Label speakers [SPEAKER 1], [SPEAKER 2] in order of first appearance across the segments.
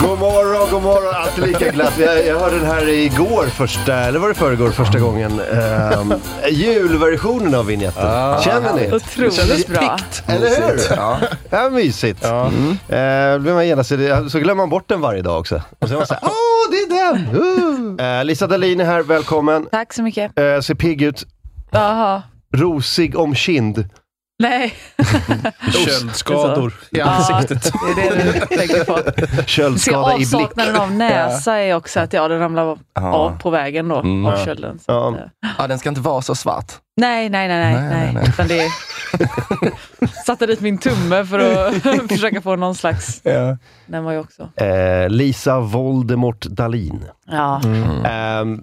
[SPEAKER 1] God morgon, god morgon. Alltid lika glatt. Jag, jag hörde den här igår första, eller var det förrgår första gången? Ehm, julversionen av vignetten. Känner ni?
[SPEAKER 2] Otroligt bra.
[SPEAKER 1] Eller hur? Ah. Ja. ja, mysigt. Mm. Eh, då blir man genast, så glömmer man bort den varje dag också. Och så är man såhär, åh, det är den! Uh. Eh, Lisa Dahlin är här, välkommen.
[SPEAKER 2] Tack så mycket.
[SPEAKER 1] Eh, ser pigg ut,
[SPEAKER 2] Jaha.
[SPEAKER 1] rosig om kind.
[SPEAKER 2] Nej.
[SPEAKER 3] Köldskador i ansiktet.
[SPEAKER 2] Ja, det är det du tänker på. Så
[SPEAKER 1] Köldskada i blick.
[SPEAKER 2] avsaknaden av näsa är också att ja, Mm. den ramlar av av på vägen då, av kölden. Så
[SPEAKER 1] Ja.
[SPEAKER 2] att, eh,
[SPEAKER 4] Ja, den ska inte vara så svart.
[SPEAKER 2] Nej, nej, nej, nej. nej, Utan det är... Satte dit min tumme för att försöka få någon slags... Den var ju också...
[SPEAKER 1] Eh, Lisa Voldemort Dahlin.
[SPEAKER 2] Ja,
[SPEAKER 1] Ehm, eh,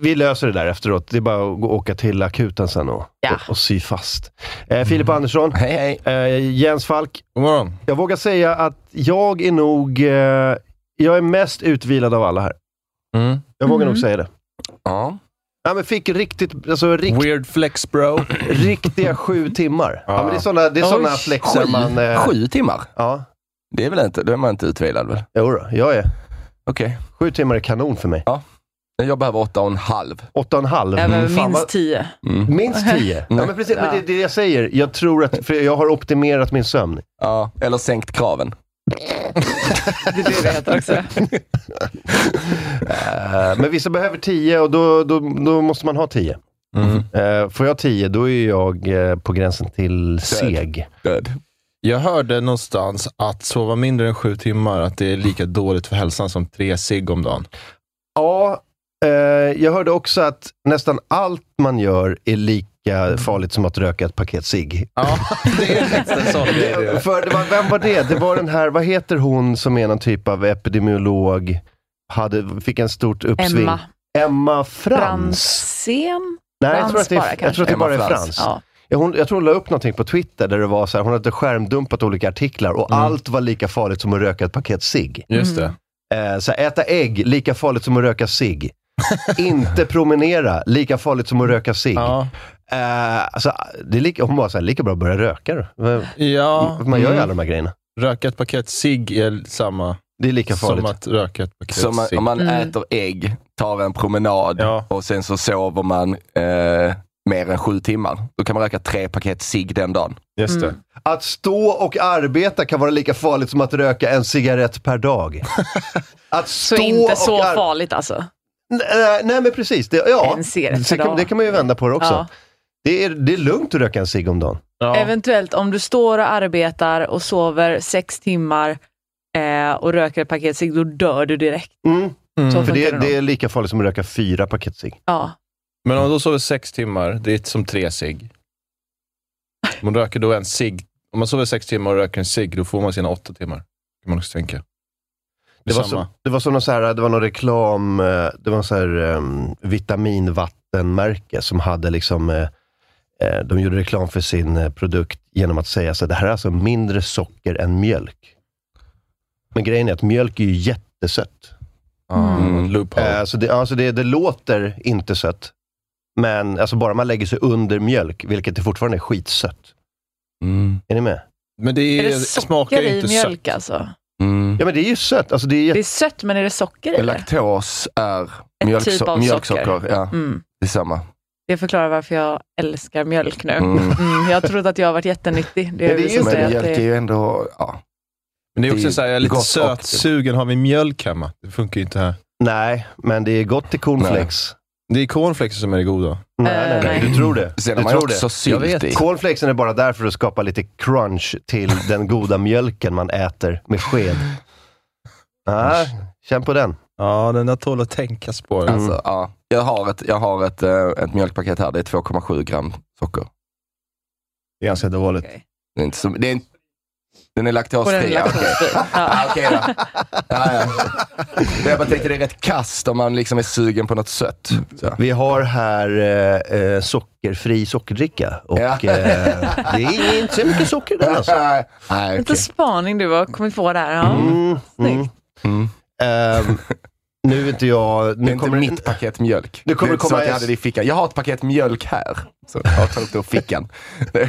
[SPEAKER 1] vi löser det där efteråt. Det är bara att gå- åka till akuten sen och,
[SPEAKER 2] Ja.
[SPEAKER 1] och, och sy fast. Eh, Filip Andersson,
[SPEAKER 4] Hej, hej.
[SPEAKER 1] eh, Jens Falk.
[SPEAKER 3] God morgon.
[SPEAKER 1] Jag vågar säga att jag är nog... Eh, jag är mest utvilad av alla här.
[SPEAKER 3] Mm.
[SPEAKER 1] Jag vågar nog
[SPEAKER 2] Mhm.
[SPEAKER 1] säga det.
[SPEAKER 4] Ja.
[SPEAKER 1] Ja, men fick riktigt, alltså, rikt,
[SPEAKER 3] Weird flex bro.
[SPEAKER 1] riktiga sju timmar. Ja.
[SPEAKER 3] Ja.
[SPEAKER 1] men det är sådana det är
[SPEAKER 3] Oj,
[SPEAKER 1] såna flexar
[SPEAKER 4] Sju,
[SPEAKER 1] man... Eh,
[SPEAKER 4] sju timmar?
[SPEAKER 1] Ja,
[SPEAKER 4] Det är väl inte, då är man inte utvilad väl?
[SPEAKER 1] jo då, jag är.
[SPEAKER 4] Okej.
[SPEAKER 1] Sju timmar är kanon för mig.
[SPEAKER 4] Jag behöver åtta och en halv.
[SPEAKER 1] Åtta och en halv.
[SPEAKER 2] jag
[SPEAKER 1] Mm,
[SPEAKER 2] behöver
[SPEAKER 1] fan vad-
[SPEAKER 2] minst tio.
[SPEAKER 4] Mm.
[SPEAKER 1] Minst tio. ja, men precis, men det, det jag säger. Jag tror att, för jag har optimerat min sömn.
[SPEAKER 4] Ja, eller sänkt kraven.
[SPEAKER 2] Det är det det heter också.
[SPEAKER 1] Eh, Men vissa behöver 10 och då, då, då måste man ha 10.
[SPEAKER 3] Mm.
[SPEAKER 1] Eh, Får jag 10 då är jag eh, på gränsen till seg.
[SPEAKER 4] Död.
[SPEAKER 3] Jag hörde någonstans att sova mindre än sju timmar, att det är lika dåligt för hälsan som tre cigg om dagen.
[SPEAKER 1] Ja, eh, jag hörde också att nästan allt man gör är lika farligt som att röka ett paket cigg. Eh,
[SPEAKER 3] Ja, det är faktiskt en sån grej. det är.
[SPEAKER 1] För det var, vem var det? Det var den här, vad heter hon som är någon typ av epidemiolog, hade, fick en stort uppsving?
[SPEAKER 2] Emma
[SPEAKER 1] Emma Frans.
[SPEAKER 2] Franzén.
[SPEAKER 1] Nej, jag tror
[SPEAKER 2] Frans
[SPEAKER 1] att det
[SPEAKER 2] bara,
[SPEAKER 1] är, jag tror
[SPEAKER 2] kanske.
[SPEAKER 1] att det bara är
[SPEAKER 4] Emma Frans.
[SPEAKER 1] Frans.
[SPEAKER 2] Ja.
[SPEAKER 1] Ja, Hon, jag tror hon la upp någonting på Twitter där det var så här, hon hade skärmdumpat olika artiklar och
[SPEAKER 3] Mm.
[SPEAKER 1] allt var lika farligt som att röka ett paket cigg.
[SPEAKER 3] Just det.
[SPEAKER 1] Eh, så här, äta ägg, lika farligt som att röka cigg. Inte promenera, lika farligt som att röka cigg.
[SPEAKER 3] Ja.
[SPEAKER 1] Eh, alltså, det är lika, hon var så här, lika bra att börja röka då. Men-
[SPEAKER 3] ja.
[SPEAKER 1] Man gör ju
[SPEAKER 3] Mm.
[SPEAKER 1] alla de här grejerna.
[SPEAKER 3] Röka ett paket cigg är samma
[SPEAKER 1] Det är lika farligt.
[SPEAKER 3] som att röka ett paket
[SPEAKER 4] Så man,
[SPEAKER 3] cigg.
[SPEAKER 4] om man
[SPEAKER 2] Mm.
[SPEAKER 4] äter ägg, tar en promenad
[SPEAKER 3] Ja.
[SPEAKER 4] och sen så sover man eh, mer än sju timmar. Då kan man röka tre paket cigg den dagen.
[SPEAKER 3] Just det.
[SPEAKER 1] Mm. Att stå och arbeta kan vara lika farligt som att röka en cigarett per dag. Att
[SPEAKER 2] Så
[SPEAKER 1] stå
[SPEAKER 2] inte
[SPEAKER 1] och
[SPEAKER 2] så
[SPEAKER 1] ar-
[SPEAKER 2] farligt alltså.
[SPEAKER 1] Nej, eh, nej, men precis. Det, ja.
[SPEAKER 2] En cigarett
[SPEAKER 1] det,
[SPEAKER 2] per
[SPEAKER 1] kan,
[SPEAKER 2] dag.
[SPEAKER 1] det kan man ju vända på det också.
[SPEAKER 2] Ja.
[SPEAKER 1] Det, är, det är lugnt att röka en cigg om dagen.
[SPEAKER 3] Ja.
[SPEAKER 2] Eventuellt om du står och arbetar och sover sex timmar eh, och röker ett paket cigg, då dör du direkt.
[SPEAKER 1] Mm,
[SPEAKER 2] Så
[SPEAKER 1] för
[SPEAKER 2] funkar
[SPEAKER 1] det,
[SPEAKER 2] det, nog.
[SPEAKER 1] det är lika farligt som att röka fyra paket cigg.
[SPEAKER 2] Ja.
[SPEAKER 3] Men om du sover sex timmar, det är som tre cigg. Om man röker då en cigg. Om man sover sex timmar och röker en cigg, då får man sina åtta timmar. kan man också tänka.
[SPEAKER 1] Det var,
[SPEAKER 3] samma.
[SPEAKER 1] så, det var som någon, så här, det var någon reklam, eh, det var en så här, um, vitaminvattenmärke som hade liksom, eh, eh, de gjorde reklam för sin eh, produkt genom att säga så här, det här är alltså mindre socker än mjölk. Men grejen är att mjölk är ju jättesött.
[SPEAKER 3] Mm. Loophole.
[SPEAKER 4] Äh,
[SPEAKER 1] Eh, så det, alltså det, det låter inte sött, men alltså bara man lägger sig under mjölk, vilket det fortfarande är skitsött. Är ni med?
[SPEAKER 3] Men det,
[SPEAKER 2] Är
[SPEAKER 3] är,
[SPEAKER 2] det
[SPEAKER 3] smakar
[SPEAKER 2] socker
[SPEAKER 3] ju
[SPEAKER 2] i
[SPEAKER 3] inte
[SPEAKER 2] mjölk
[SPEAKER 3] sött.
[SPEAKER 2] alltså?
[SPEAKER 4] Mm.
[SPEAKER 1] Ja, men det är ju sött. Alltså, det är
[SPEAKER 2] Det
[SPEAKER 1] jätte...
[SPEAKER 2] är sött, men är det socker i det?
[SPEAKER 4] Laktos är
[SPEAKER 2] Ett
[SPEAKER 4] mjölkso-
[SPEAKER 2] typ av
[SPEAKER 4] mjölksocker.
[SPEAKER 2] socker.
[SPEAKER 4] Ja,
[SPEAKER 2] Mm.
[SPEAKER 4] det är samma.
[SPEAKER 2] Det förklarar varför jag älskar mjölk nu.
[SPEAKER 4] Mm.
[SPEAKER 2] Mm, jag trodde att jag har varit jättenyttig. Det
[SPEAKER 1] Men det är
[SPEAKER 2] visar
[SPEAKER 1] ju
[SPEAKER 2] sig
[SPEAKER 4] Men
[SPEAKER 2] att
[SPEAKER 4] mjölk är
[SPEAKER 2] det...
[SPEAKER 4] ju ändå... Ja.
[SPEAKER 3] Men det är
[SPEAKER 4] Det är
[SPEAKER 3] också så här, jag är lite
[SPEAKER 4] gott och-
[SPEAKER 3] sötsugen. Har vi mjölk hemma? Det funkar ju inte här.
[SPEAKER 1] Nej, men det är gott i cornflakes.
[SPEAKER 3] Det är cornflakes som är det goda.
[SPEAKER 1] Nej.
[SPEAKER 2] Eh,
[SPEAKER 1] Nej, nej,
[SPEAKER 2] nej.
[SPEAKER 1] Du tror det.
[SPEAKER 4] Sen
[SPEAKER 1] Du
[SPEAKER 4] har man ju
[SPEAKER 1] tror
[SPEAKER 4] också
[SPEAKER 1] det.
[SPEAKER 3] Jag
[SPEAKER 4] sylt
[SPEAKER 3] vet.
[SPEAKER 4] i.
[SPEAKER 1] Cornflakesen är bara där för att skapa lite crunch till den goda mjölken man äter med sked. Ah, känn på den.
[SPEAKER 3] Ja, den där tål att tänkas på. den.
[SPEAKER 4] Alltså, ja. Jag har, ett, jag har ett, eh, ett mjölkpaket här, det är 2,7 gram socker.
[SPEAKER 3] Det är ganska dåligt.
[SPEAKER 4] Det är inte så, det är, en- den är
[SPEAKER 2] Och den är
[SPEAKER 4] laktosfri. ja, Okej
[SPEAKER 2] laktosfri.
[SPEAKER 4] ah,
[SPEAKER 2] Ja.
[SPEAKER 4] okej då. Ja, ja. Men Jag bara tänkte det är rätt kast om man liksom är sugen på något sött. Så.
[SPEAKER 1] Vi har här eh, eh, sockerfri sockerdricka. Och
[SPEAKER 4] Ja.
[SPEAKER 1] eh, det är inte så mycket socker där alltså.
[SPEAKER 4] Nej, okej.
[SPEAKER 2] Lite spaning du har kommit på där. Ja.
[SPEAKER 1] Mm, mm.
[SPEAKER 2] Snyggt.
[SPEAKER 4] Mm.
[SPEAKER 1] Ehm, nu är inte jag...
[SPEAKER 4] Det är
[SPEAKER 1] Nu
[SPEAKER 4] inte
[SPEAKER 1] kommer,
[SPEAKER 4] mitt paket mjölk.
[SPEAKER 1] Nu kommer
[SPEAKER 4] det är inte
[SPEAKER 1] komma
[SPEAKER 4] så att jag
[SPEAKER 1] en-
[SPEAKER 4] hade det i fickan. Jag har ett paket mjölk här. Så jag har tagit ur fickan.
[SPEAKER 1] och en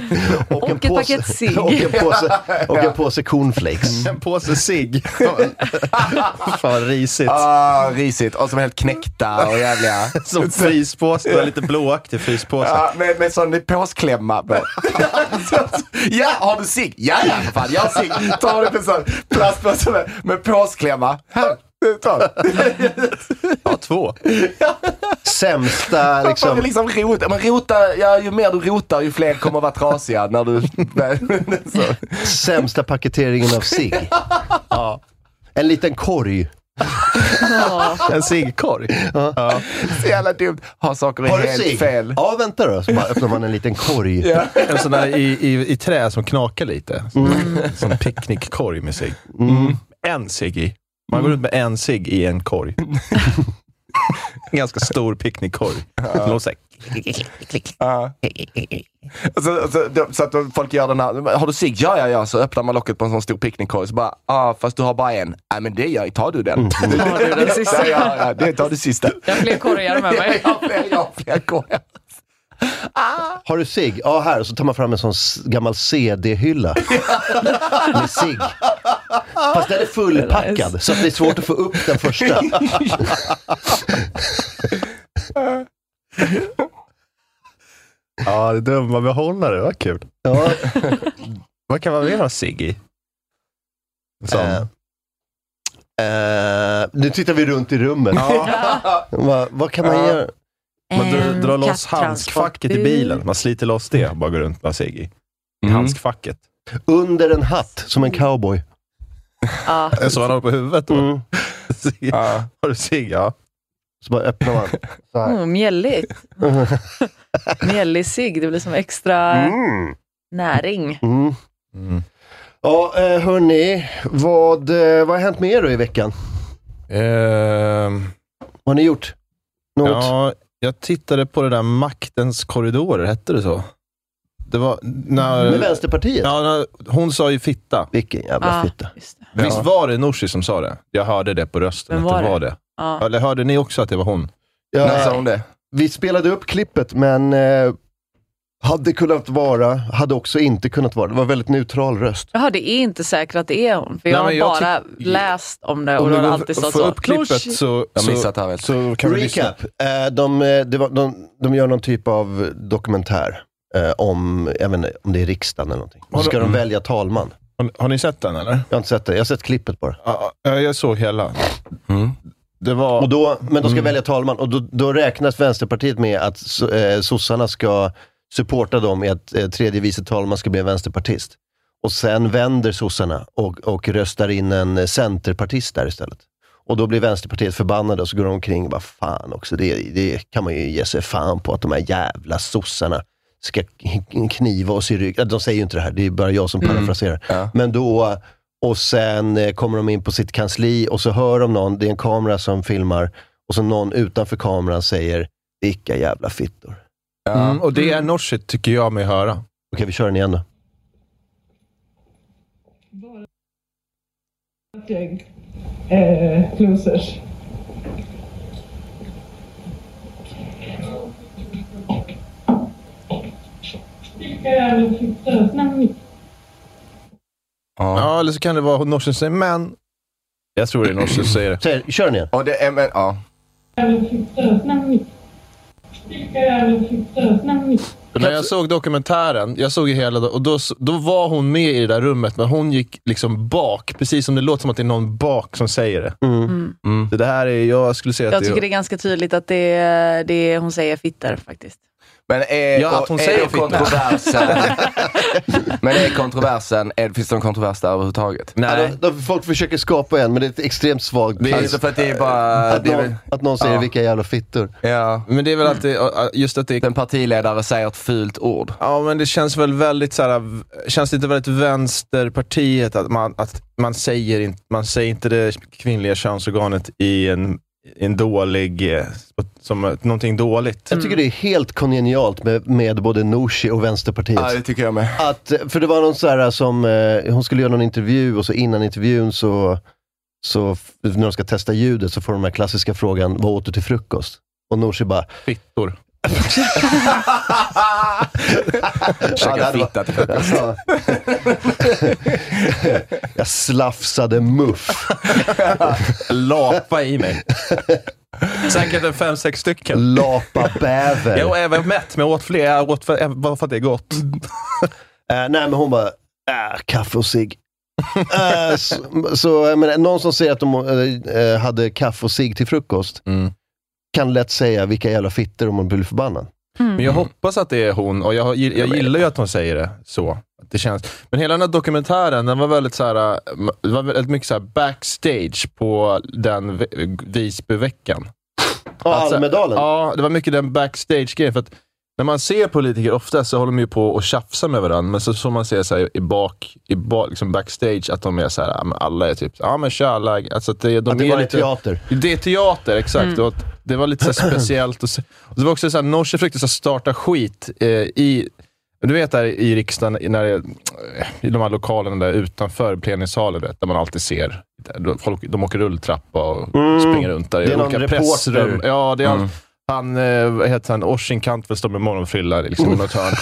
[SPEAKER 2] Och ett
[SPEAKER 1] påse-
[SPEAKER 2] paket cigg.
[SPEAKER 1] Och en påse, och en påse cornflakes.
[SPEAKER 3] En påse cigg. Fan, risigt.
[SPEAKER 4] ah, risigt. Och som är helt knäckta och jävliga.
[SPEAKER 3] Som fryspåse. Det var lite blåaktig fryspåse.
[SPEAKER 4] Ja, med, med sån påsklämma. på. ja, har du cigg? Ja, ja, för fan, jag har cigg. Ta en liten sån plastpåse med, med påsklämma. Här, ta den.
[SPEAKER 3] Ja, två.
[SPEAKER 1] Sämsta
[SPEAKER 4] Liksom.
[SPEAKER 1] liksom...
[SPEAKER 4] Liksom rota, men rota, ja, ju mer du rotar ju fler kommer vara trasiga när du... så.
[SPEAKER 1] Sämsta paketeringen av cigg. En liten korg.
[SPEAKER 2] Ja.
[SPEAKER 3] En ciggkorg.
[SPEAKER 4] så jävla dumt. Ha saker i
[SPEAKER 1] Har du
[SPEAKER 4] helt
[SPEAKER 1] cigg?
[SPEAKER 4] fel.
[SPEAKER 1] Ja, vänta då. Så bara öppnar man en liten korg.
[SPEAKER 3] En sån där i, i, i trä som knakar lite. Som-
[SPEAKER 4] Mm.
[SPEAKER 3] Som picknickkorg med cigg. En cigg i. Man går
[SPEAKER 4] Mm.
[SPEAKER 3] runt med en cigg i en korg. En ganska stor picknickkorg. Som låter så här-
[SPEAKER 4] Ja. Och Så, och så, de- så att de- folk gör den här, har du cigg? Ja, ja, ja. Så öppnar man locket på en sån stor picknickkorg. Så bara, ah, fast du har bara en. Nej, men det gör tar du den.
[SPEAKER 3] Mm.
[SPEAKER 2] Tar du den sista?
[SPEAKER 4] Ja, ja, ja, det tar du sista.
[SPEAKER 2] Jag har fler korgar med mig.
[SPEAKER 4] Jag har fler, jag har fler korgar.
[SPEAKER 1] Har du cigg? Ja, här. Och så tar man fram en sån s- gammal CD-hylla. Med cigg. Fast den är fullpackad, så att det är svårt att få upp den första.
[SPEAKER 3] Ja, det är dumma behållare. Vad kul.
[SPEAKER 1] Ja.
[SPEAKER 3] Vad kan man mer ha cigg i? En sån.
[SPEAKER 1] Eh, eh, nu tittar vi runt i rummet. Va, vad kan man
[SPEAKER 3] Ja.
[SPEAKER 1] göra?
[SPEAKER 3] Man drar,
[SPEAKER 2] En
[SPEAKER 3] drar loss
[SPEAKER 2] katttransport-
[SPEAKER 3] handskfacket i bilen. Man sliter loss det och bara går runt med cigg i. Mm.
[SPEAKER 4] Mm.
[SPEAKER 3] Handskfacket.
[SPEAKER 1] Under en hatt, som en cowboy.
[SPEAKER 2] Ja.
[SPEAKER 3] Så man har på huvudet då.
[SPEAKER 1] Mm.
[SPEAKER 3] Cigg.
[SPEAKER 4] Ja.
[SPEAKER 3] Har du cigg? Ja.
[SPEAKER 1] Så bara öppnar man. Så här.
[SPEAKER 2] Oh, mjälligt. Mjällig cigg. Det blir som extra
[SPEAKER 1] Mm.
[SPEAKER 2] näring.
[SPEAKER 1] Mm.
[SPEAKER 3] Mm.
[SPEAKER 1] Ja, eh, hörni. Vad, eh, vad har hänt med er då i veckan?
[SPEAKER 3] Ehm,
[SPEAKER 1] Vad har ni gjort? Något?
[SPEAKER 3] ja, jag tittade på det där Maktens korridorer, hette det så? Det var när...
[SPEAKER 1] Med Vänsterpartiet?
[SPEAKER 3] eh, Ja, när hon sa ju fitta.
[SPEAKER 1] Vilken jävla
[SPEAKER 2] Ja,
[SPEAKER 1] fitta.
[SPEAKER 2] just det.
[SPEAKER 3] Visst var det Nooshi som sa det? Jag hörde det på rösten.
[SPEAKER 2] Vem
[SPEAKER 3] att
[SPEAKER 2] var
[SPEAKER 3] det
[SPEAKER 2] det?
[SPEAKER 3] var det?
[SPEAKER 2] Ja.
[SPEAKER 3] Eller hörde ni också att det var hon?
[SPEAKER 1] Ja, eh,
[SPEAKER 4] När sa hon det?
[SPEAKER 1] Vi spelade upp klippet, men eh, hade kunnat vara, hade också inte kunnat vara. Det var väldigt neutral röst.
[SPEAKER 2] Jaha, det är inte säkert att det är hon. För
[SPEAKER 3] Nej,
[SPEAKER 2] jag
[SPEAKER 3] men jag
[SPEAKER 2] har bara
[SPEAKER 3] tyck-
[SPEAKER 2] läst om det och
[SPEAKER 3] Om
[SPEAKER 2] då
[SPEAKER 3] du
[SPEAKER 2] har det
[SPEAKER 3] går-
[SPEAKER 2] alltid stått
[SPEAKER 3] får
[SPEAKER 2] så.
[SPEAKER 3] upp klippet
[SPEAKER 2] Nooshi.
[SPEAKER 3] så,
[SPEAKER 4] Jag
[SPEAKER 3] så,
[SPEAKER 4] missat det här helt.
[SPEAKER 3] så kan vi lyssna.
[SPEAKER 1] Recap. Eh, de, eh, det var, de, de gör någon typ av dokumentär eh, om, jag vet inte, om det är riksdagen eller någonting. Och så ska de
[SPEAKER 3] Mm.
[SPEAKER 1] välja talman.
[SPEAKER 3] Har, har ni sett den eller?
[SPEAKER 1] Jag har inte sett det, jag har sett klippet bara.
[SPEAKER 3] Ja, ja, jag såg hela.
[SPEAKER 4] Mm.
[SPEAKER 3] Det var...
[SPEAKER 1] Och då, men de ska
[SPEAKER 3] Mm.
[SPEAKER 1] välja talman och då, då räknas Vänsterpartiet med att so, eh, sossarna ska supporta dem i att eh, tredje vice talman ska bli en vänsterpartist. Och sen vänder sossarna och, och röstar in en eh, centerpartist där istället. Och då blir Vänsterpartiet förbannade och så går de omkring och bara fan också, det, det kan man ju ge sig fan på att de här jävla sossarna ska k- kniva oss i ryggen. De säger ju inte det här, det är bara jag som parafraserar.
[SPEAKER 4] Ja.
[SPEAKER 1] Men då, och sen eh, kommer de in på sitt kansli och så hör de någon, det är en kamera som filmar, och så någon utanför kameran säger vilka jävla fittor.
[SPEAKER 4] Ja.
[SPEAKER 3] Mm, och det är Nooshi, tycker jag mig höra.
[SPEAKER 1] Okej, vi kör den igen då.
[SPEAKER 5] gäng eh, losers. Vilka jävla fittor.
[SPEAKER 3] Ja. eller så kan det vara Nooshi som säger men. Jag tror det är norskt, säger det.
[SPEAKER 1] kör den igen.
[SPEAKER 4] Ja, det är, men, ja.
[SPEAKER 3] När jag såg dokumentären, jag såg ju hela, och då, då var hon med i det där rummet, men hon gick liksom bak. Precis som det låter som att det är någon bak som säger det.
[SPEAKER 2] Mm.
[SPEAKER 3] Det där är, jag skulle säga
[SPEAKER 2] Jag
[SPEAKER 3] att
[SPEAKER 2] tycker det är ganska tydligt att det är, det är, hon säger fitter faktiskt.
[SPEAKER 4] Men är,
[SPEAKER 3] Ja, att hon
[SPEAKER 4] är
[SPEAKER 3] säger
[SPEAKER 4] då
[SPEAKER 3] fitness.
[SPEAKER 4] kontroversen... men är kontroversen, är, finns det någon kontrovers där överhuvudtaget? Alltså,
[SPEAKER 3] Nej.
[SPEAKER 1] Ja, de, folk försöker skapa en, men det är ett extremt svagt
[SPEAKER 4] Det är
[SPEAKER 1] pass.
[SPEAKER 3] Alltså,
[SPEAKER 4] inte för att det är bara...
[SPEAKER 1] Att
[SPEAKER 4] Det är,
[SPEAKER 1] någon,
[SPEAKER 4] väl-
[SPEAKER 1] att någon säger
[SPEAKER 4] Ja.
[SPEAKER 1] vilka jävla fittor.
[SPEAKER 4] ja.
[SPEAKER 3] Men det är väl att det, just att det är
[SPEAKER 4] En partiledare säger ett fult ord.
[SPEAKER 3] Ja, men det känns väl väldigt så här, känns lite väldigt vänsterpartiet att man, att man, säger, in, man säger inte det kvinnliga könsorganet i en, i en dålig, eh, som eh, någonting dåligt.
[SPEAKER 1] Jag tycker det är helt kongenialt med, med både Nooshi och Vänsterpartiet.
[SPEAKER 4] Ja, det tycker jag med.
[SPEAKER 1] Att, för det var någon så här som, eh, hon skulle göra någon intervju och så innan intervjun så, så f- när de ska testa ljudet så får de den här klassiska frågan, vad åt du till frukost? Och Nooshi bara,
[SPEAKER 3] Fittor.
[SPEAKER 4] Käka fitta till frukost.
[SPEAKER 1] alltså, jag slafsade muff,
[SPEAKER 3] Lapa i mig. Säkert en fem, sex stycken.
[SPEAKER 1] lapa bäver.
[SPEAKER 3] Jag var även mätt, men jag åt fler. Jag åt för, jag- bara för att det är gott.
[SPEAKER 1] Eh, nej, men hon bara, äh, kaffe och cigg. Eh, så, så jag menar, någon som säger att de eh, eh, hade kaffe och cigg till frukost
[SPEAKER 3] Mm.
[SPEAKER 1] kan lätt säga vilka jävla fittor om man blir förbannad.
[SPEAKER 3] Men jag hoppas att det är hon och jag, jag gillar ju att hon säger det så. Att Det känns. Men hela den här dokumentären, den var väldigt, så här, äh, det var väldigt mycket så här backstage på den v- Visbyveckan.
[SPEAKER 1] Ja,
[SPEAKER 3] Alltså,
[SPEAKER 1] Almedalen.
[SPEAKER 3] Ja, det var mycket den backstage-grejen. För att när man ser politiker ofta så håller de ju på och tjafsar med varandra. Men så får man se så här, i bak, i bak, liksom backstage att de är så här, ja, men alla är typ, ja men kör alla. Alltså, att det, de
[SPEAKER 1] att det
[SPEAKER 3] är
[SPEAKER 1] var
[SPEAKER 3] lite-
[SPEAKER 1] teater.
[SPEAKER 3] det är teater, exakt.
[SPEAKER 1] Mm.
[SPEAKER 3] Och att det var lite så här speciellt. Och se- och det var också så här, Norse försökte så här starta skit eh, i... Du vet där i riksdagen, när det, eh, i de här lokalerna där utanför plenisalen, du vet, där man alltid ser. där då Folk, de åker rulltrappa och springer runt där.
[SPEAKER 1] Mm. Det är
[SPEAKER 3] i
[SPEAKER 1] någon
[SPEAKER 3] olika
[SPEAKER 1] reporter.
[SPEAKER 3] pressrum. Ja, det är all- han, eh, vad heter han, Oisin Kantvel står med morgonfrilla liksom, i något hörn.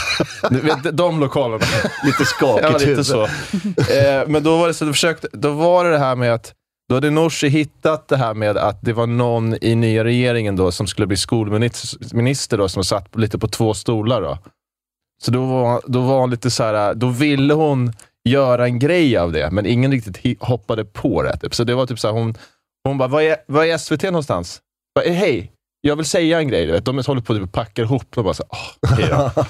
[SPEAKER 3] Du vet, de lokalerna.
[SPEAKER 1] Lite skakigt
[SPEAKER 3] Ja, lite
[SPEAKER 1] huvud.
[SPEAKER 3] så. eh, men då var, det så, då, försökte, då var det det här med att då hade Nooshi hittat det här med att det var någon i nya regeringen då som skulle bli skolminister då, som satt lite på två stolar. Då. Så då var, då var hon lite så här, då ville hon göra en grej av det, men ingen riktigt hi- hoppade på det. Typ. Så det var typ så här, hon, hon bara, vad är, vad är SVT någonstans? Bara, "Eh, Hej, jag vill säga en grej. Du vet. De håller på att typ packa ihop. De bara så, här, "Ah, okej då."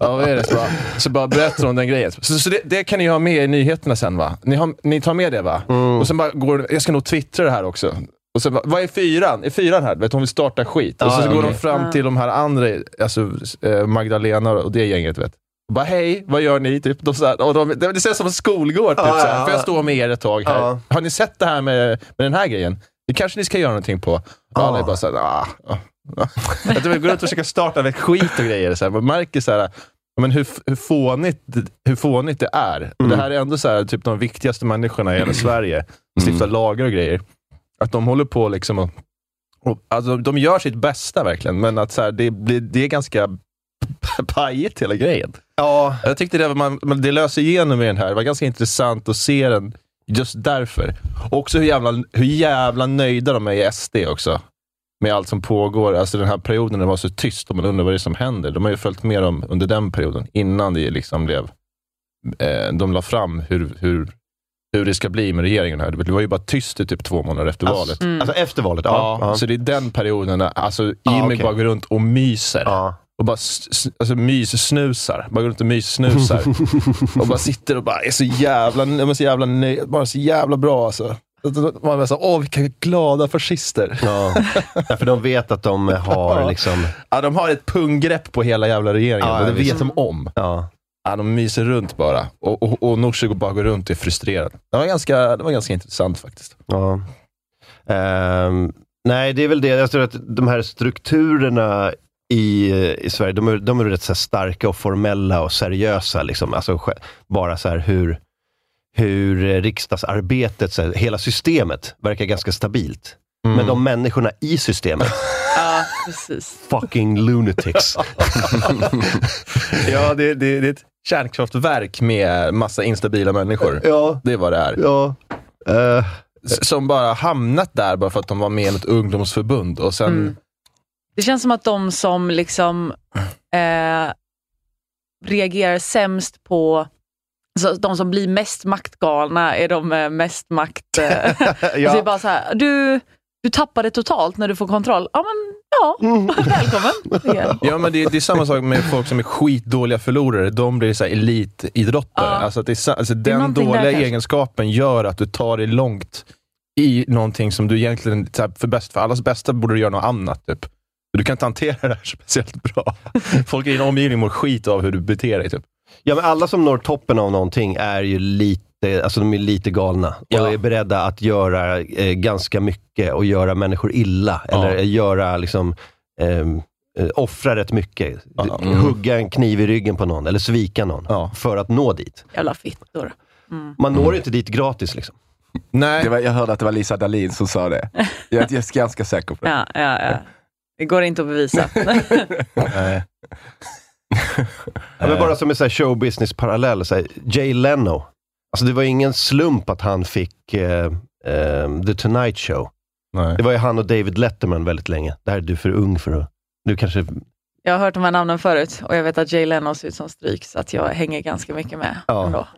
[SPEAKER 3] Ja, vad är det? Så bara, så bara berättar hon den grejen. Så, så det, det kan ni ha med i nyheterna sen va? Ni, har, ni tar med det va? Och sen bara går Jag ska nog twittra det här också. Och sen bara, vad är fyran? Är fyran här? Du Vet, hon vill starta skit. och så,
[SPEAKER 1] Ja,
[SPEAKER 3] så går
[SPEAKER 1] okej.
[SPEAKER 3] de fram till de här andra, alltså eh, Magdalena och det gänget. Vet. Och bara, hej, vad gör ni? Typ, de, så här, och de, det det känns som en skolgård. Typ,
[SPEAKER 1] Ja,
[SPEAKER 3] så
[SPEAKER 1] ja,
[SPEAKER 3] här. Får jag stå med er ett tag här?
[SPEAKER 1] Ja.
[SPEAKER 3] Har ni sett det här med, med den här grejen? Det kanske ni ska göra någonting på. Och alla är bara såhär, ah. ah, ah." Att de går runt och försöker starta med skit och grejer. Så här. Man märker så här, men hur, hur, fånigt, hur fånigt det är. Och det här är ändå så här, typ de viktigaste människorna i hela Sverige. Stiftar lagar och grejer. Att de håller på liksom och, och alltså, De gör sitt bästa verkligen, men att så här, det, blir, det är ganska pajigt hela grejen.
[SPEAKER 1] Ja,
[SPEAKER 3] Jag tyckte det, var- man, man, det löser igenom i den här. Det var ganska intressant att se den just därför. Och också hur jävla, hur jävla nöjda de är i SD också. Med allt som pågår. Alltså den här perioden när det var så tyst och man undrar vad det är som händer. De har ju följt med dem under den perioden, innan det liksom blev... Eh, de la fram hur, hur, hur det ska bli med regeringen här. Det var ju bara tyst i typ två månader efter valet.
[SPEAKER 1] Alltså, alltså efter valet, ja.
[SPEAKER 3] Ja,
[SPEAKER 1] ja.
[SPEAKER 3] Så det är den perioden när alltså, Jimmy
[SPEAKER 1] Ja, okej.
[SPEAKER 3] bara går runt och myser.
[SPEAKER 1] Ja.
[SPEAKER 3] Och bara s- s- alltså, myssnusar. Bara går runt och myssnusar. och bara sitter och bara är så jävla, jag är så jävla nöjd. Bara så jävla bra alltså. Att- att Man bara så, åh vilka glada fascister.
[SPEAKER 1] Ja. Ja, för de vet att de har liksom...
[SPEAKER 3] Ja, de har ett punggrepp på hela jävla regeringen.
[SPEAKER 1] Ja,
[SPEAKER 3] och det
[SPEAKER 1] ja,
[SPEAKER 3] vet
[SPEAKER 1] visst.
[SPEAKER 3] de om.
[SPEAKER 1] Ja.
[SPEAKER 3] Ja, de myser runt bara. Och, och, och Nooshi går bara går runt och är frustrerad. Det var ganska, det var ganska intressant faktiskt.
[SPEAKER 1] Ja. Ehm, nej, det är väl det. Jag tror att de här strukturerna i, i Sverige, de är, de är rätt så här starka och formella och seriösa. Liksom. Alltså, sj- bara så här hur, hur eh, riksdagsarbetet, så här, hela systemet, verkar ganska stabilt. Men de människorna i systemet,
[SPEAKER 2] Ja, precis.
[SPEAKER 1] fucking lunatics.
[SPEAKER 3] Ja, det, det, det är ett kärnkraftverk med massa instabila människor.
[SPEAKER 1] ja,
[SPEAKER 3] Det är vad det är.
[SPEAKER 1] ja. Eh,
[SPEAKER 3] Som bara hamnat där bara för att de var med i ett ungdomsförbund och sen...
[SPEAKER 2] Mm. Det känns som att de som liksom eh, reagerar sämst på så de som blir mest maktgalna är de med mest makt. eh, alltså det är bara så här, du, du tappade totalt när du får kontroll. Ja, men ja,
[SPEAKER 3] Mm.
[SPEAKER 2] välkommen. igen.
[SPEAKER 3] Ja, men det, det är samma sak med folk som är skitdåliga förlorare. De blir så här elitidrottare. Alltså att det är, sa- alltså
[SPEAKER 2] Det är
[SPEAKER 3] den
[SPEAKER 2] någonting där
[SPEAKER 3] dåliga
[SPEAKER 2] kanske.
[SPEAKER 3] egenskapen gör att du tar dig långt i någonting som du egentligen, så här, för, bäst, för allas bästa borde du göra något annat. Typ. Du kan inte hantera det här speciellt bra. Folk i din omgivning mår skit av hur du beter dig. Typ.
[SPEAKER 1] Ja, men alla som når toppen av någonting är ju lite, alltså de är lite galna och är beredda att göra eh, ganska mycket och göra människor illa. Eller göra liksom, ehm, eh, offra rätt mycket.
[SPEAKER 3] Mm.
[SPEAKER 1] Hugga en kniv i ryggen på någon eller svika någon för att nå dit.
[SPEAKER 2] Jävla fittor. Mm.
[SPEAKER 1] Man når ju inte dit gratis liksom.
[SPEAKER 3] Nej.
[SPEAKER 4] Det var, jag hörde att det var Lisa Dahlin som sa det. Jag, jag är ganska säker på det.
[SPEAKER 2] Ja, ja, ja. Det går inte att bevisa.
[SPEAKER 3] Nej.
[SPEAKER 1] Ja, men bara som en så här showbusiness-parallell, så här, Jay Leno. Alltså det var ju ingen slump att han fick eh, eh, The Tonight Show. Det var ju han och David Letterman väldigt länge. Det här är du för ung för att... Du kanske...
[SPEAKER 2] Jag har hört de här namnen förut och jag vet att Jay Leno ser ut som stryk så att jag hänger ganska mycket med.
[SPEAKER 1] Ja.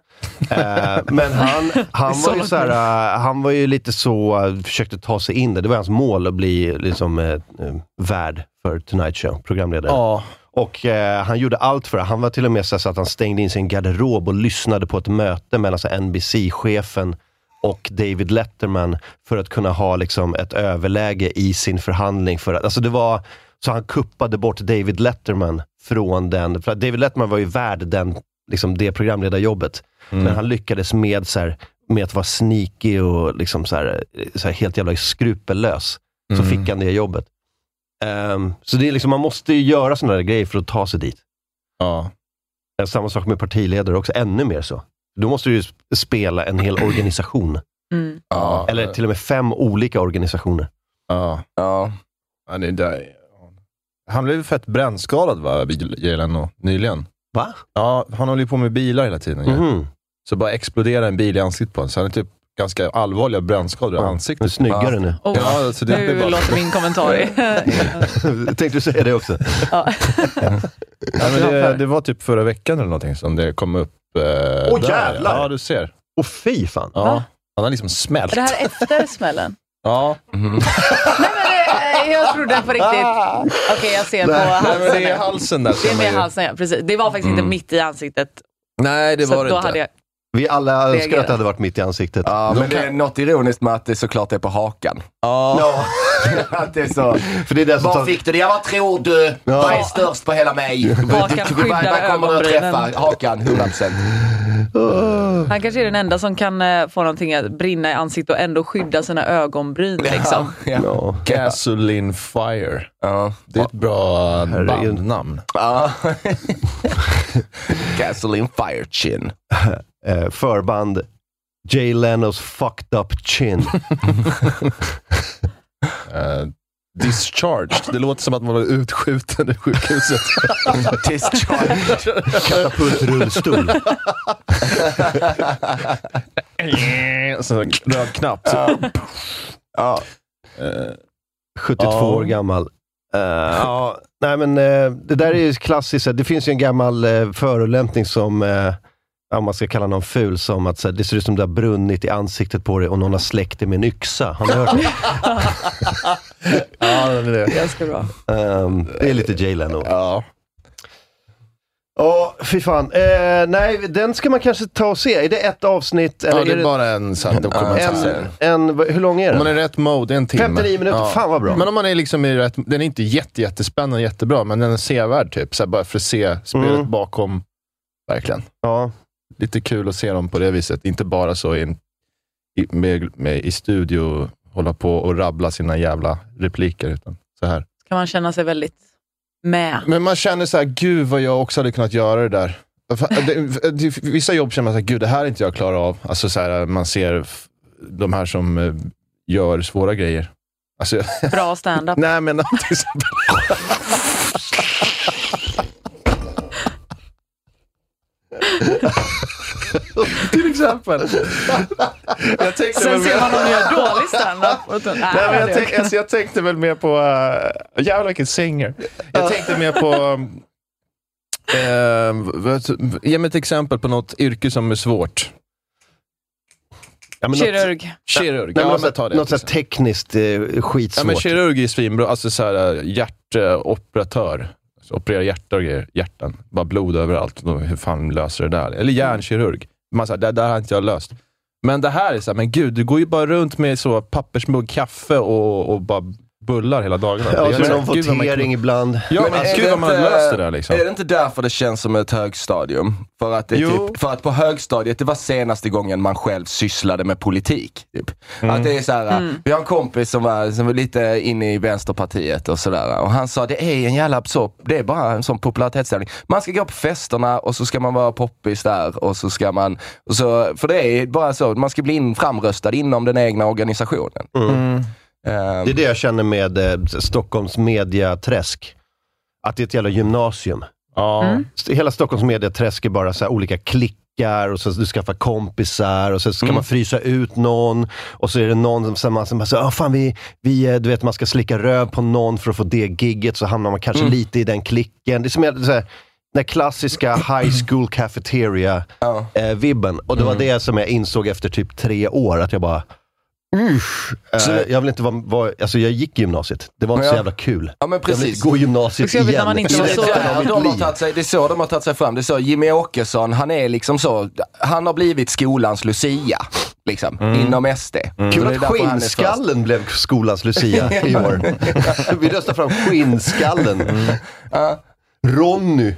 [SPEAKER 1] Eh, men han, han,
[SPEAKER 2] Så
[SPEAKER 1] var ju
[SPEAKER 2] långt
[SPEAKER 1] så här, eh, han var ju lite så, eh, försökte ta sig in där. Det var hans mål att bli liksom, eh, eh, värd för Tonight Show, programledare.
[SPEAKER 3] Ja.
[SPEAKER 1] Och eh, han gjorde allt för det. Han var till och med så, här så att han stängde in sin garderob och lyssnade på ett möte mellan så här NBC-chefen och David Letterman för att kunna ha liksom, ett överläge i sin förhandling. För att, alltså det var, så han kuppade bort David Letterman från den. För att David Letterman var ju värd den, liksom, det programledarjobbet.
[SPEAKER 3] Mm.
[SPEAKER 1] Men han lyckades med, så här, med att vara sneaky och liksom, så här, eh, så här, helt jävla skrupellös. Så
[SPEAKER 3] Mm.
[SPEAKER 1] fick han det jobbet. Ehm, så det är liksom, man måste ju göra sådana där grejer för att ta sig dit. Eh,
[SPEAKER 3] Ja.
[SPEAKER 1] Samma sak med partiledare också, ännu mer så. Då måste du ju sp- spela en hel organisation.
[SPEAKER 2] Mm.
[SPEAKER 3] Ja.
[SPEAKER 1] Eller till och med fem olika organisationer.
[SPEAKER 3] Ja.
[SPEAKER 4] Ja.
[SPEAKER 3] Ja, det är där. Han blev ju fett brännskadad, va, Jay Leno, nyligen.
[SPEAKER 1] Va?
[SPEAKER 3] Ja, han håller ju på med bilar hela tiden. ju.
[SPEAKER 1] Mhm.
[SPEAKER 3] Så bara exploderar en bil i ansiktet på honom. Så han är typ ganska allvarliga brännskador i
[SPEAKER 1] Nu
[SPEAKER 3] ansiktet.
[SPEAKER 1] snyggare nu.
[SPEAKER 2] Oh,
[SPEAKER 3] Ja, så det
[SPEAKER 2] nu
[SPEAKER 3] blir bara...
[SPEAKER 2] låter min kommentar i.
[SPEAKER 1] Tänkte du säga det också?
[SPEAKER 2] ja.
[SPEAKER 3] Nej, men det, det var typ förra veckan eller någonting som det kom upp. Åh eh,
[SPEAKER 1] Åh,
[SPEAKER 3] där.
[SPEAKER 1] jävlar!
[SPEAKER 3] Ja, du ser.
[SPEAKER 1] Och fy fan.
[SPEAKER 3] Ja. Han har liksom smält.
[SPEAKER 2] Är det här efter smällen?
[SPEAKER 3] Ja.
[SPEAKER 2] Nej, men det, eh, jag trodde på riktigt. Okej, jag ser på
[SPEAKER 3] Ah. Nej, men
[SPEAKER 2] halsen.
[SPEAKER 3] det är halsen där.
[SPEAKER 2] Det är
[SPEAKER 3] som
[SPEAKER 2] med
[SPEAKER 3] är-
[SPEAKER 2] halsen, ja. Precis. Det var faktiskt inte mitt i ansiktet.
[SPEAKER 3] Nej, det
[SPEAKER 2] så
[SPEAKER 3] var det
[SPEAKER 2] då
[SPEAKER 3] inte.
[SPEAKER 2] hade jag...
[SPEAKER 1] Vi alla önskar
[SPEAKER 2] Reagerar.
[SPEAKER 1] att det hade varit mitt i ansiktet.
[SPEAKER 4] Ja, men det är något ironiskt med att det såklart är på hakan.
[SPEAKER 3] Ja.
[SPEAKER 1] Ja,
[SPEAKER 4] Att det är så.
[SPEAKER 1] för det är det som
[SPEAKER 4] Var
[SPEAKER 1] tar...
[SPEAKER 4] fick du det? Ja, vad tror du? Vad är störst på hela mig?
[SPEAKER 2] Vad kan skydda
[SPEAKER 4] kommer du att
[SPEAKER 2] ögonbrynen?
[SPEAKER 4] träffa? Hakan, 100%.
[SPEAKER 2] Han kanske är den enda som kan eh, få någonting att brinna i ansiktet och ändå skydda sina ögonbryn. Liksom.
[SPEAKER 4] Ja. Ja.
[SPEAKER 1] Ja.
[SPEAKER 3] Gasoline Fire.
[SPEAKER 4] Ja.
[SPEAKER 3] Det är ett bra
[SPEAKER 1] Herregud.
[SPEAKER 3] bandnamn.
[SPEAKER 4] Ja. Gasoline fire chin.
[SPEAKER 1] Eh, förband Jay Lenos fucked up chin.
[SPEAKER 3] Eh, discharged. Det låter som att man var utskjuten i sjukhuset.
[SPEAKER 4] Discharge.
[SPEAKER 1] Katapultrullstol.
[SPEAKER 3] Så en röd knapp. Så.
[SPEAKER 4] Ja.
[SPEAKER 1] 72
[SPEAKER 3] Ja.
[SPEAKER 1] år gammal. Eh, ja, nej men eh, det där är ju klassiskt. så här, Det finns ju en gammal uh, förolämpning som, eh, om man ska kalla någon ful, som att så här, det ser ut som det har brunnit i ansiktet på dig och någon har släckt det med en yxa. Har ni hört det?
[SPEAKER 3] Ja, det är det.
[SPEAKER 2] Ganska bra.
[SPEAKER 1] Ehm, det är lite Jay Leno.
[SPEAKER 3] Ja.
[SPEAKER 1] Ja, fy fan. Eh, nej, den ska man kanske ta och se. Är det ett avsnitt? Eller
[SPEAKER 3] ja, det
[SPEAKER 1] är
[SPEAKER 3] är bara en sån
[SPEAKER 1] en,
[SPEAKER 3] dokumentär.
[SPEAKER 1] en, vad- hur lång är
[SPEAKER 3] Om
[SPEAKER 1] den?
[SPEAKER 3] man är i rätt mode, en timme.
[SPEAKER 1] 59 minuter,
[SPEAKER 3] Ja.
[SPEAKER 1] fan vad bra.
[SPEAKER 3] Men om man är liksom i rätt... Den är inte jätte, jättespännande, jättebra, men den är sevärd typ. Så här, bara för att se spelet
[SPEAKER 1] Mm.
[SPEAKER 3] bakom. Verkligen.
[SPEAKER 1] Ja.
[SPEAKER 3] Lite kul att se dem på det viset. Inte bara så i, en, i, med, med, i studio, hålla på och rabbla sina jävla repliker. Utan så här.
[SPEAKER 2] Kan man känna sig väldigt med.
[SPEAKER 3] Men man känner så här, gud vad jag också hade kunnat göra det där. För- det- det- Vissa jobb känner man så här, gud det här är inte jag klarar av. Alltså så här, man ser f- de här som eh, gör svåra grejer. Alltså,
[SPEAKER 2] Bra stand-up.
[SPEAKER 3] nej men till exempel. exempel. Jag tänkte
[SPEAKER 2] Sen
[SPEAKER 3] väl
[SPEAKER 2] ser
[SPEAKER 3] mer-
[SPEAKER 2] man om ni har dålig standup.
[SPEAKER 3] Nej, men jag, tänk, alltså, jag tänkte väl mer på... Uh, jävlar vilken singer. Jag tänkte mer på... eh, vad- ge mig ett exempel på något yrke som är svårt.
[SPEAKER 1] Ja, men något,
[SPEAKER 2] Kirurg.
[SPEAKER 3] Kirurg.
[SPEAKER 1] nej, men
[SPEAKER 3] ja,
[SPEAKER 1] något,
[SPEAKER 3] men ta det.
[SPEAKER 1] något så här tekniskt eh,
[SPEAKER 3] ja,
[SPEAKER 1] skitsvårt.
[SPEAKER 3] men kirurg är svinbra. Alltså så här, eh, hjärtoperatör. Så operera hjärta och grejer. Hjärtan. Bara blod överallt. Då, Hur fan löser det där? Eller hjärnkirurg. Man, så här, det där har inte jag löst. Men det här är så här, men gud, du går ju bara runt med så pappersmugg kaffe och, och bara bullar hela dagarna.
[SPEAKER 1] ja, och
[SPEAKER 3] Det är
[SPEAKER 1] så är
[SPEAKER 3] så
[SPEAKER 1] det
[SPEAKER 3] här,
[SPEAKER 1] någon
[SPEAKER 3] gud, vad man kan-
[SPEAKER 1] votering ibland.
[SPEAKER 3] Ja, men,
[SPEAKER 4] Men är
[SPEAKER 3] gud
[SPEAKER 4] det
[SPEAKER 3] vad man har
[SPEAKER 4] inte-
[SPEAKER 3] löst det där liksom.
[SPEAKER 4] Är det inte därför det känns som ett högstadium? För att, det är
[SPEAKER 3] Jo.
[SPEAKER 4] typ, för att på högstadiet, det var senaste gången man själv sysslade med politik. Typ.
[SPEAKER 3] Mm.
[SPEAKER 4] Att det är så här, Vi har en kompis som var, som var lite inne i Vänsterpartiet och sådär. Och han sa, det är en jävla absurd, det är bara en sån popularitetsställning. Man ska gå på festerna och så ska man vara poppis där. Och så ska man, och så, för det är bara så, man ska bli in, framröstad inom den egna organisationen.
[SPEAKER 3] Mm.
[SPEAKER 4] Ehm,
[SPEAKER 1] Det är det jag känner med eh, Stockholms mediaträsk. Att det är ett jävla gymnasium.
[SPEAKER 3] Ja.
[SPEAKER 1] St- Hela Stockholms mediaträsk är bara så här olika klickar och så du skaffar kompisar och så ska man frysa ut någon och så är det någon som, som, som bara säger, ah, fan vi, vi, eh, du vet man ska slicka röv på någon för att få det gigget så hamnar man kanske lite i den klicken. Det är som en- så här, den klassiska high school cafeteria
[SPEAKER 4] Ja.
[SPEAKER 1] eh, vibben. Och det var det som jag insåg efter typ tre år, att jag bara Usch! Eh,
[SPEAKER 4] Så-
[SPEAKER 1] jag vill inte vara, vara... Alltså jag gick gymnasiet. Det var inte
[SPEAKER 4] Ja.
[SPEAKER 1] så jävla kul.
[SPEAKER 4] Ja, men
[SPEAKER 1] Jag vill
[SPEAKER 4] precis.
[SPEAKER 1] inte gå gymnasiet
[SPEAKER 2] Det är jobbigt när
[SPEAKER 1] igen.
[SPEAKER 2] man inte
[SPEAKER 4] Ja,
[SPEAKER 2] var
[SPEAKER 4] men
[SPEAKER 1] resten
[SPEAKER 2] så-
[SPEAKER 4] det, är
[SPEAKER 1] av
[SPEAKER 4] där de
[SPEAKER 1] mitt
[SPEAKER 4] har
[SPEAKER 1] liv.
[SPEAKER 4] tagit sig, det är så de har tagit sig fram. Det är så Jimmy Åkesson, han är liksom så, han har blivit skolans Lucia. Liksom, inom SD.
[SPEAKER 1] Mm. Kul
[SPEAKER 4] Så det är
[SPEAKER 1] att
[SPEAKER 4] därför han är först.
[SPEAKER 1] skinnskallen blev skolans Lucia i år. Vi röstar fram skinnskallen. Mm. Ronny.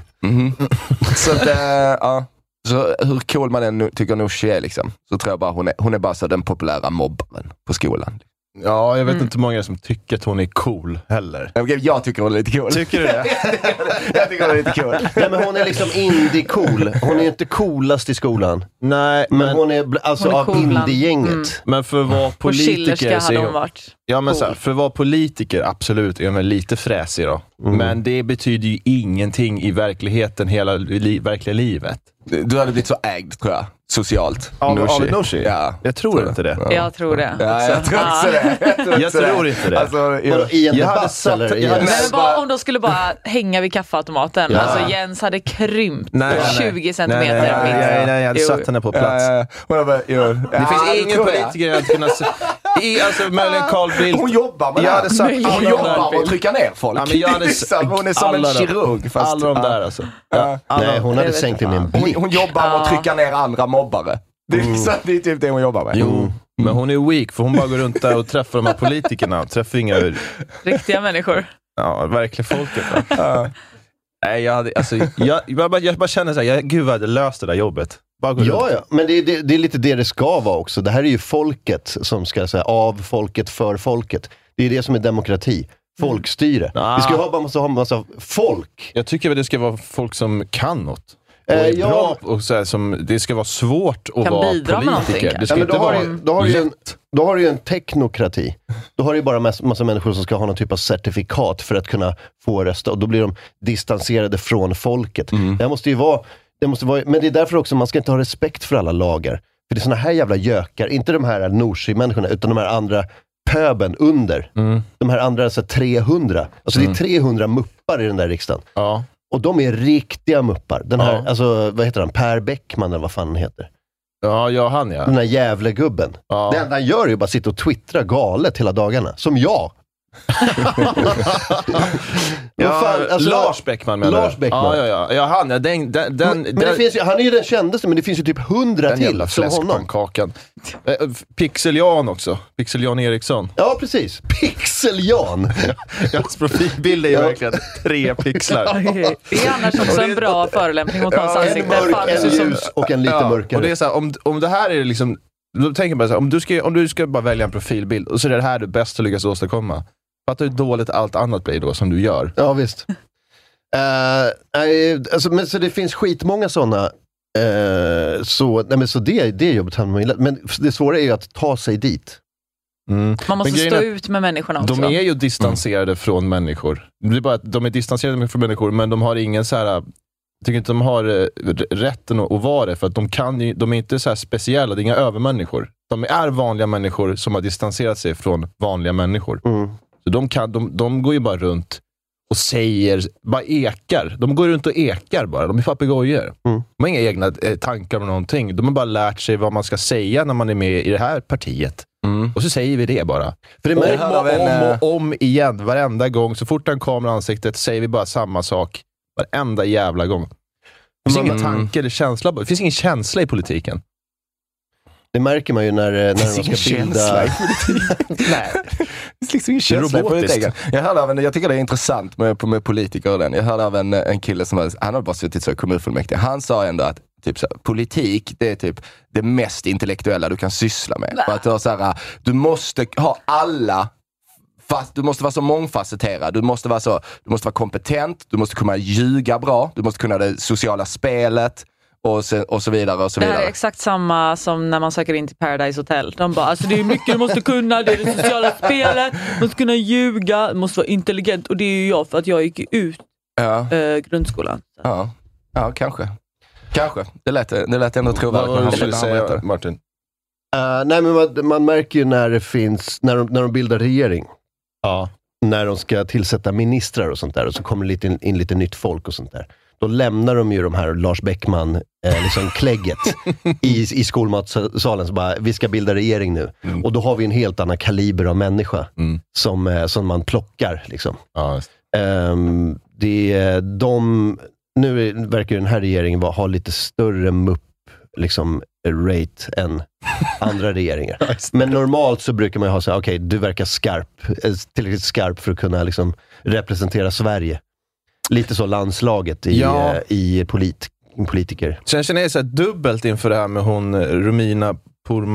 [SPEAKER 4] Så, att, eh, ja. så hur cool man än nu- tycker Nooshi är, liksom, så tror jag bara hon är, hon är bara så den populära mobbaren på skolan. Mm.
[SPEAKER 3] Ja, jag vet inte hur många som tycker att hon är cool heller.
[SPEAKER 4] Okej, Jag tycker hon är lite cool.
[SPEAKER 3] Tycker du det?
[SPEAKER 4] jag tycker hon är lite cool.
[SPEAKER 1] Nej, men hon är liksom indie-cool. Hon är ju inte coolast i skolan.
[SPEAKER 3] Nej,
[SPEAKER 1] Men
[SPEAKER 3] men,
[SPEAKER 1] hon är bl- alltså
[SPEAKER 2] Hon är cool
[SPEAKER 1] av
[SPEAKER 2] bland- Mm.
[SPEAKER 1] indiegänget.
[SPEAKER 3] men för att vara
[SPEAKER 2] På Schillerska
[SPEAKER 3] politiker så
[SPEAKER 2] hade
[SPEAKER 3] är
[SPEAKER 2] hon
[SPEAKER 3] hon,
[SPEAKER 2] varit.
[SPEAKER 3] Ja, men så här, för att vara politiker, absolut, är hon väl lite fräsig då.
[SPEAKER 4] Mm.
[SPEAKER 3] Men det betyder ju ingenting i verkligheten, hela li verkliga livet.
[SPEAKER 4] Du hade blivit så ägd tror jag, socialt.
[SPEAKER 3] Av- av Nooshi?
[SPEAKER 4] Ja.
[SPEAKER 3] Jag tror inte det.
[SPEAKER 4] Ja.
[SPEAKER 2] Jag tror det.
[SPEAKER 4] Ja, jag
[SPEAKER 2] också.
[SPEAKER 4] tror också det. tror
[SPEAKER 3] Jag tror inte det.
[SPEAKER 4] Alltså,
[SPEAKER 1] Vadå, I en
[SPEAKER 3] Jag hade
[SPEAKER 1] debatt
[SPEAKER 3] satt-
[SPEAKER 1] eller? I
[SPEAKER 3] jag
[SPEAKER 1] en...
[SPEAKER 3] hade-
[SPEAKER 2] Nej, men bara om de skulle bara hänga vid kaffeautomaten.
[SPEAKER 1] Ja.
[SPEAKER 2] Alltså Jens hade krympt
[SPEAKER 3] Nej, nej, nej.
[SPEAKER 2] 20
[SPEAKER 3] Nej,
[SPEAKER 2] centimeter
[SPEAKER 3] nej, nej,
[SPEAKER 2] minst.
[SPEAKER 3] nej, nej, jag hade
[SPEAKER 2] Jo,
[SPEAKER 3] satt
[SPEAKER 2] jo.
[SPEAKER 3] henne på plats.
[SPEAKER 4] Ja, ja, ja. Hon bara, jo.
[SPEAKER 3] Det
[SPEAKER 4] Ja,
[SPEAKER 3] finns
[SPEAKER 4] det
[SPEAKER 3] ingen
[SPEAKER 4] tror jag.
[SPEAKER 3] politiker jag hade kunnat... se- I, alltså, möjligen Carl Bildt.
[SPEAKER 4] Hon jobbar med
[SPEAKER 3] Jag
[SPEAKER 4] det
[SPEAKER 3] hade sagt
[SPEAKER 4] här. Hon
[SPEAKER 3] alla
[SPEAKER 4] jobbar
[SPEAKER 3] där
[SPEAKER 4] med att
[SPEAKER 3] bild-
[SPEAKER 4] trycka ner folk.
[SPEAKER 3] Ja, men jag hade
[SPEAKER 4] Liksom, hon är som en
[SPEAKER 3] alla de-
[SPEAKER 4] kirurg. Fast,
[SPEAKER 3] Alla de där alltså. Ja.
[SPEAKER 1] Nej, hon hade
[SPEAKER 2] Jag vet
[SPEAKER 1] sänkt in i en
[SPEAKER 4] Ja. Hon,
[SPEAKER 1] blick.
[SPEAKER 4] hon jobbar med att trycka ner andra mobbare. Det är, så, det är typ det hon jobbar med.
[SPEAKER 3] Jo, men hon är weak för hon bara går runt där och träffar de här politikerna. Hon Träffar inga
[SPEAKER 2] Riktiga människor.
[SPEAKER 3] ja, verkliga folket. va? Nej, jag, hade, alltså, jag, jag, bara, jag bara känner såhär, jag, gud vad jag hade löst det där jobbet. Bara gå
[SPEAKER 1] Ja,
[SPEAKER 3] runt.
[SPEAKER 1] ja. Men det, är- det, det är lite det det ska vara också. Det här är ju folket som ska säga av folket, för folket. Det är det som är demokrati. Folkstyre.
[SPEAKER 3] Ah.
[SPEAKER 1] Vi ska ju ha, bara måste ha en massa folk.
[SPEAKER 3] Jag tycker väl det ska vara folk som kan något. Och
[SPEAKER 1] Eh,
[SPEAKER 3] är
[SPEAKER 1] ja.
[SPEAKER 3] bra, och så här, som, det ska vara svårt att
[SPEAKER 2] Kan
[SPEAKER 3] vara
[SPEAKER 2] bidra med någonting,
[SPEAKER 3] politiker. Det
[SPEAKER 1] Ja,
[SPEAKER 3] ska
[SPEAKER 1] men
[SPEAKER 3] inte
[SPEAKER 1] då, har
[SPEAKER 3] vara...
[SPEAKER 1] du, då, har du ju en, då har du ju en teknokrati. Då har du ju bara massa, massa människor som ska ha någon typ av certifikat för att kunna få rösta. Och då blir de distanserade från folket.
[SPEAKER 3] Mm.
[SPEAKER 1] Det här måste ju vara, det måste vara... Men det är därför också man ska inte ha respekt för alla lagar. För det är såna här jävla gökar. Inte de här Norsi-människorna, utan de här andra pöben under.
[SPEAKER 3] Mm.
[SPEAKER 1] De här andra så här, 300. Alltså det är 300 muppar i den där riksdagen.
[SPEAKER 3] Ja.
[SPEAKER 1] Och de är riktiga muppar. Den här,
[SPEAKER 3] Ja.
[SPEAKER 1] alltså, vad heter han? Per Bäckman eller vad fan han heter.
[SPEAKER 3] ja, ja, han ja.
[SPEAKER 1] Den där Gävlegubben.
[SPEAKER 3] Ja.
[SPEAKER 1] Det enda han gör är ju bara sitta och twittra galet hela dagarna. Som jag.
[SPEAKER 3] ja
[SPEAKER 1] Vad fan, alltså-
[SPEAKER 3] Lars Bäckman menar
[SPEAKER 1] Lars
[SPEAKER 3] du?
[SPEAKER 1] Bäckman.
[SPEAKER 3] Ja, ja, ja. ja han ja. Den, den, den,
[SPEAKER 1] Men, men det finns ju, han är ju den kändaste, men det finns ju typ hundra
[SPEAKER 3] den
[SPEAKER 1] till
[SPEAKER 3] jävla
[SPEAKER 1] som honom.
[SPEAKER 3] fläskpannkakan. Eh, f- Pixelian också. Pixelian Eriksson.
[SPEAKER 1] Ja, precis. Pixel-Jan.
[SPEAKER 3] Hans profilbild är ju
[SPEAKER 1] Ja.
[SPEAKER 3] verkligen tre pixlar.
[SPEAKER 2] Det är annars också en bra förolämpning mot hans
[SPEAKER 1] en
[SPEAKER 2] ansikte. Fan,
[SPEAKER 1] mörk,
[SPEAKER 2] det ser
[SPEAKER 1] en
[SPEAKER 2] ut som-
[SPEAKER 1] ljus och en lite
[SPEAKER 3] Ja,
[SPEAKER 1] mörkare.
[SPEAKER 3] Och det är så här, om, om det här är liksom, då tänker jag bara så här, om du, ska, om du ska bara välja en profilbild och så är det här du bäst har lyckats åstadkomma. Fattar du hur dåligt allt annat blir då som du gör?
[SPEAKER 1] Ja, visst. Eh, nej, alltså, men, så det finns skitmånga sådana. Eh, så nej, men, så det, det är jobbet han gillar. Men det svåra är ju att ta sig dit.
[SPEAKER 2] Man måste
[SPEAKER 3] Men grejen
[SPEAKER 2] stå
[SPEAKER 3] är-
[SPEAKER 2] ut med människorna också.
[SPEAKER 3] De är ju distanserade från människor. Det är bara att de är distanserade från människor, men de har ingen så här tycker inte de har eh, r- rätten att att vara det, för att de, kan ju, de är inte så här speciella. Det är inga övermänniskor. De är vanliga människor som har distanserat sig från vanliga människor.
[SPEAKER 1] Mm.
[SPEAKER 3] Så de, kan, de, de går ju bara runt och säger, bara ekar. De går runt och ekar bara. De är papegojor.
[SPEAKER 1] Mm.
[SPEAKER 3] De har inga egna eh, tankar om någonting. De har bara lärt sig vad man ska säga när man är med i det här partiet.
[SPEAKER 1] Mm.
[SPEAKER 3] Och så säger vi det bara. För det
[SPEAKER 4] Och
[SPEAKER 3] märker
[SPEAKER 4] här
[SPEAKER 3] man
[SPEAKER 4] har vi en,
[SPEAKER 1] eh,
[SPEAKER 3] om och om igen, varenda gång. Så fort han kommer i ansiktet säger vi bara samma sak. Varenda jävla gång. Det
[SPEAKER 1] Mm.
[SPEAKER 3] finns ingen tanke eller känsla. Det finns ingen känsla i politiken.
[SPEAKER 1] Det märker man ju när, eh, när de
[SPEAKER 4] ingen
[SPEAKER 1] ska bilda...
[SPEAKER 4] känsla i politiken. Nej. Det finns liksom ingen känsla i
[SPEAKER 3] robotiskt.
[SPEAKER 4] politiken. Jag, hörde av en, jag tycker det är intressant med, med politiker och den. Jag hörde av en, eh, en kille som hade- han hade bara suttit så i kommunfullmäktige. Han sa ändå att Typ så här, politik, det är typ det mest intellektuella du kan syssla med. För att du, har så här, eh, du måste ha alla fast, du måste vara så mångfacetterad, du måste vara, så, du måste vara kompetent, du måste kunna ljuga bra, du måste kunna det sociala spelet och, sen, och så vidare. Och så
[SPEAKER 2] Det här
[SPEAKER 4] vidare.
[SPEAKER 2] är exakt samma som när man söker in till Paradise Hotel. De bara, alltså det är mycket du måste kunna, det är det sociala spelet, du måste kunna ljuga, du måste vara intelligent. Och det är ju jag för att jag gick ju ut
[SPEAKER 4] ja.
[SPEAKER 2] eh, grundskolan.
[SPEAKER 4] Ja, ja kanske. Kanske. Det lät, det lät ändå
[SPEAKER 3] Vad
[SPEAKER 4] trovärdigt.
[SPEAKER 3] var
[SPEAKER 4] men
[SPEAKER 3] det
[SPEAKER 4] han-
[SPEAKER 3] du skulle
[SPEAKER 4] han berättade.
[SPEAKER 3] säga, Martin?
[SPEAKER 1] Eh, nej, men man, man märker ju när det finns, när de, när de bildar regering.
[SPEAKER 3] Ja.
[SPEAKER 1] När de ska tillsätta ministrar och sånt där och så kommer det lite, in- in lite nytt folk och sånt där. Då lämnar de ju de här Lars Bäckman, eh, liksom klägget i, i skolmatssalen. Så bara, vi ska bilda regering nu. Och då har vi en helt annan kaliber av människa
[SPEAKER 3] Mm.
[SPEAKER 1] som, eh, som man plockar. Liksom.
[SPEAKER 3] ja just.
[SPEAKER 1] Ehm, det, är- de, nu är- verkar den här regeringen bara ha lite större mupp liksom, rate än andra regeringar. Men normalt så brukar man ju ha så här, okej, du verkar skarp, eh, tillräckligt skarp för att kunna liksom, representera Sverige. Lite så landslaget i,
[SPEAKER 3] Ja.
[SPEAKER 1] eh, i polit, politiker.
[SPEAKER 3] Sen känner jag så här dubbelt inför det här med hon eh, Romina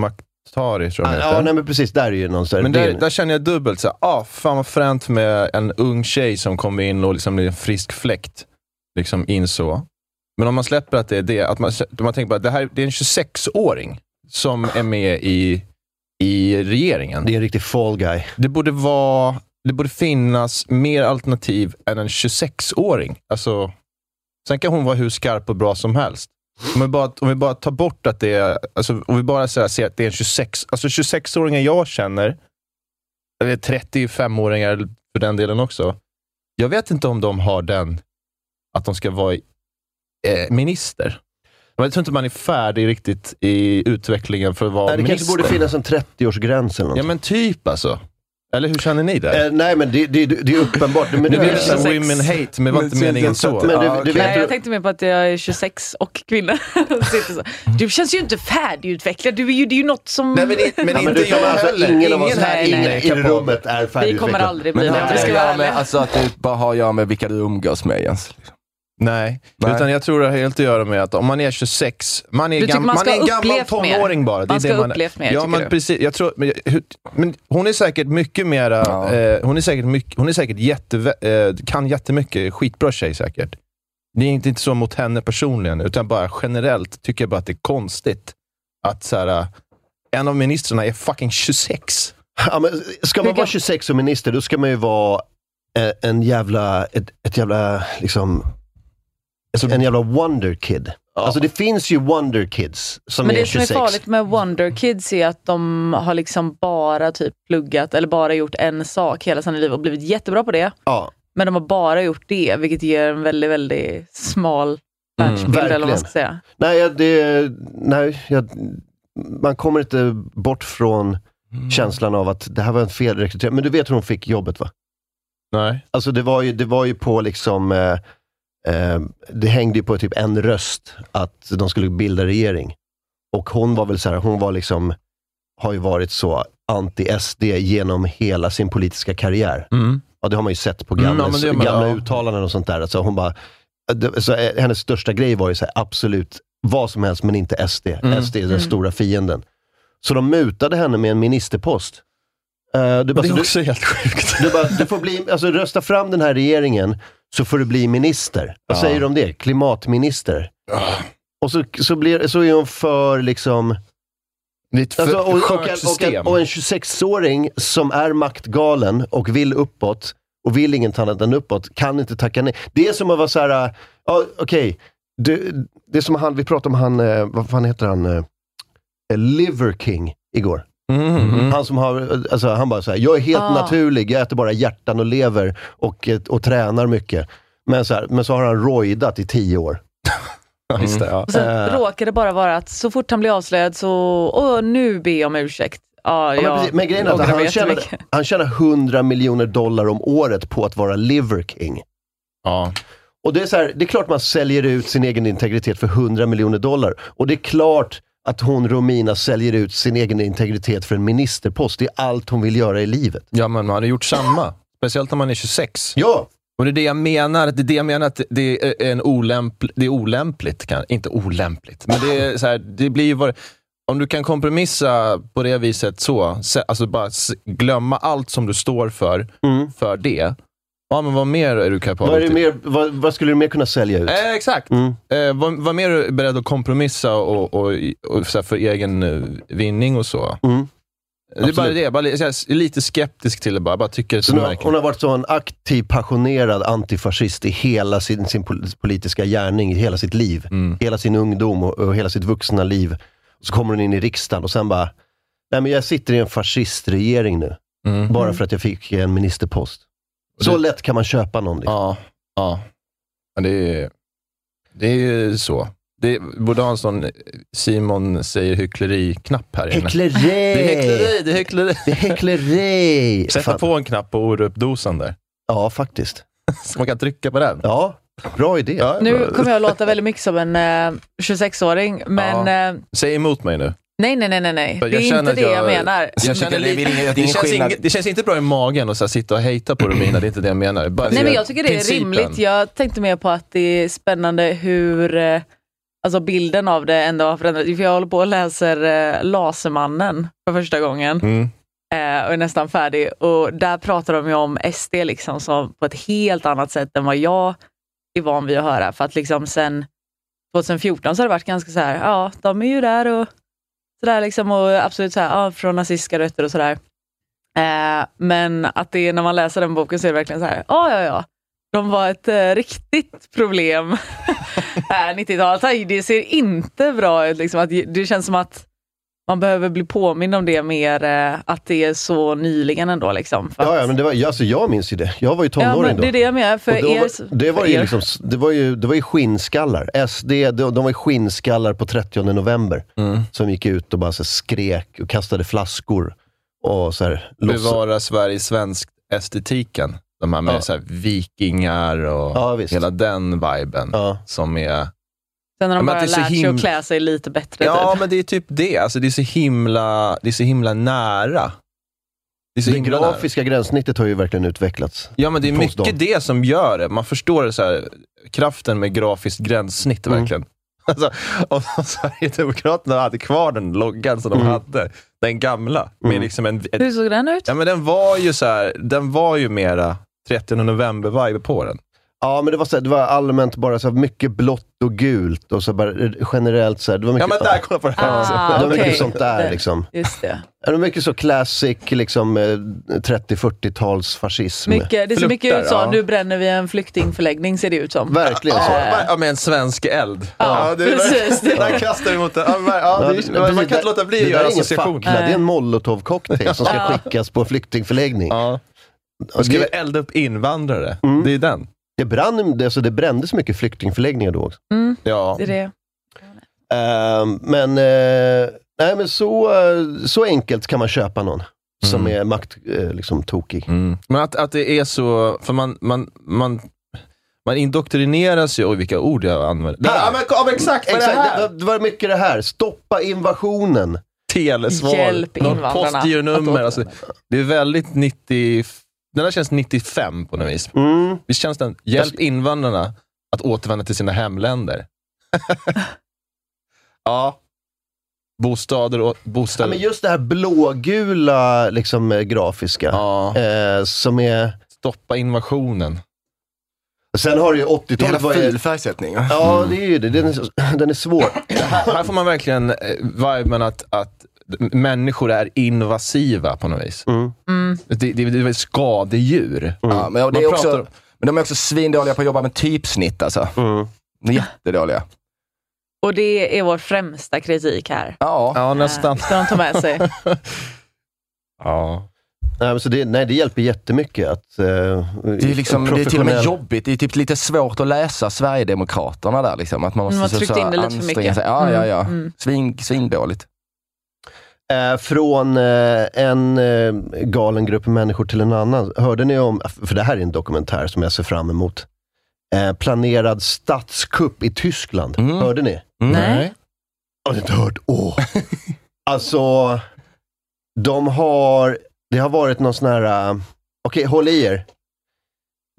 [SPEAKER 3] Pourmokhtari, tror jag hon heter.
[SPEAKER 1] ja, nej, men precis. Där är ju någon så här,
[SPEAKER 3] Men
[SPEAKER 1] det är
[SPEAKER 3] där,
[SPEAKER 1] en-
[SPEAKER 3] där känner jag dubbelt såhär, ah, fan vad fränt med en ung tjej som kommer in och liksom blir en frisk fläkt. Liksom in så. Men om man släpper att det är det, att man, man tänker bara, det här det är en 26-åring som är med i, i regeringen.
[SPEAKER 1] det är en riktig fall guy.
[SPEAKER 3] Det borde vara, det borde finnas mer alternativ än en 26-åring. Alltså, sen kan hon vara hur skarp och bra som helst. Om vi bara, om vi bara tar bort att det är, alltså, om vi bara så här, ser att det är en 26, alltså 26-åringar jag känner, eller 35-åringar för den delen också. Jag vet inte om de har den, att de ska vara eh, minister. Jag tror inte man är färdig riktigt i utvecklingen för att vara
[SPEAKER 1] Nej, det
[SPEAKER 3] minister.
[SPEAKER 1] kanske borde finnas en 30-årsgräns eller något.
[SPEAKER 3] Ja men typ alltså. Eller hur känner ni där?
[SPEAKER 1] Eh, nej, men det, det, det är uppenbart. Men
[SPEAKER 3] Det
[SPEAKER 1] det
[SPEAKER 3] blev
[SPEAKER 1] är så
[SPEAKER 3] lite
[SPEAKER 1] här-
[SPEAKER 2] Sex.
[SPEAKER 3] women hate, men det var inte
[SPEAKER 4] Men
[SPEAKER 3] meningen så.
[SPEAKER 4] sen-
[SPEAKER 1] Men du,
[SPEAKER 4] Ja,
[SPEAKER 1] du
[SPEAKER 4] okej.
[SPEAKER 1] vet
[SPEAKER 2] Nej,
[SPEAKER 1] hur-
[SPEAKER 2] jag tänkte mer på att jag är 26 och kvinna. Sitter så. Du känns ju inte färdigutvecklad. Du är ju, det är ju något som...
[SPEAKER 1] Ja, men du kan alltså ingen av oss
[SPEAKER 2] Ingen
[SPEAKER 1] här
[SPEAKER 2] här
[SPEAKER 1] inne
[SPEAKER 2] inne
[SPEAKER 1] i rummet är
[SPEAKER 2] vi
[SPEAKER 1] färdigutvecklade.
[SPEAKER 2] kommer aldrig bli
[SPEAKER 4] Men det
[SPEAKER 2] det. Vi
[SPEAKER 4] har
[SPEAKER 2] ska
[SPEAKER 4] inte att
[SPEAKER 2] vara
[SPEAKER 4] göra med,
[SPEAKER 2] ärliga.
[SPEAKER 4] alltså att det bara har att göra med vilka du umgås med Jens. liksom.
[SPEAKER 3] Nej.
[SPEAKER 4] Nej.
[SPEAKER 3] utan jag tror det har helt att göra med att om man är 26, man är,
[SPEAKER 2] Du tycker man
[SPEAKER 3] gam- man
[SPEAKER 2] ska
[SPEAKER 3] är en
[SPEAKER 2] ha
[SPEAKER 3] gammal
[SPEAKER 2] upplevt mer.
[SPEAKER 3] tonåring bara. Det är
[SPEAKER 2] Man ska
[SPEAKER 3] det
[SPEAKER 2] ha
[SPEAKER 3] man,
[SPEAKER 2] upplevt mer,
[SPEAKER 3] ja,
[SPEAKER 2] tycker
[SPEAKER 3] men
[SPEAKER 2] du?
[SPEAKER 3] precis. Jag tror, men, jag- hur, men hon är säkert mycket mera,
[SPEAKER 4] Ja.
[SPEAKER 3] eh, hon är säkert, mycket, hon är säkert jätte, eh, kan jättemycket, skitbra tjej säkert. Det är inte, inte så mot henne personligen, utan bara generellt tycker jag bara att det är konstigt att så här, eh, en av ministrarna är fucking 26.
[SPEAKER 1] Ja, men ska man vara 26 som minister, då ska man ju vara eh, en jävla, ett, ett jävla, liksom,
[SPEAKER 3] Alltså-
[SPEAKER 1] en jävla wonder kid. Alltså det finns ju wonder kids som
[SPEAKER 2] Men
[SPEAKER 1] är
[SPEAKER 2] det som är
[SPEAKER 1] 26.
[SPEAKER 2] farligt med Wonder Kids är att de har liksom bara typ pluggat eller bara gjort en sak hela sina liv och blivit jättebra på det.
[SPEAKER 1] Ja,
[SPEAKER 2] Men de har bara gjort det, vilket ger en väldigt, väldigt smal världsbild. eller vad man ska säga.
[SPEAKER 1] nej, jag- det, nej jag, man kommer inte bort från känslan av att det här var en felrekrytering. Men du vet hur hon fick jobbet va?
[SPEAKER 3] Nej.
[SPEAKER 1] Alltså det var ju, det var ju på liksom, eh, eh, det hängde ju på typ en röst att de skulle bilda regering. Och hon var väl så här, hon var liksom, har ju varit så anti-SD genom hela sin politiska karriär.
[SPEAKER 4] Mm.
[SPEAKER 1] Ja, det har man ju sett på
[SPEAKER 3] Mm,
[SPEAKER 1] gamla,
[SPEAKER 3] ja, men det- men,
[SPEAKER 1] gamla
[SPEAKER 3] ja.
[SPEAKER 1] uttalanden och sånt där. Alltså hon bara, det, så, eh, hennes största grej var ju så här, absolut vad som helst, men inte SD.
[SPEAKER 3] Mm.
[SPEAKER 1] SD är den stora fienden. Så de mutade henne med en ministerpost. Eh, du bara,
[SPEAKER 3] Det
[SPEAKER 1] så
[SPEAKER 3] är
[SPEAKER 1] du,
[SPEAKER 3] också helt sjukt.
[SPEAKER 1] du, bara, du får bli, alltså rösta fram den här regeringen så får du bli minister. Vad
[SPEAKER 3] Ja.
[SPEAKER 1] säger du om det? Klimatminister. Och så, så, blir, så är hon för liksom...
[SPEAKER 3] Det är ett
[SPEAKER 1] Alltså, och, och,
[SPEAKER 3] sjukt
[SPEAKER 1] och,
[SPEAKER 3] system.
[SPEAKER 1] en, och en 26-åring som är maktgalen och vill uppåt och vill inget annat än uppåt, kan inte tacka nej. Det är som att vara så här, äh, ja, okej, Du, det är som han, vi pratade om han, eh, vad fan heter han, eh, Liver King igår.
[SPEAKER 3] Mm.
[SPEAKER 4] Mm.
[SPEAKER 3] Mhm.
[SPEAKER 1] Han som har, alltså han bara såhär, jag är helt
[SPEAKER 2] Ah.
[SPEAKER 1] naturlig, jag äter bara hjärtan och lever och, eh, och tränar mycket. Men så, här, men så har han roidat i tio år.
[SPEAKER 3] Ja, Just det, ja.
[SPEAKER 2] Och sen
[SPEAKER 1] Eh.
[SPEAKER 2] råkar det bara vara att så fort han blir avslöjad så, åh nu ber jag om ursäkt. Ja,
[SPEAKER 1] Ja, men,
[SPEAKER 2] jag
[SPEAKER 1] precis, men grejen är att
[SPEAKER 2] ångrar mig
[SPEAKER 1] han tjänar,
[SPEAKER 2] jättemycket.
[SPEAKER 1] han tjänar 100 miljoner dollar om året på att vara Liver King.
[SPEAKER 3] Ja.
[SPEAKER 1] Och det är, så här, det är klart man säljer ut sin egen integritet för 100 miljoner dollar. Och det är klart att hon, Romina, säljer ut sin egen integritet för en ministerpost. Det är allt hon vill göra i livet.
[SPEAKER 3] ja, men man hade gjort samma. Speciellt när man är 26.
[SPEAKER 1] Ja,
[SPEAKER 3] Och det är det jag menar, det är det jag menar att det är, en olämpl, det är olämpligt. Kan, inte olämpligt, men det är så här, det blir ju vad, Om du kan kompromissa på det viset så, se- alltså bara s- glömma allt som du står för,
[SPEAKER 1] Mm.
[SPEAKER 3] för det. Ja, men vad mer är du
[SPEAKER 1] vad, är
[SPEAKER 3] kapabel
[SPEAKER 1] det
[SPEAKER 3] till?
[SPEAKER 1] mer, vad, vad skulle du mer kunna sälja ut?
[SPEAKER 3] Eh, exakt!
[SPEAKER 1] Mm.
[SPEAKER 3] Eh, vad, vad mer är du beredd att kompromissa och, och, och så här, för egen eh, vinning och så?
[SPEAKER 1] Mm.
[SPEAKER 3] Det är bara
[SPEAKER 1] Absolut.
[SPEAKER 3] det, jag bara, li- så här, s- lite skeptisk till det bara. bara tycker att
[SPEAKER 1] Så
[SPEAKER 3] det
[SPEAKER 1] nu,
[SPEAKER 3] är
[SPEAKER 1] har-
[SPEAKER 3] märkligt.
[SPEAKER 1] hon har varit så en aktiv, passionerad antifascist i hela sin, sin pol- politiska gärning, i hela sitt liv.
[SPEAKER 3] Mm.
[SPEAKER 1] Hela sin ungdom och, och hela sitt vuxna liv. Så kommer hon in i riksdagen och sen bara, nej men jag sitter i en fascistregering nu.
[SPEAKER 3] Mm.
[SPEAKER 1] Bara för att jag fick en ministerpost. Så
[SPEAKER 3] Det-
[SPEAKER 1] lätt kan man köpa någon. Liksom.
[SPEAKER 3] Ja, ja. Men det är det är ju så. Det borde ha en sån Simon säger hyckleri-knapp här inne.
[SPEAKER 1] Hyckleri!
[SPEAKER 3] Det är hyckleri, det är hyckleri.
[SPEAKER 1] Det är hyckleri!
[SPEAKER 3] Sätta
[SPEAKER 1] Fan.
[SPEAKER 3] på en knapp på Orup-dosan där.
[SPEAKER 1] Ja, faktiskt.
[SPEAKER 3] Så man kan trycka på den.
[SPEAKER 1] Ja, bra idé.
[SPEAKER 2] Nu kommer jag att låta väldigt mycket som en eh, 26-åring, men eh,
[SPEAKER 3] Säg emot mig nu.
[SPEAKER 2] nej, nej, nej, nej, nej.
[SPEAKER 3] För
[SPEAKER 2] Det är inte
[SPEAKER 3] känner att
[SPEAKER 2] det jag menar.
[SPEAKER 4] Jag
[SPEAKER 3] känner
[SPEAKER 4] tycker det är
[SPEAKER 3] lite-
[SPEAKER 4] väl ingen- det är
[SPEAKER 3] det,
[SPEAKER 4] ingen
[SPEAKER 3] känns
[SPEAKER 4] skillnad.
[SPEAKER 3] inget- det känns inte bra i magen att så här, sitta och hejta på Romina, det är inte det jag menar. Bara
[SPEAKER 2] Nej,
[SPEAKER 3] så
[SPEAKER 2] men
[SPEAKER 3] här,
[SPEAKER 2] jag tycker det är
[SPEAKER 3] principen.
[SPEAKER 2] rimligt. Jag tänkte mer på att det är spännande hur eh, alltså bilden av det ändå har förändrats. För jag håller på och läser eh, Lasermannen för första gången
[SPEAKER 3] Mm.
[SPEAKER 2] eh, och är nästan färdig. Och där pratar de ju om SD liksom, som på ett helt annat sätt än vad jag är van vid att höra. För att liksom sen 2014 så har det varit ganska så här, ja, de är ju där och sådär liksom och absolut så här, ja, från nazistiska rötter och sådär. Eh, men att det är, när man läser den boken så är det verkligen så här, ja, ja, ja. De var ett eh, riktigt problem här 90-talet. Aj, Det ser inte bra ut. Liksom, att, det känns som att man behöver bli påmind om det mer, eh, att det är så nyligen ändå. Liksom, för
[SPEAKER 1] Ja, ja,
[SPEAKER 2] att-
[SPEAKER 1] men det var, alltså, jag minns ju det. Jag var ju
[SPEAKER 2] Ja,
[SPEAKER 1] tonåring
[SPEAKER 2] men
[SPEAKER 1] då.
[SPEAKER 2] Det är det jag menar. För
[SPEAKER 1] Och då
[SPEAKER 2] er,
[SPEAKER 1] var, det, var
[SPEAKER 2] för
[SPEAKER 1] ju
[SPEAKER 2] er.
[SPEAKER 1] liksom, det, var ju, det var ju skinnskallar. SD, de, de var ju skinnskallar på 30 november.
[SPEAKER 3] Mm.
[SPEAKER 1] Som gick ut och bara så här skrek och kastade flaskor. Och så här, låtsas-
[SPEAKER 3] Bevara Sverige svensk estetiken. De här med
[SPEAKER 1] Ja.
[SPEAKER 3] så här, vikingar och
[SPEAKER 1] Ja, visst.
[SPEAKER 3] hela den viben.
[SPEAKER 1] ja.
[SPEAKER 3] Som är...
[SPEAKER 2] Sen har
[SPEAKER 3] Ja,
[SPEAKER 2] de
[SPEAKER 3] men
[SPEAKER 2] bara
[SPEAKER 3] att
[SPEAKER 2] lärt
[SPEAKER 3] det är så
[SPEAKER 2] sig
[SPEAKER 3] him-
[SPEAKER 2] att klä sig lite bättre.
[SPEAKER 3] Ja,
[SPEAKER 2] typ.
[SPEAKER 3] men det är typ det. Alltså, det, är så himla, det är så himla nära. Det är så
[SPEAKER 1] Det
[SPEAKER 3] himla nära.
[SPEAKER 1] grafiska gränssnittet har ju verkligen utvecklats.
[SPEAKER 3] Ja, men det är
[SPEAKER 1] Post
[SPEAKER 3] mycket det som gör det. Man förstår så här, kraften med grafiskt gränssnitt
[SPEAKER 1] Mm.
[SPEAKER 3] verkligen. Alltså, om Sverigedemokraterna hade kvar den loggan som de
[SPEAKER 1] Mm.
[SPEAKER 3] hade, den gamla, med
[SPEAKER 1] Mm.
[SPEAKER 3] liksom en, en
[SPEAKER 2] Hur såg den ut?
[SPEAKER 3] Ja, men den var ju så här, den var ju mera 30 november-vibe på den.
[SPEAKER 1] Ja, men det var, så här, det var allmänt bara så här, mycket blått och gult och så bara eh, generellt så här, det var
[SPEAKER 3] Ja,
[SPEAKER 1] mycket,
[SPEAKER 3] men där, kolla på det här. också.
[SPEAKER 2] Ah,
[SPEAKER 1] det var
[SPEAKER 2] okej.
[SPEAKER 1] mycket sånt där
[SPEAKER 2] Den-
[SPEAKER 1] liksom.
[SPEAKER 2] Just det.
[SPEAKER 1] Det var mycket så classic liksom, eh, 30-40-tals fascism.
[SPEAKER 2] Mycket, det ser mycket
[SPEAKER 3] Fluktar,
[SPEAKER 2] ut som,
[SPEAKER 3] ja.
[SPEAKER 2] nu bränner vi en flyktingförläggning ser det ut som.
[SPEAKER 1] Verkligen så.
[SPEAKER 3] Ja, ja, med en svensk eld.
[SPEAKER 2] Ja,
[SPEAKER 3] är-
[SPEAKER 2] precis.
[SPEAKER 3] Där kastar vi mot det. Ja, men- ja, det
[SPEAKER 1] precis.
[SPEAKER 3] är- man kan inte låta bli att
[SPEAKER 1] det där
[SPEAKER 3] göra
[SPEAKER 1] är ingen
[SPEAKER 3] association.
[SPEAKER 1] fackla, det är en molotovcocktail som ska skickas på en flyktingförläggning.
[SPEAKER 3] Ja. Och ska vi elda upp invandrare?
[SPEAKER 1] Mm.
[SPEAKER 3] Det är den.
[SPEAKER 1] Det, brann, det- alltså det brändes mycket flyktingförläggningar då också.
[SPEAKER 2] Mm,
[SPEAKER 3] Ja.
[SPEAKER 2] det är det.
[SPEAKER 1] Ehm, men eh, nej, men så, eh, så enkelt kan man köpa någon som
[SPEAKER 3] Mm.
[SPEAKER 1] är makttokig. Eh, liksom, tokig.
[SPEAKER 3] Men att, att det är så, för man, man, man, man indoktrineras ju, oj vilka ord jag använder.
[SPEAKER 1] Där.
[SPEAKER 3] Ja, men, ja, men exakt vad det
[SPEAKER 1] Exakt, det,
[SPEAKER 3] här!
[SPEAKER 1] var- det var mycket det här. Stoppa invasionen.
[SPEAKER 3] Telesvar,
[SPEAKER 2] Hjälp
[SPEAKER 3] något
[SPEAKER 2] invandrarna att
[SPEAKER 3] postgironummer.
[SPEAKER 2] återvända.
[SPEAKER 3] Alltså, det är väldigt 90, den här känns 95 på något vis.
[SPEAKER 1] Mm.
[SPEAKER 3] Visst känns den, hjälp invandrarna att återvända till sina hemländer. ja. Bostäder och
[SPEAKER 1] Ja,
[SPEAKER 3] bostäder.
[SPEAKER 1] men just det här blågula liksom, eh, grafiska.
[SPEAKER 3] Ja,
[SPEAKER 1] Eh, som är...
[SPEAKER 3] stoppa invasionen.
[SPEAKER 1] Sen har det ju
[SPEAKER 4] Det är
[SPEAKER 1] 80-talet.
[SPEAKER 4] hela
[SPEAKER 1] var ju-
[SPEAKER 4] filfärgsättning.
[SPEAKER 1] Ja,
[SPEAKER 4] Mm.
[SPEAKER 1] det är ju det. Den är, den är svår.
[SPEAKER 3] Här, här får man verkligen eh, viben att, att människor är invasiva på något vis.
[SPEAKER 1] Mm.
[SPEAKER 2] Mm.
[SPEAKER 3] Det, det, det är väl skadedjur.
[SPEAKER 4] Ja, men, och det
[SPEAKER 3] Mm. Man pratar
[SPEAKER 4] är också,
[SPEAKER 3] om-
[SPEAKER 4] men de är också svindåliga på att jobba med typsnitt alltså.
[SPEAKER 1] Mm.
[SPEAKER 4] De är Jättedåliga.
[SPEAKER 2] Och det är vår främsta kritik här.
[SPEAKER 4] Ja.
[SPEAKER 3] Ja, nästan.
[SPEAKER 2] Eh, Ska de ta med sig.
[SPEAKER 3] Ja.
[SPEAKER 1] Nej, men så det, nej, det hjälper jättemycket att... eh,
[SPEAKER 4] Det är, liksom, det är till och med
[SPEAKER 1] professionell-
[SPEAKER 4] jobbigt. Det är typ lite svårt att läsa Sverigedemokraterna där. Liksom. Att man måste
[SPEAKER 2] Mm, Man har
[SPEAKER 4] så-
[SPEAKER 2] tryckt
[SPEAKER 4] så
[SPEAKER 2] in det lite för
[SPEAKER 4] anstränga
[SPEAKER 2] mycket.
[SPEAKER 4] sig. Ja, ja, ja.
[SPEAKER 2] Mm, mm.
[SPEAKER 4] Svin, svindåligt.
[SPEAKER 1] Eh, från eh, en eh, galen grupp människor till en annan. Hörde ni om, för det här är en dokumentär som jag ser fram emot, eh, planerad statskupp i Tyskland.
[SPEAKER 4] Mm.
[SPEAKER 1] Hörde ni?
[SPEAKER 4] Mm.
[SPEAKER 2] Nej.
[SPEAKER 1] Har ni inte hört? Åh! alltså, de har, det har varit någon sån här, eh, okej håll i er.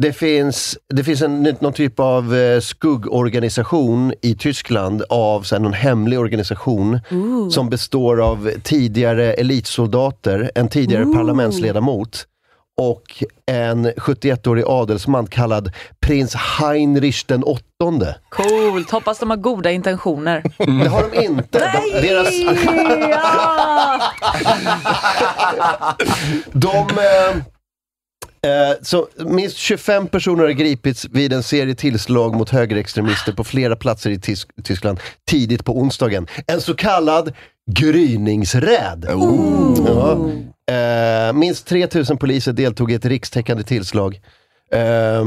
[SPEAKER 1] Det finns, det finns en, någon typ av eh, skuggorganisation i Tyskland av så här, någon hemlig organisation som består av tidigare elitsoldater, en tidigare parlamentsledamot och en 71-årig adelsman kallad prins Heinrich den åttonde.
[SPEAKER 2] Coolt! Hoppas de har goda intentioner.
[SPEAKER 1] Det har de inte. De, deras,
[SPEAKER 2] Ja!
[SPEAKER 1] de, eh, eh, så minst 25 personer har gripits vid en serie tillslag mot högerextremister på flera platser i Tys- Tyskland tidigt på onsdagen. En så kallad gryningsräd. Ja. Eh, minst 3000 poliser deltog i ett rikstäckande tillslag. Eh,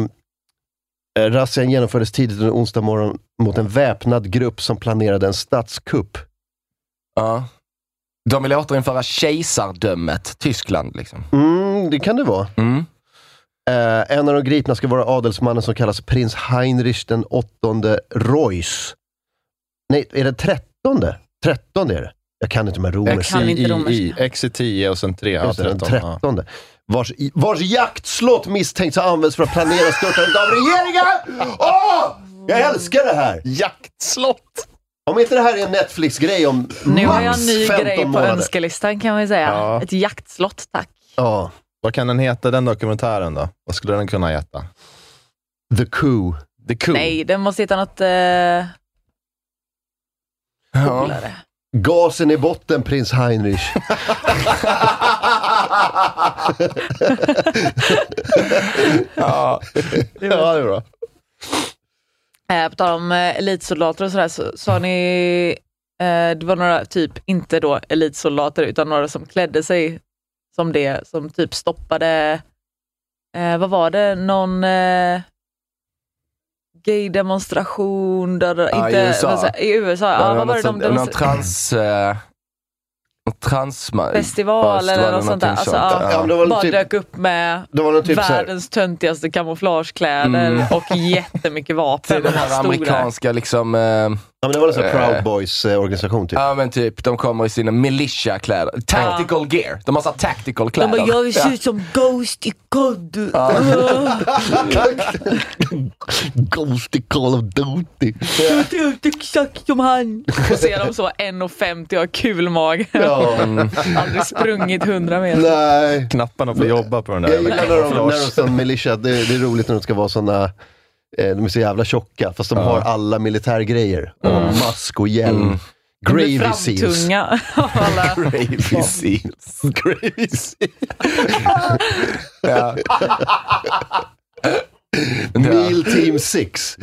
[SPEAKER 1] razzian genomfördes tidigt under onsdag morgon mot en väpnad grupp som planerade en statskupp.
[SPEAKER 4] Ja. De vill återinföra kejsardömet Tyskland. Liksom.
[SPEAKER 1] Mm, det kan det vara.
[SPEAKER 4] Mm.
[SPEAKER 1] Eh, en av de gripna ska vara adelsmannen som kallas prins Heinrich den åttonde Reuss. Nej, är det trettonde? Trettonde är det. Jag kan inte med romerska.
[SPEAKER 2] kan inte
[SPEAKER 3] XII,
[SPEAKER 2] romerska.
[SPEAKER 3] XI10 och sen 3. Ja,
[SPEAKER 1] Just det, den
[SPEAKER 3] 13. Ja.
[SPEAKER 1] trettonde. Vars, vars jaktslott misstänks ha använts för att planera störtandet av regeringen! Åh! Jag älskar det här!
[SPEAKER 3] Jaktslott!
[SPEAKER 1] Om inte det här är en Netflix-grej om
[SPEAKER 2] Nu har jag
[SPEAKER 1] max
[SPEAKER 2] en ny
[SPEAKER 1] 15
[SPEAKER 2] grej på
[SPEAKER 1] månader.
[SPEAKER 2] önskelistan kan man ju säga.
[SPEAKER 3] Ja.
[SPEAKER 2] Ett jaktslott, tack.
[SPEAKER 1] Ja,
[SPEAKER 3] Vad kan den heta, den dokumentären då? Vad skulle den kunna heta?
[SPEAKER 1] The Coup.
[SPEAKER 3] The Coup.
[SPEAKER 2] Nej, den måste heta något eh,
[SPEAKER 4] Ja.
[SPEAKER 2] coolare.
[SPEAKER 1] Gasen i botten, prins Heinrich.
[SPEAKER 3] Ja,
[SPEAKER 4] Ja.
[SPEAKER 3] det är bra.
[SPEAKER 2] Eh, på tal om eh, elitsoldater och sådär, så sa ni, eh, det var några, typ, inte då elitsoldater, utan några som klädde sig som det, som typ stoppade, eh, vad var det, någon eh, gay-demonstration, där,
[SPEAKER 4] Ja,
[SPEAKER 2] inte,
[SPEAKER 4] i USA.
[SPEAKER 2] vad säger- I USA,
[SPEAKER 4] Ja,
[SPEAKER 2] ja, vad var det de
[SPEAKER 4] någon, någon
[SPEAKER 2] demonstrerade?
[SPEAKER 4] trans... Eh, någon transma-
[SPEAKER 2] Festival eller något sånt där.
[SPEAKER 4] någonting
[SPEAKER 2] Alltså,
[SPEAKER 4] sånt.
[SPEAKER 2] ja.
[SPEAKER 1] Ja, men det var
[SPEAKER 2] Bara
[SPEAKER 1] typ,
[SPEAKER 2] dök upp med
[SPEAKER 1] det var någon typ så här-
[SPEAKER 2] världens töntigaste kamouflagekläder
[SPEAKER 4] Mm.
[SPEAKER 2] och jättemycket
[SPEAKER 4] Det är
[SPEAKER 2] vapen.
[SPEAKER 4] den
[SPEAKER 2] och
[SPEAKER 4] här
[SPEAKER 2] stora-
[SPEAKER 4] amerikanska liksom... Eh,
[SPEAKER 1] Ja, men det var en sån här Proud
[SPEAKER 4] Eh.
[SPEAKER 1] Boys-organisation typ.
[SPEAKER 4] ja men typ, de kommer i sina militiakläder. Tactical gear. De har så här tactical kläder.
[SPEAKER 2] vill se ut som Ghost i Cod.
[SPEAKER 1] Ghost i Call of Duty.
[SPEAKER 2] Ser ut exakt som han. Och ser dem så 1,50 och har kul mage.
[SPEAKER 1] Ja.
[SPEAKER 2] Aldrig sprungit 100 meter.
[SPEAKER 1] Nej.
[SPEAKER 3] Knapparna får jobba på den där.
[SPEAKER 1] Jag gillar när de, när de
[SPEAKER 3] Kamouflage.
[SPEAKER 1] sån militia, det, det är roligt när de ska vara såna, eh, de är så jävla tjocka, fast de har alla militärgrejer. Och mask och hjälm.
[SPEAKER 2] De blir
[SPEAKER 1] Gravy seals.
[SPEAKER 2] framtunga av alla.
[SPEAKER 4] Gravy seals. Gravy ja.
[SPEAKER 1] Meal Team 6.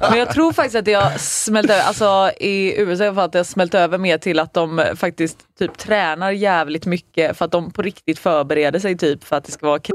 [SPEAKER 2] Men jag tror faktiskt att det har smält över, alltså i USA i alla fall, att det har smält över mer till att de faktiskt typ tränar jävligt mycket för att de på riktigt förbereder sig typ för att det ska vara krig.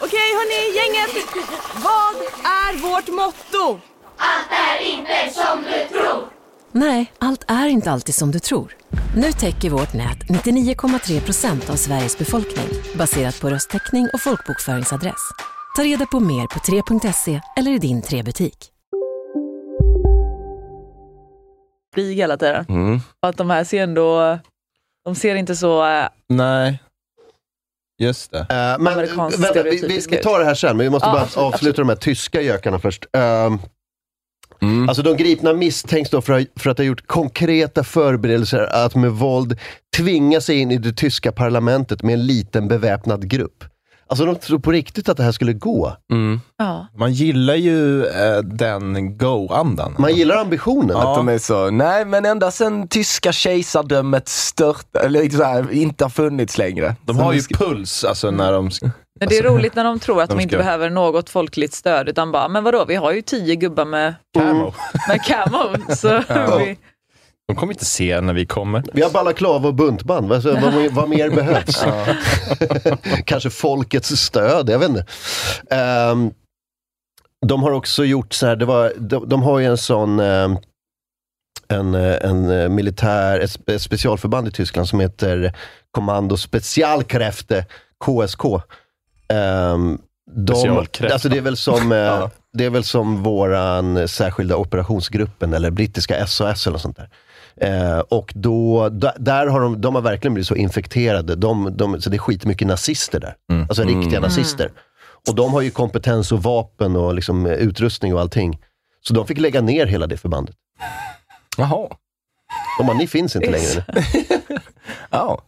[SPEAKER 6] Okej hörni, gänget! Vad är vårt motto?
[SPEAKER 7] Allt är inte som du tror.
[SPEAKER 8] Nej, allt är inte alltid som du tror. Nu täcker vårt nät 99,3 procent av Sveriges befolkning baserat på röstteckning och folkbokföringsadress. Ta reda på mer på 3.se eller i din 3-butik.
[SPEAKER 2] krig hela tiden.
[SPEAKER 4] Mm.
[SPEAKER 2] Och att de här ser ändå, de ser inte så... eh,
[SPEAKER 3] Nej. Just det.
[SPEAKER 1] Eh, men
[SPEAKER 2] Amerikansk
[SPEAKER 1] vänta, vi, vi,
[SPEAKER 2] stereotypisk
[SPEAKER 1] vi tar det här sen, men vi måste
[SPEAKER 2] Ja,
[SPEAKER 1] bara
[SPEAKER 2] absolut,
[SPEAKER 1] avsluta de här tyska gökarna först. Ehm, Alltså de gripna misstänks då för, att ha- för att ha gjort konkreta förberedelser att med våld tvinga sig in i det tyska parlamentet med en liten beväpnad grupp. Alltså de tror på riktigt att det här skulle gå.
[SPEAKER 2] Ja.
[SPEAKER 3] Man gillar ju eh, den go-andan.
[SPEAKER 1] Man gillar ambitionen.
[SPEAKER 4] Att de är så, nej men ända sedan tyska kejsardömet stört, eller så här, inte har funnits längre.
[SPEAKER 3] De har ju puls alltså när de...
[SPEAKER 2] Men det är roligt när de tror att
[SPEAKER 3] Alltså, de
[SPEAKER 2] de inte
[SPEAKER 3] ska-
[SPEAKER 2] behöver något folkligt stöd utan bara, men vadå, vi har ju tio gubbar med,
[SPEAKER 3] alltså, Camo.
[SPEAKER 2] med camo. Så
[SPEAKER 3] Ja.
[SPEAKER 2] vi,
[SPEAKER 3] De kommer inte se när vi kommer.
[SPEAKER 1] Vi har balaklava och buntband, vad, vad, vad mer behövs?
[SPEAKER 3] Ja.
[SPEAKER 1] Kanske folkets stöd, jag vet inte. Ehm, de har också gjort så här, det var, de, de har ju en sån ehm, en, eh, en eh, militär, ett spe- ett specialförband i Tyskland som heter Kommando Spezialkräfte, KSK. Ehm, de,
[SPEAKER 3] Specialkräfta.
[SPEAKER 1] alltså det, är väl som, eh, det är väl som våran särskilda operationsgruppen, eller brittiska SOS eller något sånt där. Eh, och då, da- där har de, de har verkligen blivit så infekterade. De, de, så det är skitmycket nazister där. Alltså riktiga
[SPEAKER 4] Mm.
[SPEAKER 1] nazister. Och de har ju kompetens och vapen och liksom eh, utrustning och allting. Så de fick lägga ner hela det förbandet.
[SPEAKER 4] Jaha.
[SPEAKER 1] De bara, ni finns inte längre. nu."
[SPEAKER 4] Ja.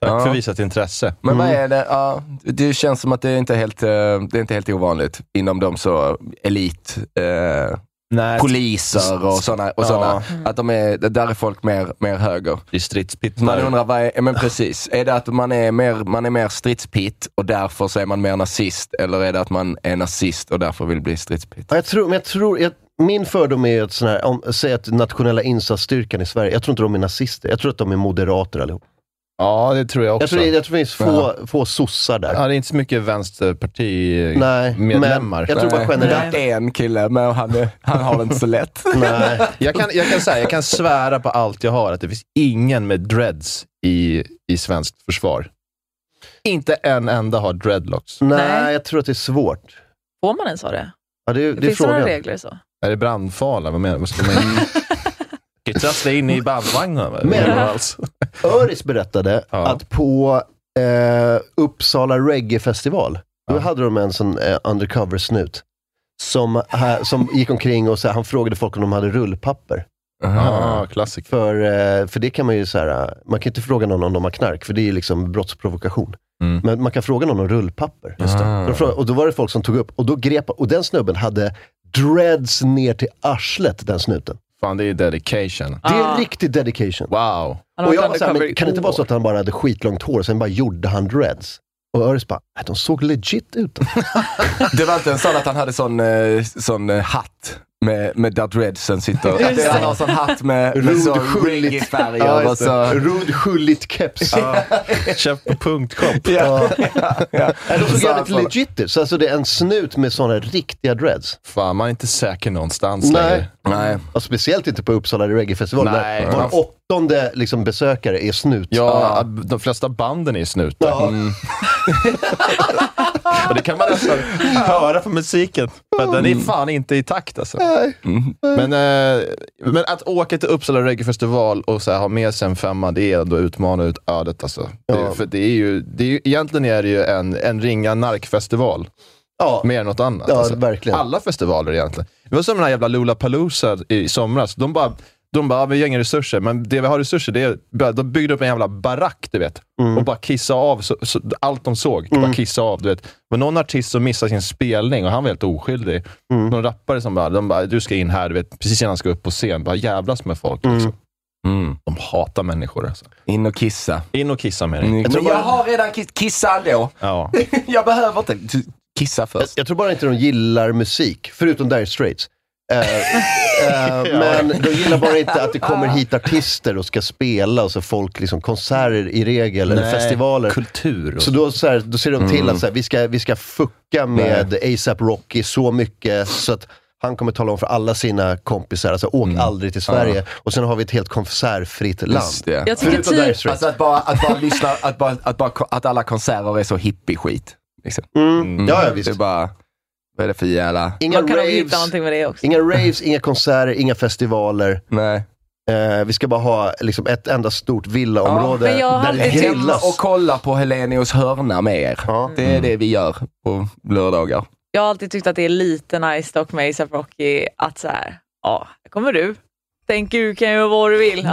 [SPEAKER 3] Tack
[SPEAKER 4] Ja.
[SPEAKER 3] för visat intresse. Mm.
[SPEAKER 4] Men vad är det, ja, det känns som att det är inte är helt, eh, det är inte helt ovanligt inom de så elit... Eh,
[SPEAKER 3] Nej. typ
[SPEAKER 4] Poliser och sådana. Och såna,
[SPEAKER 3] Ja.
[SPEAKER 4] att de är, där är folk mer, mer höger.
[SPEAKER 3] Det är stridspitt
[SPEAKER 4] Man
[SPEAKER 3] där.
[SPEAKER 4] undrar, vad är, ja, men precis. Är det att man är, mer, man är mer stridspitt och därför så är man mer nazist? Eller är det att man är nazist och därför vill bli stridspitt?
[SPEAKER 1] Ja, jag tror, men jag tror, jag, min fördom är ju att, sån här, om, säg att nationella insatsstyrkan i Sverige, jag tror inte de är nazister. Jag tror att de är moderater allihop.
[SPEAKER 3] Ja, det tror jag också.
[SPEAKER 1] Jag tror, det- jag tror det finns få, få sossar där.
[SPEAKER 3] Ja, det är inte så mycket
[SPEAKER 1] Nej, men
[SPEAKER 3] vänsterpartimedlemmar.
[SPEAKER 1] jag tror bara
[SPEAKER 4] Nej,
[SPEAKER 1] generellt-
[SPEAKER 4] Det är en kille, men han, är, han har det inte så lätt.
[SPEAKER 1] Nej.
[SPEAKER 3] Jag kan, jag, kan säga, jag kan svära på allt jag har att det finns ingen med dreads i, i svenskt försvar. Inte en enda har dreadlocks.
[SPEAKER 1] Nej, jag tror att det är svårt.
[SPEAKER 2] får man ens ha det?
[SPEAKER 1] Ja, det,
[SPEAKER 2] Det,
[SPEAKER 1] det är
[SPEAKER 2] finns
[SPEAKER 1] frågan.
[SPEAKER 2] några regler så.
[SPEAKER 3] Är det brandfarliga? Vad menar du? Vad ska man trassla in i bandvagnen? va?
[SPEAKER 1] Men-
[SPEAKER 3] Överallt.
[SPEAKER 1] Öris berättade att på eh, Uppsala reggae-festival, då hade de en sån eh, undercover-snut som, här, som gick omkring och så här, han frågade folk om de hade rullpapper.
[SPEAKER 3] Ja, klassiker.
[SPEAKER 1] För, eh, för det kan man ju så här, eh, man kan inte fråga någon om de har knark, för det är ju liksom brottsprovokation.
[SPEAKER 3] Mm.
[SPEAKER 1] Men man kan fråga någon om rullpapper.
[SPEAKER 3] Just det.
[SPEAKER 1] Så de frågade, och då var det folk som tog upp, och då grep, och den snubben hade dreads ner till arslet, den snuten.
[SPEAKER 3] Fan, det är dedication.
[SPEAKER 1] Det är riktig dedication.
[SPEAKER 3] Wow.
[SPEAKER 2] Han har
[SPEAKER 1] Och jag
[SPEAKER 2] varit
[SPEAKER 1] var såhär,
[SPEAKER 2] undercover
[SPEAKER 1] men
[SPEAKER 2] i
[SPEAKER 1] kan det inte vara så att han bara hade skitlångt hår och sen bara gjorde han dreads? Och Öris bara, "Nej, de såg legit ut.
[SPEAKER 4] Det var inte en sån att han hade sån, eh, sån eh, hatt med, med där dreadsen sitter. Att
[SPEAKER 1] Just
[SPEAKER 4] det-
[SPEAKER 1] det.
[SPEAKER 4] han har sån hatt med, med så reggae-färger. och så-
[SPEAKER 1] Rud skylligt keps. Ja.
[SPEAKER 3] Köp på punktshop.
[SPEAKER 4] Ja. Ja.
[SPEAKER 1] Nej, De såg
[SPEAKER 4] Så
[SPEAKER 1] jävligt
[SPEAKER 4] han-
[SPEAKER 1] legit ut. Så alltså det är en snut med sådana riktiga dreads.
[SPEAKER 3] Fan, man är inte säker någonstans
[SPEAKER 1] Nej.
[SPEAKER 3] längre.
[SPEAKER 4] Nej.
[SPEAKER 1] Och speciellt inte på Uppsala reggaefestival.
[SPEAKER 3] Nej.
[SPEAKER 1] där Var åttonde liksom, besökare är snut.
[SPEAKER 3] Ja, Mm. de flesta banden är i snuten.
[SPEAKER 1] Ja.
[SPEAKER 3] Och det kan man nästan höra på musiken. Men den är fan inte i takt alltså. Men, eh, men att åka till Uppsala reggaefestival och så här, ha med sig en femma, det är ändå att utmana ut ödet alltså.
[SPEAKER 1] Ja.
[SPEAKER 3] Det, för det är ju, det är ju, egentligen är det ju en, en ringa narkfestival.
[SPEAKER 1] Ja.
[SPEAKER 3] Mer än något annat.
[SPEAKER 1] Ja,
[SPEAKER 3] alltså.
[SPEAKER 1] verkligen.
[SPEAKER 3] Alla festivaler egentligen. Det var som den här jävla Lollapalooza i somras. De bara, de bara, "Ja, vi har inga resurser, men det vi har resurser, det är, de byggde upp en jävla barack, du vet.
[SPEAKER 4] Mm.
[SPEAKER 3] Och bara kissa av så, så, allt de såg. Bara kissa av, du vet. Det var någon artist som missade sin spelning och han var helt oskyldig.
[SPEAKER 4] Mm.
[SPEAKER 3] Någon rappare som bara, de bara, du ska in här, du vet, precis innan han ska upp på scen. Bara jävlas med folk. Liksom.
[SPEAKER 4] Mm.
[SPEAKER 3] De hatar människor alltså.
[SPEAKER 4] In och kissa.
[SPEAKER 3] In och kissa med dig.
[SPEAKER 4] Mm. Jag,
[SPEAKER 1] tror
[SPEAKER 4] Men jag
[SPEAKER 1] bara-
[SPEAKER 4] har redan kiss, kissa ändå.
[SPEAKER 3] Ja.
[SPEAKER 4] jag behöver inte t- kissa
[SPEAKER 1] Jag,
[SPEAKER 4] först.
[SPEAKER 1] jag tror bara inte de gillar musik, förutom Dire Straits. Eh, eh, men de gillar bara inte att det kommer hit artister och ska spela, och så folk liksom konserter i regel, eller
[SPEAKER 3] Nej, Mm.
[SPEAKER 1] festivaler.
[SPEAKER 3] Kultur. Och
[SPEAKER 1] Så då, så här, då ser de till att så här, vi, ska, vi ska fucka med ASAP Rocky så mycket så att Han kommer tala om för alla sina kompisar, alltså åk
[SPEAKER 3] Mm.
[SPEAKER 1] aldrig till Sverige.
[SPEAKER 4] Ja.
[SPEAKER 1] Och sen har vi ett helt konsertfritt land.
[SPEAKER 4] Just det.
[SPEAKER 1] Jag tycker Förutom typ- Dire Straits.
[SPEAKER 4] Alltså att bara, att bara lyssna, att, bara, att, bara, att alla konserter är så hippie-skit. Liksom.
[SPEAKER 1] Mm.
[SPEAKER 3] Mm.
[SPEAKER 1] Ja, ja, visst.
[SPEAKER 4] Det är bara, vad är det för jävla...
[SPEAKER 1] Inga
[SPEAKER 2] Man kan nog hitta
[SPEAKER 1] raves,
[SPEAKER 2] någonting med det också.
[SPEAKER 1] inga raves, inga konserter, inga festivaler.
[SPEAKER 4] Nej.
[SPEAKER 1] Eh, vi ska bara ha liksom, ett enda stort villaområde
[SPEAKER 2] men jag har
[SPEAKER 1] där det
[SPEAKER 2] alltid-
[SPEAKER 4] Hemma
[SPEAKER 1] grillas.
[SPEAKER 4] och kolla på Helenius hörna med er. Det är det vi gör på lördagar.
[SPEAKER 2] Jag har alltid tyckt att det är lite nice dock med ASAP Rocky att så här, ja, här kommer du. Tänker du kan göra vad du vill.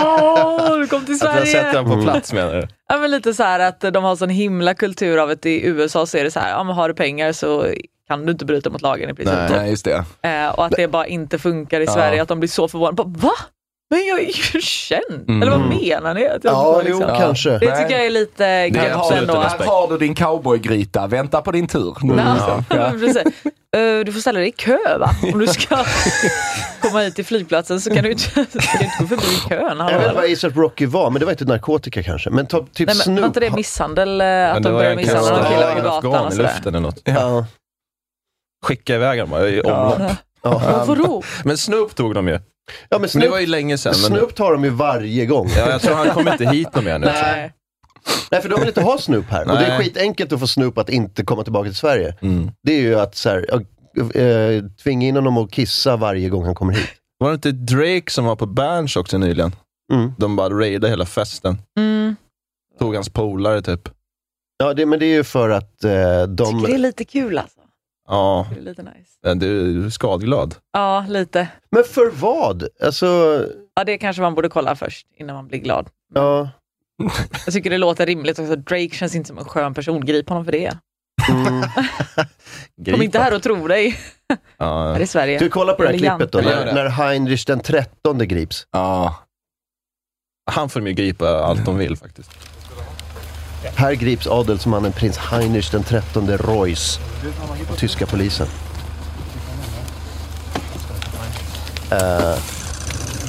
[SPEAKER 2] Ja, du kom till
[SPEAKER 3] Att jag
[SPEAKER 2] Sverige.
[SPEAKER 3] sätter den på plats menar du?
[SPEAKER 2] Ja, men lite så här att de har sån himla kultur av att i USA så är det så här, ja, men har du pengar så kan du inte bryta mot lagen i princip.
[SPEAKER 4] Nej, just det.
[SPEAKER 2] Eh, och att det bara inte funkar i
[SPEAKER 4] Ja.
[SPEAKER 2] Sverige, att de blir så förvånade. Bara, Va? Men jag är ju känd!
[SPEAKER 4] Mm.
[SPEAKER 2] Eller vad menar ni? Att jag
[SPEAKER 1] Ja,
[SPEAKER 2] bara liksom-
[SPEAKER 1] jo, kanske.
[SPEAKER 2] Det tycker jag är lite
[SPEAKER 4] Här har,
[SPEAKER 2] kanske
[SPEAKER 4] du,
[SPEAKER 2] ändå.
[SPEAKER 4] här har du din cowboygryta, vänta på din tur. Nu,
[SPEAKER 2] Ja.
[SPEAKER 4] liksom. Ja.
[SPEAKER 2] Precis. Eh, Du får ställa dig i kö va? Om du ska komma hit till flygplatsen så kan du inte, så kan du inte gå förbi kön.
[SPEAKER 1] Jag vet inte
[SPEAKER 2] hallå.
[SPEAKER 1] vad ASAP Rocky var, men det var inte narkotika kanske. Men ta, typ
[SPEAKER 2] Nej, men,
[SPEAKER 1] Snoop.
[SPEAKER 2] var inte det misshandel? eh, Att de
[SPEAKER 3] Men det var
[SPEAKER 2] började
[SPEAKER 3] en
[SPEAKER 2] misshandla någon
[SPEAKER 3] kanske
[SPEAKER 2] kille på
[SPEAKER 3] en afghan
[SPEAKER 2] gatan och
[SPEAKER 3] i
[SPEAKER 2] sådär.
[SPEAKER 3] luften eller något.
[SPEAKER 1] Ja.
[SPEAKER 3] Skicka iväg dem bara i omlopp.
[SPEAKER 2] Ja, Vadå?
[SPEAKER 3] Men Snoop tog dem ju.
[SPEAKER 1] Ja, men
[SPEAKER 3] Men det
[SPEAKER 1] Snoop,
[SPEAKER 3] var ju länge sedan. Men...
[SPEAKER 1] Snoop tar dem ju varje gång.
[SPEAKER 3] Ja, jag tror han kommer inte hit någon mer nu.
[SPEAKER 2] Nej.
[SPEAKER 1] Nej, för de vill inte ha Snoop här. Och det är
[SPEAKER 3] Nej.
[SPEAKER 1] skitenkelt att få Snoop att inte komma tillbaka till Sverige.
[SPEAKER 3] Mm.
[SPEAKER 1] Det är ju att så här, ja, eh, tvinga in honom att kissa varje gång han kommer hit.
[SPEAKER 3] Var det inte Drake som var på Berns också nyligen?
[SPEAKER 1] Mm.
[SPEAKER 3] De bara raidade hela festen.
[SPEAKER 2] Mm.
[SPEAKER 3] Tog hans polare typ.
[SPEAKER 1] Ja, det, men det är ju för att eh, de...
[SPEAKER 2] Tycker det är lite kul alltså.
[SPEAKER 3] Ja,
[SPEAKER 2] Det är lite nice.
[SPEAKER 3] men du du är skadglad.
[SPEAKER 2] Ja, lite.
[SPEAKER 1] Men för vad? Alltså,
[SPEAKER 2] Ja, det kanske man borde kolla först innan man blir glad.
[SPEAKER 1] ja.
[SPEAKER 2] Jag tycker det låter rimligt också. Drake känns inte som en skön person. Grip honom för det.
[SPEAKER 1] Mm.
[SPEAKER 2] Kom inte här och tro dig. Här
[SPEAKER 3] Ja.
[SPEAKER 2] i Sverige.
[SPEAKER 1] Du, kolla på det här
[SPEAKER 2] Briljant.
[SPEAKER 1] klippet då,
[SPEAKER 3] Eller gör
[SPEAKER 1] när,
[SPEAKER 3] det.
[SPEAKER 1] när Heinrich den trettonde grips.
[SPEAKER 4] Ja.
[SPEAKER 3] Han får de ju gripa allt de vill faktiskt.
[SPEAKER 1] Här grips adelsmannen prins Heinrich den trettonde Reuss av tyska polisen. Eh,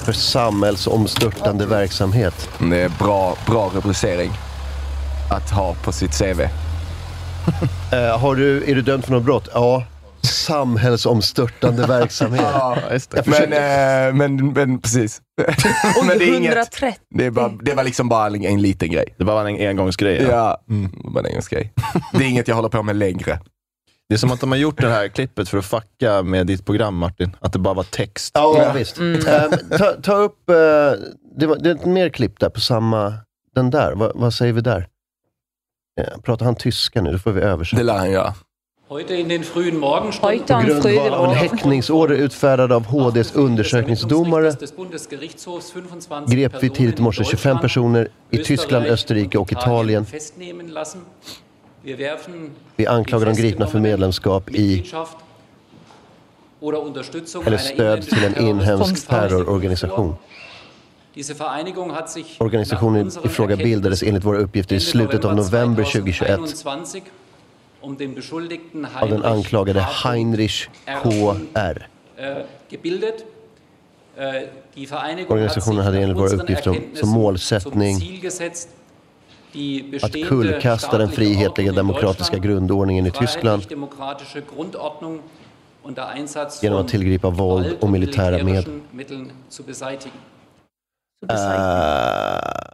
[SPEAKER 1] för samhällsomstörtande verksamhet.
[SPEAKER 4] Det är bra, bra rubricering att ha på sitt CV.
[SPEAKER 1] Eh, har du, är du dömd för något brott? Ja. Samhällsomstörtande verksamhet. Jag
[SPEAKER 4] Men,
[SPEAKER 1] försökte-
[SPEAKER 4] eh, men, men precis.
[SPEAKER 2] Oj,
[SPEAKER 4] men det är inget.
[SPEAKER 2] 130.
[SPEAKER 4] Det, är bara, det var liksom bara en, en liten grej.
[SPEAKER 3] Det var bara en engångsgrej. ja. Mm.
[SPEAKER 4] Ja, bara en engångsgrej. Det är inget jag håller på med längre.
[SPEAKER 3] Det är som att de har gjort det här klippet för att fucka med ditt program Martin. Att det bara var text.
[SPEAKER 1] Ja, visst. Eh, ta, ta upp, eh, det, var, det är ett mer klipp där på samma, den där. Va, vad säger vi där? Eh, pratar han tyska nu? Då får vi översätta.
[SPEAKER 4] Det lär han göra.
[SPEAKER 9] Heute in den frühen Morgenstunden
[SPEAKER 2] Heute am
[SPEAKER 1] Grundval
[SPEAKER 2] frühen
[SPEAKER 1] av en
[SPEAKER 2] Morgen.
[SPEAKER 1] häktningsorder utfärdad av HDs undersökningsdomare
[SPEAKER 9] des Bundesgerichtshofs 25
[SPEAKER 1] grep vi tidigt i morse 25 personer i Tyskland, Österrike och Italien.
[SPEAKER 9] festnehmen lassen. Wir werfen
[SPEAKER 1] Vi anklagar de
[SPEAKER 9] die
[SPEAKER 1] gripna för
[SPEAKER 9] festgenommenen
[SPEAKER 1] medlemskap i
[SPEAKER 9] Mitgliedschaft oder Unterstützung
[SPEAKER 1] eller
[SPEAKER 9] einer
[SPEAKER 1] stöd till en
[SPEAKER 9] inländischen
[SPEAKER 1] inhemsk
[SPEAKER 9] terroristischen
[SPEAKER 1] terrororganisation.
[SPEAKER 9] Diese Vereinigung hat sich
[SPEAKER 1] Organisationen i fråga bildades enligt våra uppgifter i slutet av november 2021
[SPEAKER 9] um den Beschuldigten
[SPEAKER 1] av den
[SPEAKER 9] Heinrich
[SPEAKER 1] anklagade
[SPEAKER 9] Hartl
[SPEAKER 1] Heinrich K.R.
[SPEAKER 9] äh, gebildet. Äh, Die Vereinigung
[SPEAKER 1] Organisationen hade enligt våra uppgifter om- som målsättning att
[SPEAKER 9] att
[SPEAKER 1] kullkasta den frihetliga demokratiska grundordningen i Tyskland genom att tillgripa våld och militära medel.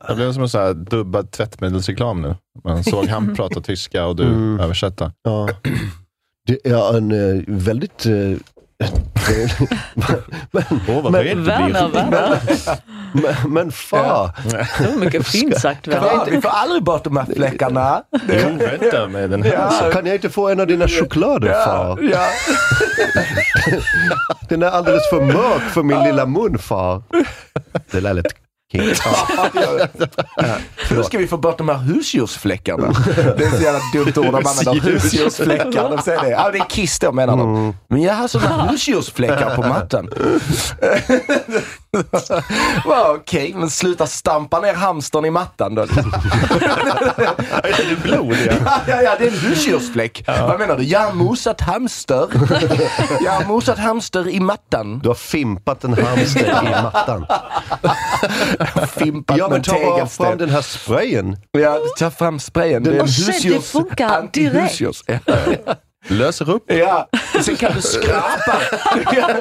[SPEAKER 3] Det blev som en sån här dubbad tvättmedelsreklam nu. Man såg han prata tyska och du
[SPEAKER 1] Mm.
[SPEAKER 3] översätta.
[SPEAKER 1] Ja. Det är en eh, väldigt... eh,
[SPEAKER 3] Åh, vad högt det
[SPEAKER 2] Vän av
[SPEAKER 3] blir.
[SPEAKER 2] vän.
[SPEAKER 1] men, men fan!
[SPEAKER 2] Det var mycket fint sagt. vän.
[SPEAKER 4] Ja, vi får aldrig bort de här fläckarna.
[SPEAKER 3] Jo, vänta med den här.
[SPEAKER 1] Alltså, kan jag inte få en av dina choklader far?
[SPEAKER 4] Ja.
[SPEAKER 1] Den är alldeles för mörk för min lilla mun far. Det lät lite kinky.
[SPEAKER 4] Nu ska vi få bort de här husdjursfläckarna. Det är så jävla dumt ord de använder. Husdjursfläckar, de säger det. Ja, det är kiss då menar
[SPEAKER 1] Mm.
[SPEAKER 4] de. Men jag har sådana husdjursfläckar på mattan. Va, Okej, men sluta stampa ner hamstern i mattan då.
[SPEAKER 3] Är det blod igen?
[SPEAKER 4] Ja, ja, ja, det är en husdjursfläck. Vad menar du? Jag har mosat hamster. Jag har mosat hamster i mattan.
[SPEAKER 1] Du har fimpat en hamster i mattan.
[SPEAKER 4] Fimpat
[SPEAKER 1] Ja men
[SPEAKER 4] med
[SPEAKER 1] ta bara fram
[SPEAKER 4] tegelsten.
[SPEAKER 1] den här sprayen.
[SPEAKER 4] Ja, ta fram sprayen. Det är en
[SPEAKER 2] Och se, det
[SPEAKER 4] husdjurs...
[SPEAKER 2] funkar direkt.
[SPEAKER 4] antihusdjurs. Ja.
[SPEAKER 3] Löser upp.
[SPEAKER 4] Ja, och sen kan du skrapa.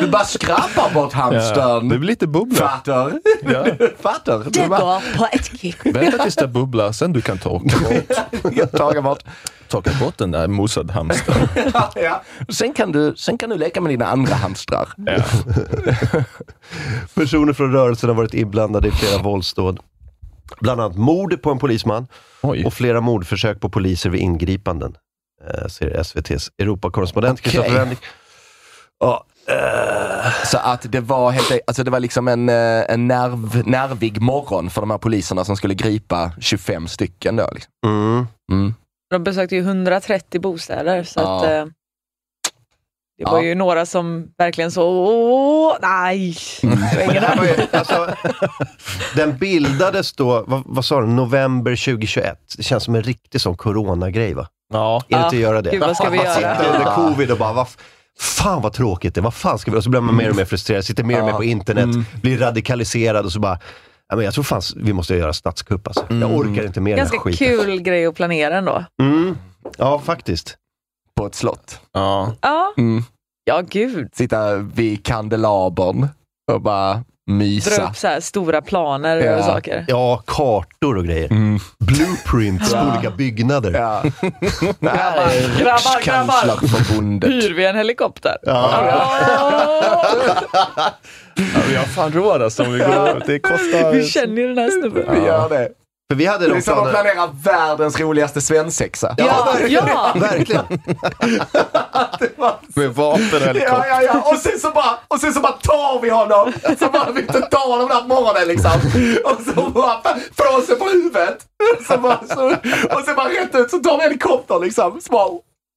[SPEAKER 4] Du bara skrapar bort hamstern.
[SPEAKER 3] Det blir lite bubbla.
[SPEAKER 4] Fattar?
[SPEAKER 3] Ja.
[SPEAKER 4] Fattar? Du
[SPEAKER 10] Det
[SPEAKER 4] bara-
[SPEAKER 10] går på ett kick.
[SPEAKER 3] Vänta tills det bubblar, sen du kan torka bort.
[SPEAKER 4] Torka bort.
[SPEAKER 3] Torka bort den där mosad hamstern.
[SPEAKER 4] ja. sen, kan du, sen kan du leka med dina andra hamstrar.
[SPEAKER 1] Personer från rörelsen har varit inblandade i flera våldsdåd. Bland annat mord på en polisman och flera mordförsök på poliser vid ingripanden. Eh, ser SVTs Europakorrespondent
[SPEAKER 4] Okej.
[SPEAKER 1] Kristoffer Henrik. Ja,
[SPEAKER 4] Så att det var helt alltså det var liksom en, eh, en nerv, nervig morgon för de här poliserna som skulle gripa 25 stycken då. Liksom. Mm.
[SPEAKER 2] De besökte ju 130 bostäder, så
[SPEAKER 4] Ja.
[SPEAKER 2] att, eh, det var
[SPEAKER 4] Ja.
[SPEAKER 2] ju några som verkligen så, åh, nej.
[SPEAKER 1] Mm. alltså, Den bildades då, vad, vad sa du, november 2021. Det känns som en riktig sån coronagrej va?
[SPEAKER 3] Ja.
[SPEAKER 1] Är det
[SPEAKER 2] Ja,
[SPEAKER 4] typ-
[SPEAKER 1] inte göra det?
[SPEAKER 2] gud, vad ska vi
[SPEAKER 1] man
[SPEAKER 2] göra?
[SPEAKER 1] sitter under covid och bara, vad f- fan vad tråkigt det är. vad fan ska vi göra? Och så blir man mer och mer frustrerad, sitter mer och mer på internet, blir radikaliserad och så bara, ja, men jag tror fan vi måste göra statskupp alltså. Jag orkar inte mer den
[SPEAKER 2] Ganska
[SPEAKER 1] här skiten.
[SPEAKER 2] kul grej att planera ändå.
[SPEAKER 1] Mm. Ja, faktiskt.
[SPEAKER 4] På ett slott.
[SPEAKER 3] Ja.
[SPEAKER 2] Ja,
[SPEAKER 4] Mm.
[SPEAKER 2] ja gud.
[SPEAKER 4] Sitta vid kandelabern och bara mysa.
[SPEAKER 2] Dra upp så här stora planer och saker.
[SPEAKER 1] ja, kartor och grejer. Blueprints på
[SPEAKER 2] Ja.
[SPEAKER 1] olika byggnader.
[SPEAKER 4] Ja.
[SPEAKER 1] Det här är
[SPEAKER 2] Grabbar, grabbar!
[SPEAKER 4] Kanslerförbundet.
[SPEAKER 2] Hyr vi en helikopter?
[SPEAKER 3] Ja, vi har fan råd alltså om vi går ut. Det kostar...
[SPEAKER 2] Vi känner ju den här snubben.
[SPEAKER 4] Vi gör det.
[SPEAKER 1] För vi hade
[SPEAKER 4] Det är
[SPEAKER 1] de
[SPEAKER 4] som att
[SPEAKER 1] planerna.
[SPEAKER 4] planera världens roligaste svensexa.
[SPEAKER 2] Ja, ja.
[SPEAKER 1] Verkligen.
[SPEAKER 3] Med vapen och helikopter.
[SPEAKER 4] Ja, ja, ja. Och sen så bara, och sen så bara tar vi honom. Så bara vi inte tar honom den här morgonen liksom. Och så bara får oss på huvudet. Så bara, så, och sen bara rätt ut så tar vi helikoptern liksom. Så, bara,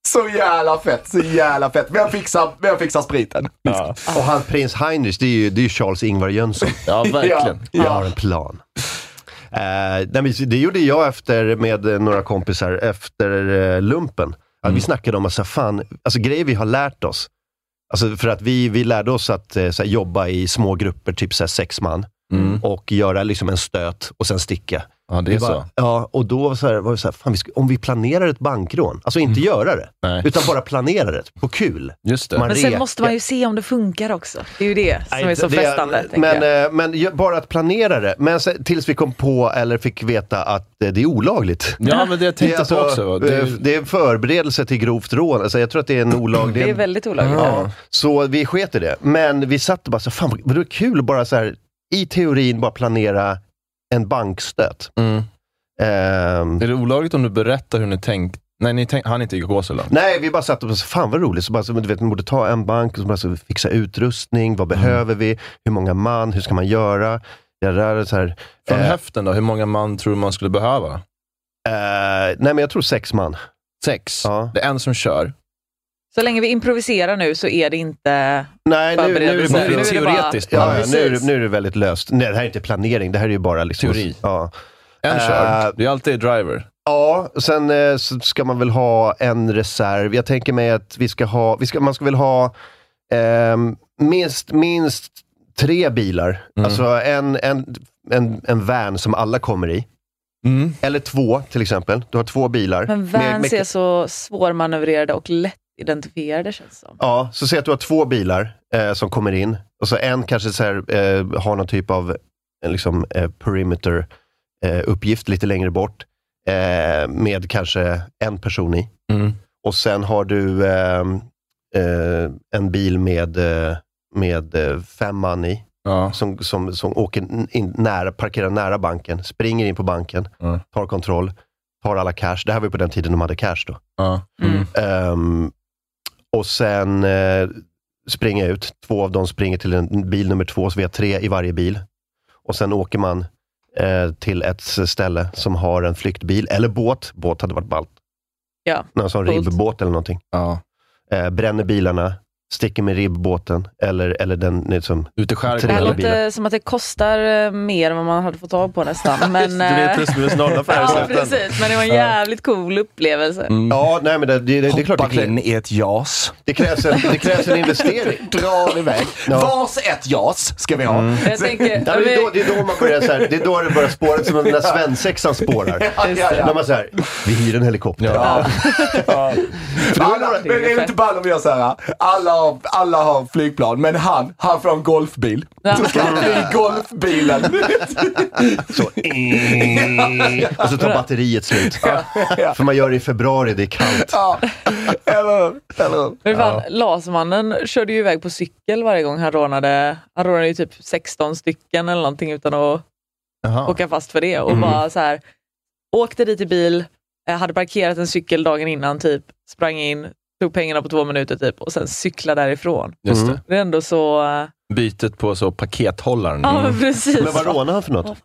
[SPEAKER 4] så jävla fett, så jävla fett. Vem fixar, vem fixar spriten?
[SPEAKER 3] Ja,
[SPEAKER 1] Och han prins Heinrich, det är ju, det är ju Charles-Ingvar Jönsson.
[SPEAKER 3] ja verkligen.
[SPEAKER 1] Jag har en plan. Eh, nej, men det gjorde jag efter, med eh, några kompisar efter eh, lumpen. Att
[SPEAKER 3] Mm.
[SPEAKER 1] Vi snackade om att så här, fan, alltså, grejer vi har lärt oss. Alltså, för att vi, vi lärde oss att eh, så här, jobba i små grupper, typ så här, sex man. Och göra liksom, en stöt och sen sticka.
[SPEAKER 3] Ja, Mm. det
[SPEAKER 1] Vi
[SPEAKER 3] är
[SPEAKER 1] bara,
[SPEAKER 3] så.
[SPEAKER 1] Ja, och då så här, var det så här, fan, vi ska, om vi planerar ett bankrån, alltså inte göra det,
[SPEAKER 3] Mm. Nej.
[SPEAKER 1] utan bara planera det på kul.
[SPEAKER 3] Just det.
[SPEAKER 1] Man
[SPEAKER 2] Men sen
[SPEAKER 1] rekar.
[SPEAKER 2] måste man ju se om det funkar också. Det är ju det som
[SPEAKER 1] Nej,
[SPEAKER 2] är så
[SPEAKER 1] det-
[SPEAKER 2] frestande. tänker
[SPEAKER 1] Men,
[SPEAKER 2] jag.
[SPEAKER 1] eh, men ju- bara att planera det. Men sen, tills vi kom på, eller fick veta, att eh, det är olagligt.
[SPEAKER 3] Ja, men det jag
[SPEAKER 1] Det är,
[SPEAKER 3] tänkte på också.
[SPEAKER 1] eh,
[SPEAKER 3] Det,
[SPEAKER 1] det är förberedelse till grovt rån. Alltså, jag tror att det är en olaglig...
[SPEAKER 2] Det är väldigt olagligt.
[SPEAKER 1] ja, så vi sket i det. Men vi satt och bara så fan vad- vad det är kul att bara så här, i teorin bara planera en bankstöt.
[SPEAKER 3] mm.
[SPEAKER 1] Ehm,
[SPEAKER 3] är det olagligt om du berättar hur ni tänkt? Nej, ni tänk... han inte gå så långt.
[SPEAKER 1] Nej, vi bara satt och bara, så, fan vad roligt. Så bara, så, men du vet, man borde ta en bank och så bara, så, fixa utrustning. Vad
[SPEAKER 3] Mm.
[SPEAKER 1] behöver vi? Hur många man? Hur ska man göra? Jag rör så här.
[SPEAKER 3] Från
[SPEAKER 1] eh,
[SPEAKER 3] höften då, hur många man tror du man skulle behöva?
[SPEAKER 1] Eh, nej, men jag tror sex man.
[SPEAKER 3] Sex.
[SPEAKER 1] Ja.
[SPEAKER 3] Det är en som kör.
[SPEAKER 2] Så länge vi improviserar nu så är det inte...
[SPEAKER 1] Nej, nu, nu,
[SPEAKER 2] Förbereder
[SPEAKER 1] nu,
[SPEAKER 2] du
[SPEAKER 3] Nu är
[SPEAKER 2] nu
[SPEAKER 3] det
[SPEAKER 2] är det
[SPEAKER 3] teoretiskt.
[SPEAKER 1] ja,
[SPEAKER 3] bara.
[SPEAKER 1] ja, nu, är det- nu är det väldigt löst. Nej, det här är inte planering. Det här är ju bara liksom...
[SPEAKER 3] Teori.
[SPEAKER 1] Ja.
[SPEAKER 3] En
[SPEAKER 1] Eh,
[SPEAKER 3] kör. Det är alltid driver.
[SPEAKER 1] Ja, och sen eh, så ska man väl ha en reserv. Jag tänker mig att vi ska ha, vi ska, man ska väl ha ehm, minst, minst tre bilar. Alltså en, en, en, en van som alla kommer i.
[SPEAKER 3] Mm.
[SPEAKER 1] Eller två till exempel. Du har två bilar.
[SPEAKER 2] Men
[SPEAKER 1] Med- med-
[SPEAKER 2] vans är så svårmanövrerade och lätt identifierade känns det som.
[SPEAKER 1] Ja, så säg att du har två bilar eh, som kommer in. Och så en kanske så här, eh, har någon typ av eh, liksom, eh, perimeter-uppgift lite längre bort. Eh, med kanske en person i.
[SPEAKER 3] Mm.
[SPEAKER 1] Och sen har du ehm, eh, en bil med, eh, med eh, fem man i.
[SPEAKER 3] Ja.
[SPEAKER 1] Som, som, som åker n- in nära, parkerar nära banken, springer in på banken,
[SPEAKER 3] Mm.
[SPEAKER 1] tar kontroll, tar alla cash. Det här var ju på den tiden de hade cash då.
[SPEAKER 3] Ja.
[SPEAKER 2] Mm.
[SPEAKER 1] Ehm, och sen eh, springa ut. Två av dem springer till en bil nummer två, så vi har tre i varje bil. Och sen åker man eh, till ett s- ställe som har en flyktbil, eller båt. Båt hade varit ballt.
[SPEAKER 2] Ja,
[SPEAKER 1] Någon sån
[SPEAKER 2] coolt.
[SPEAKER 1] ribbåt eller någonting.
[SPEAKER 3] Ja.
[SPEAKER 1] Eh, bränner bilarna, sticker med ribbåten eller, eller den liksom,
[SPEAKER 3] Ute i
[SPEAKER 2] Det här
[SPEAKER 1] skärgården.
[SPEAKER 2] låter som att det kostar eh, mer än vad man hade fått tag på nästan. Men,
[SPEAKER 1] det blir
[SPEAKER 2] eh,
[SPEAKER 1] plus minus noll affär i
[SPEAKER 2] Ja,
[SPEAKER 1] slutändan.
[SPEAKER 2] precis. Men det var en
[SPEAKER 1] Ja. Mm.
[SPEAKER 2] jävligt cool upplevelse.
[SPEAKER 4] Mm.
[SPEAKER 1] Ja, nej, men det, det, det, det är klart.
[SPEAKER 4] Hoppa in i ett JAS.
[SPEAKER 1] Det krävs en, det krävs en investering.
[SPEAKER 4] Dra den iväg.
[SPEAKER 1] Ja.
[SPEAKER 4] Vars ett JAS ska vi
[SPEAKER 3] Mm.
[SPEAKER 4] ha.
[SPEAKER 2] Jag tänker-
[SPEAKER 1] Ja, men det, är då, det är då man börjar så här, det är då det börjar spåra, som när svensexan spårar.
[SPEAKER 4] Ja, ja, ja.
[SPEAKER 1] När man så här, vi hyr en helikopter.
[SPEAKER 4] Ja. alla, men är det inte ball om vi gör så här? Alla har, alla har flygplan, men han, han får ha en golfbil. Så ska han bli golfbilen.
[SPEAKER 1] Och så tar batteriet slut. För man gör det i februari, det är kallt.
[SPEAKER 4] Ja. Eller, eller.
[SPEAKER 2] Men fan,
[SPEAKER 1] Ja.
[SPEAKER 2] Lasermannen körde ju iväg på cykel varje gång han rånade. Han rånade ju typ 16 stycken eller någonting utan att åka fast för det. Och
[SPEAKER 10] Mm.
[SPEAKER 2] bara så här, åkte dit i bil, eh, hade parkerat en cykel dagen innan, typ, sprang in, tog pengarna på två minuter typ, och sen cyklade därifrån.
[SPEAKER 3] Just det.
[SPEAKER 2] Det är ändå så... eh,
[SPEAKER 3] Bytet på så pakethållaren. Mm.
[SPEAKER 2] Ja, men precis.
[SPEAKER 1] Men vad rånade han för något?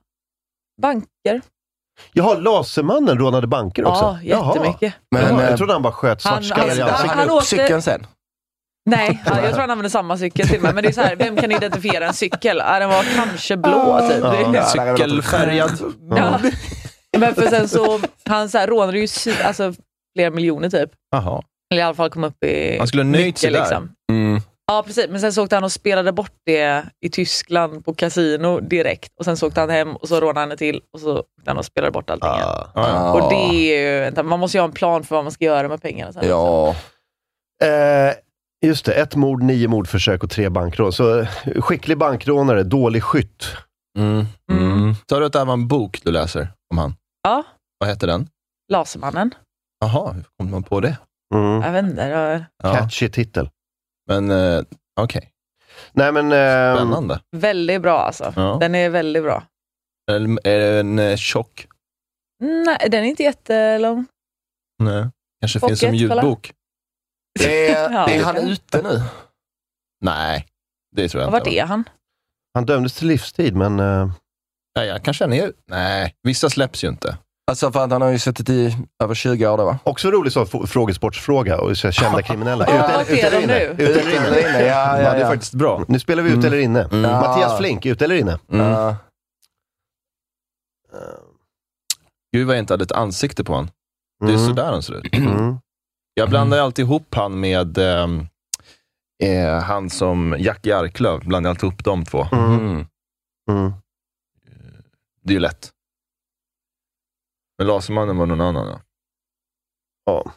[SPEAKER 2] Banker.
[SPEAKER 1] Jaha, Lasermannen rånade banker också?
[SPEAKER 2] Ja, jättemycket.
[SPEAKER 1] Jaha.
[SPEAKER 4] Men,
[SPEAKER 1] Jaha,
[SPEAKER 4] eh,
[SPEAKER 1] jag trodde han bara sköt
[SPEAKER 2] han-
[SPEAKER 1] svartskallar i
[SPEAKER 2] han-
[SPEAKER 1] ansiktet.
[SPEAKER 2] han åkte- Cykeln
[SPEAKER 4] sen?
[SPEAKER 2] Nej, ja, jag tror han använde samma cykel till och med. Men det är så här, vem kan identifiera en cykel? Ah, den var kanske blå typ. Det är-
[SPEAKER 3] Cykelfärgad.
[SPEAKER 2] Ja. Men för sen så, han så här, rånade ju sy- alltså, flera miljoner typ.
[SPEAKER 3] Jaha.
[SPEAKER 2] Eller i alla fall kom upp i
[SPEAKER 3] Han skulle ha nöjt sig där. Mm.
[SPEAKER 2] mycket,
[SPEAKER 11] liksom.
[SPEAKER 2] liksom. Ja, precis. Men sen så åkte han och spelade bort det i Tyskland på kasino direkt. Och Sen så åkte han hem och så rånade han det till och så åkte han och spelade bort allting. igen.
[SPEAKER 3] Ah.
[SPEAKER 4] ja.
[SPEAKER 2] Och det är ju, man måste ju ha en plan för vad man ska göra med pengarna. Sen.
[SPEAKER 4] Ja.
[SPEAKER 1] Eh, just det, ett mord, nio mordförsök och tre bankrån. Så eh, skicklig bankrånare, dålig skytt.
[SPEAKER 3] Mm. Mm. Sa du att det här var en bok du läser om han?
[SPEAKER 2] Ja.
[SPEAKER 3] Vad hette den?
[SPEAKER 2] Lasermannen.
[SPEAKER 3] Jaha, hur kom man på det?
[SPEAKER 2] Jag vet inte. det var
[SPEAKER 1] Mm. Catchy titel.
[SPEAKER 3] Men eh, okej.
[SPEAKER 1] Nej, men,
[SPEAKER 4] Um.
[SPEAKER 1] eh,
[SPEAKER 3] Spännande.
[SPEAKER 2] Väldigt bra alltså.
[SPEAKER 3] Ja.
[SPEAKER 2] Den är väldigt bra.
[SPEAKER 3] Eller, Är det en eh, tjock?
[SPEAKER 2] Nej, den är inte jättelång.
[SPEAKER 3] Nej. Kanske
[SPEAKER 2] Pocket,
[SPEAKER 3] finns som ljudbok?
[SPEAKER 4] Är,
[SPEAKER 2] Ja.
[SPEAKER 4] är han ute nu?
[SPEAKER 3] Nej, det tror jag
[SPEAKER 2] Vart
[SPEAKER 3] inte.
[SPEAKER 2] är han?
[SPEAKER 1] Han dömdes till livstid, men... eh,
[SPEAKER 3] Nej, jag kanske han är... Nej, vissa släpps ju inte.
[SPEAKER 4] Alltså för att han har ju suttit i över 20 år då va?
[SPEAKER 1] Också rolig sån f- frågesportsfråga, och så här, kända kriminella.
[SPEAKER 4] Ja,
[SPEAKER 1] Ute-
[SPEAKER 4] vart är de nu?
[SPEAKER 1] Ute eller inne?
[SPEAKER 4] Ute eller inne, ja, ja,
[SPEAKER 1] det är
[SPEAKER 4] ja.
[SPEAKER 1] faktiskt bra. Nu spelar vi ut eller inne.
[SPEAKER 4] Ja.
[SPEAKER 1] Mattias Flink, ut eller inne?
[SPEAKER 3] Mm.
[SPEAKER 4] Ja.
[SPEAKER 3] Gud vad jag inte hade ett ansikte på han. Det är
[SPEAKER 1] Mm.
[SPEAKER 3] sådär han ser ut.
[SPEAKER 1] Mm.
[SPEAKER 3] Jag blandar alltid ihop han med ehm, eh, han som Jack Jarklöv. Blandar alltid ihop de två. Mm.
[SPEAKER 1] Mm.
[SPEAKER 3] Det är ju lätt. Men Lasermannen var någon annan. Ja.
[SPEAKER 1] Ja.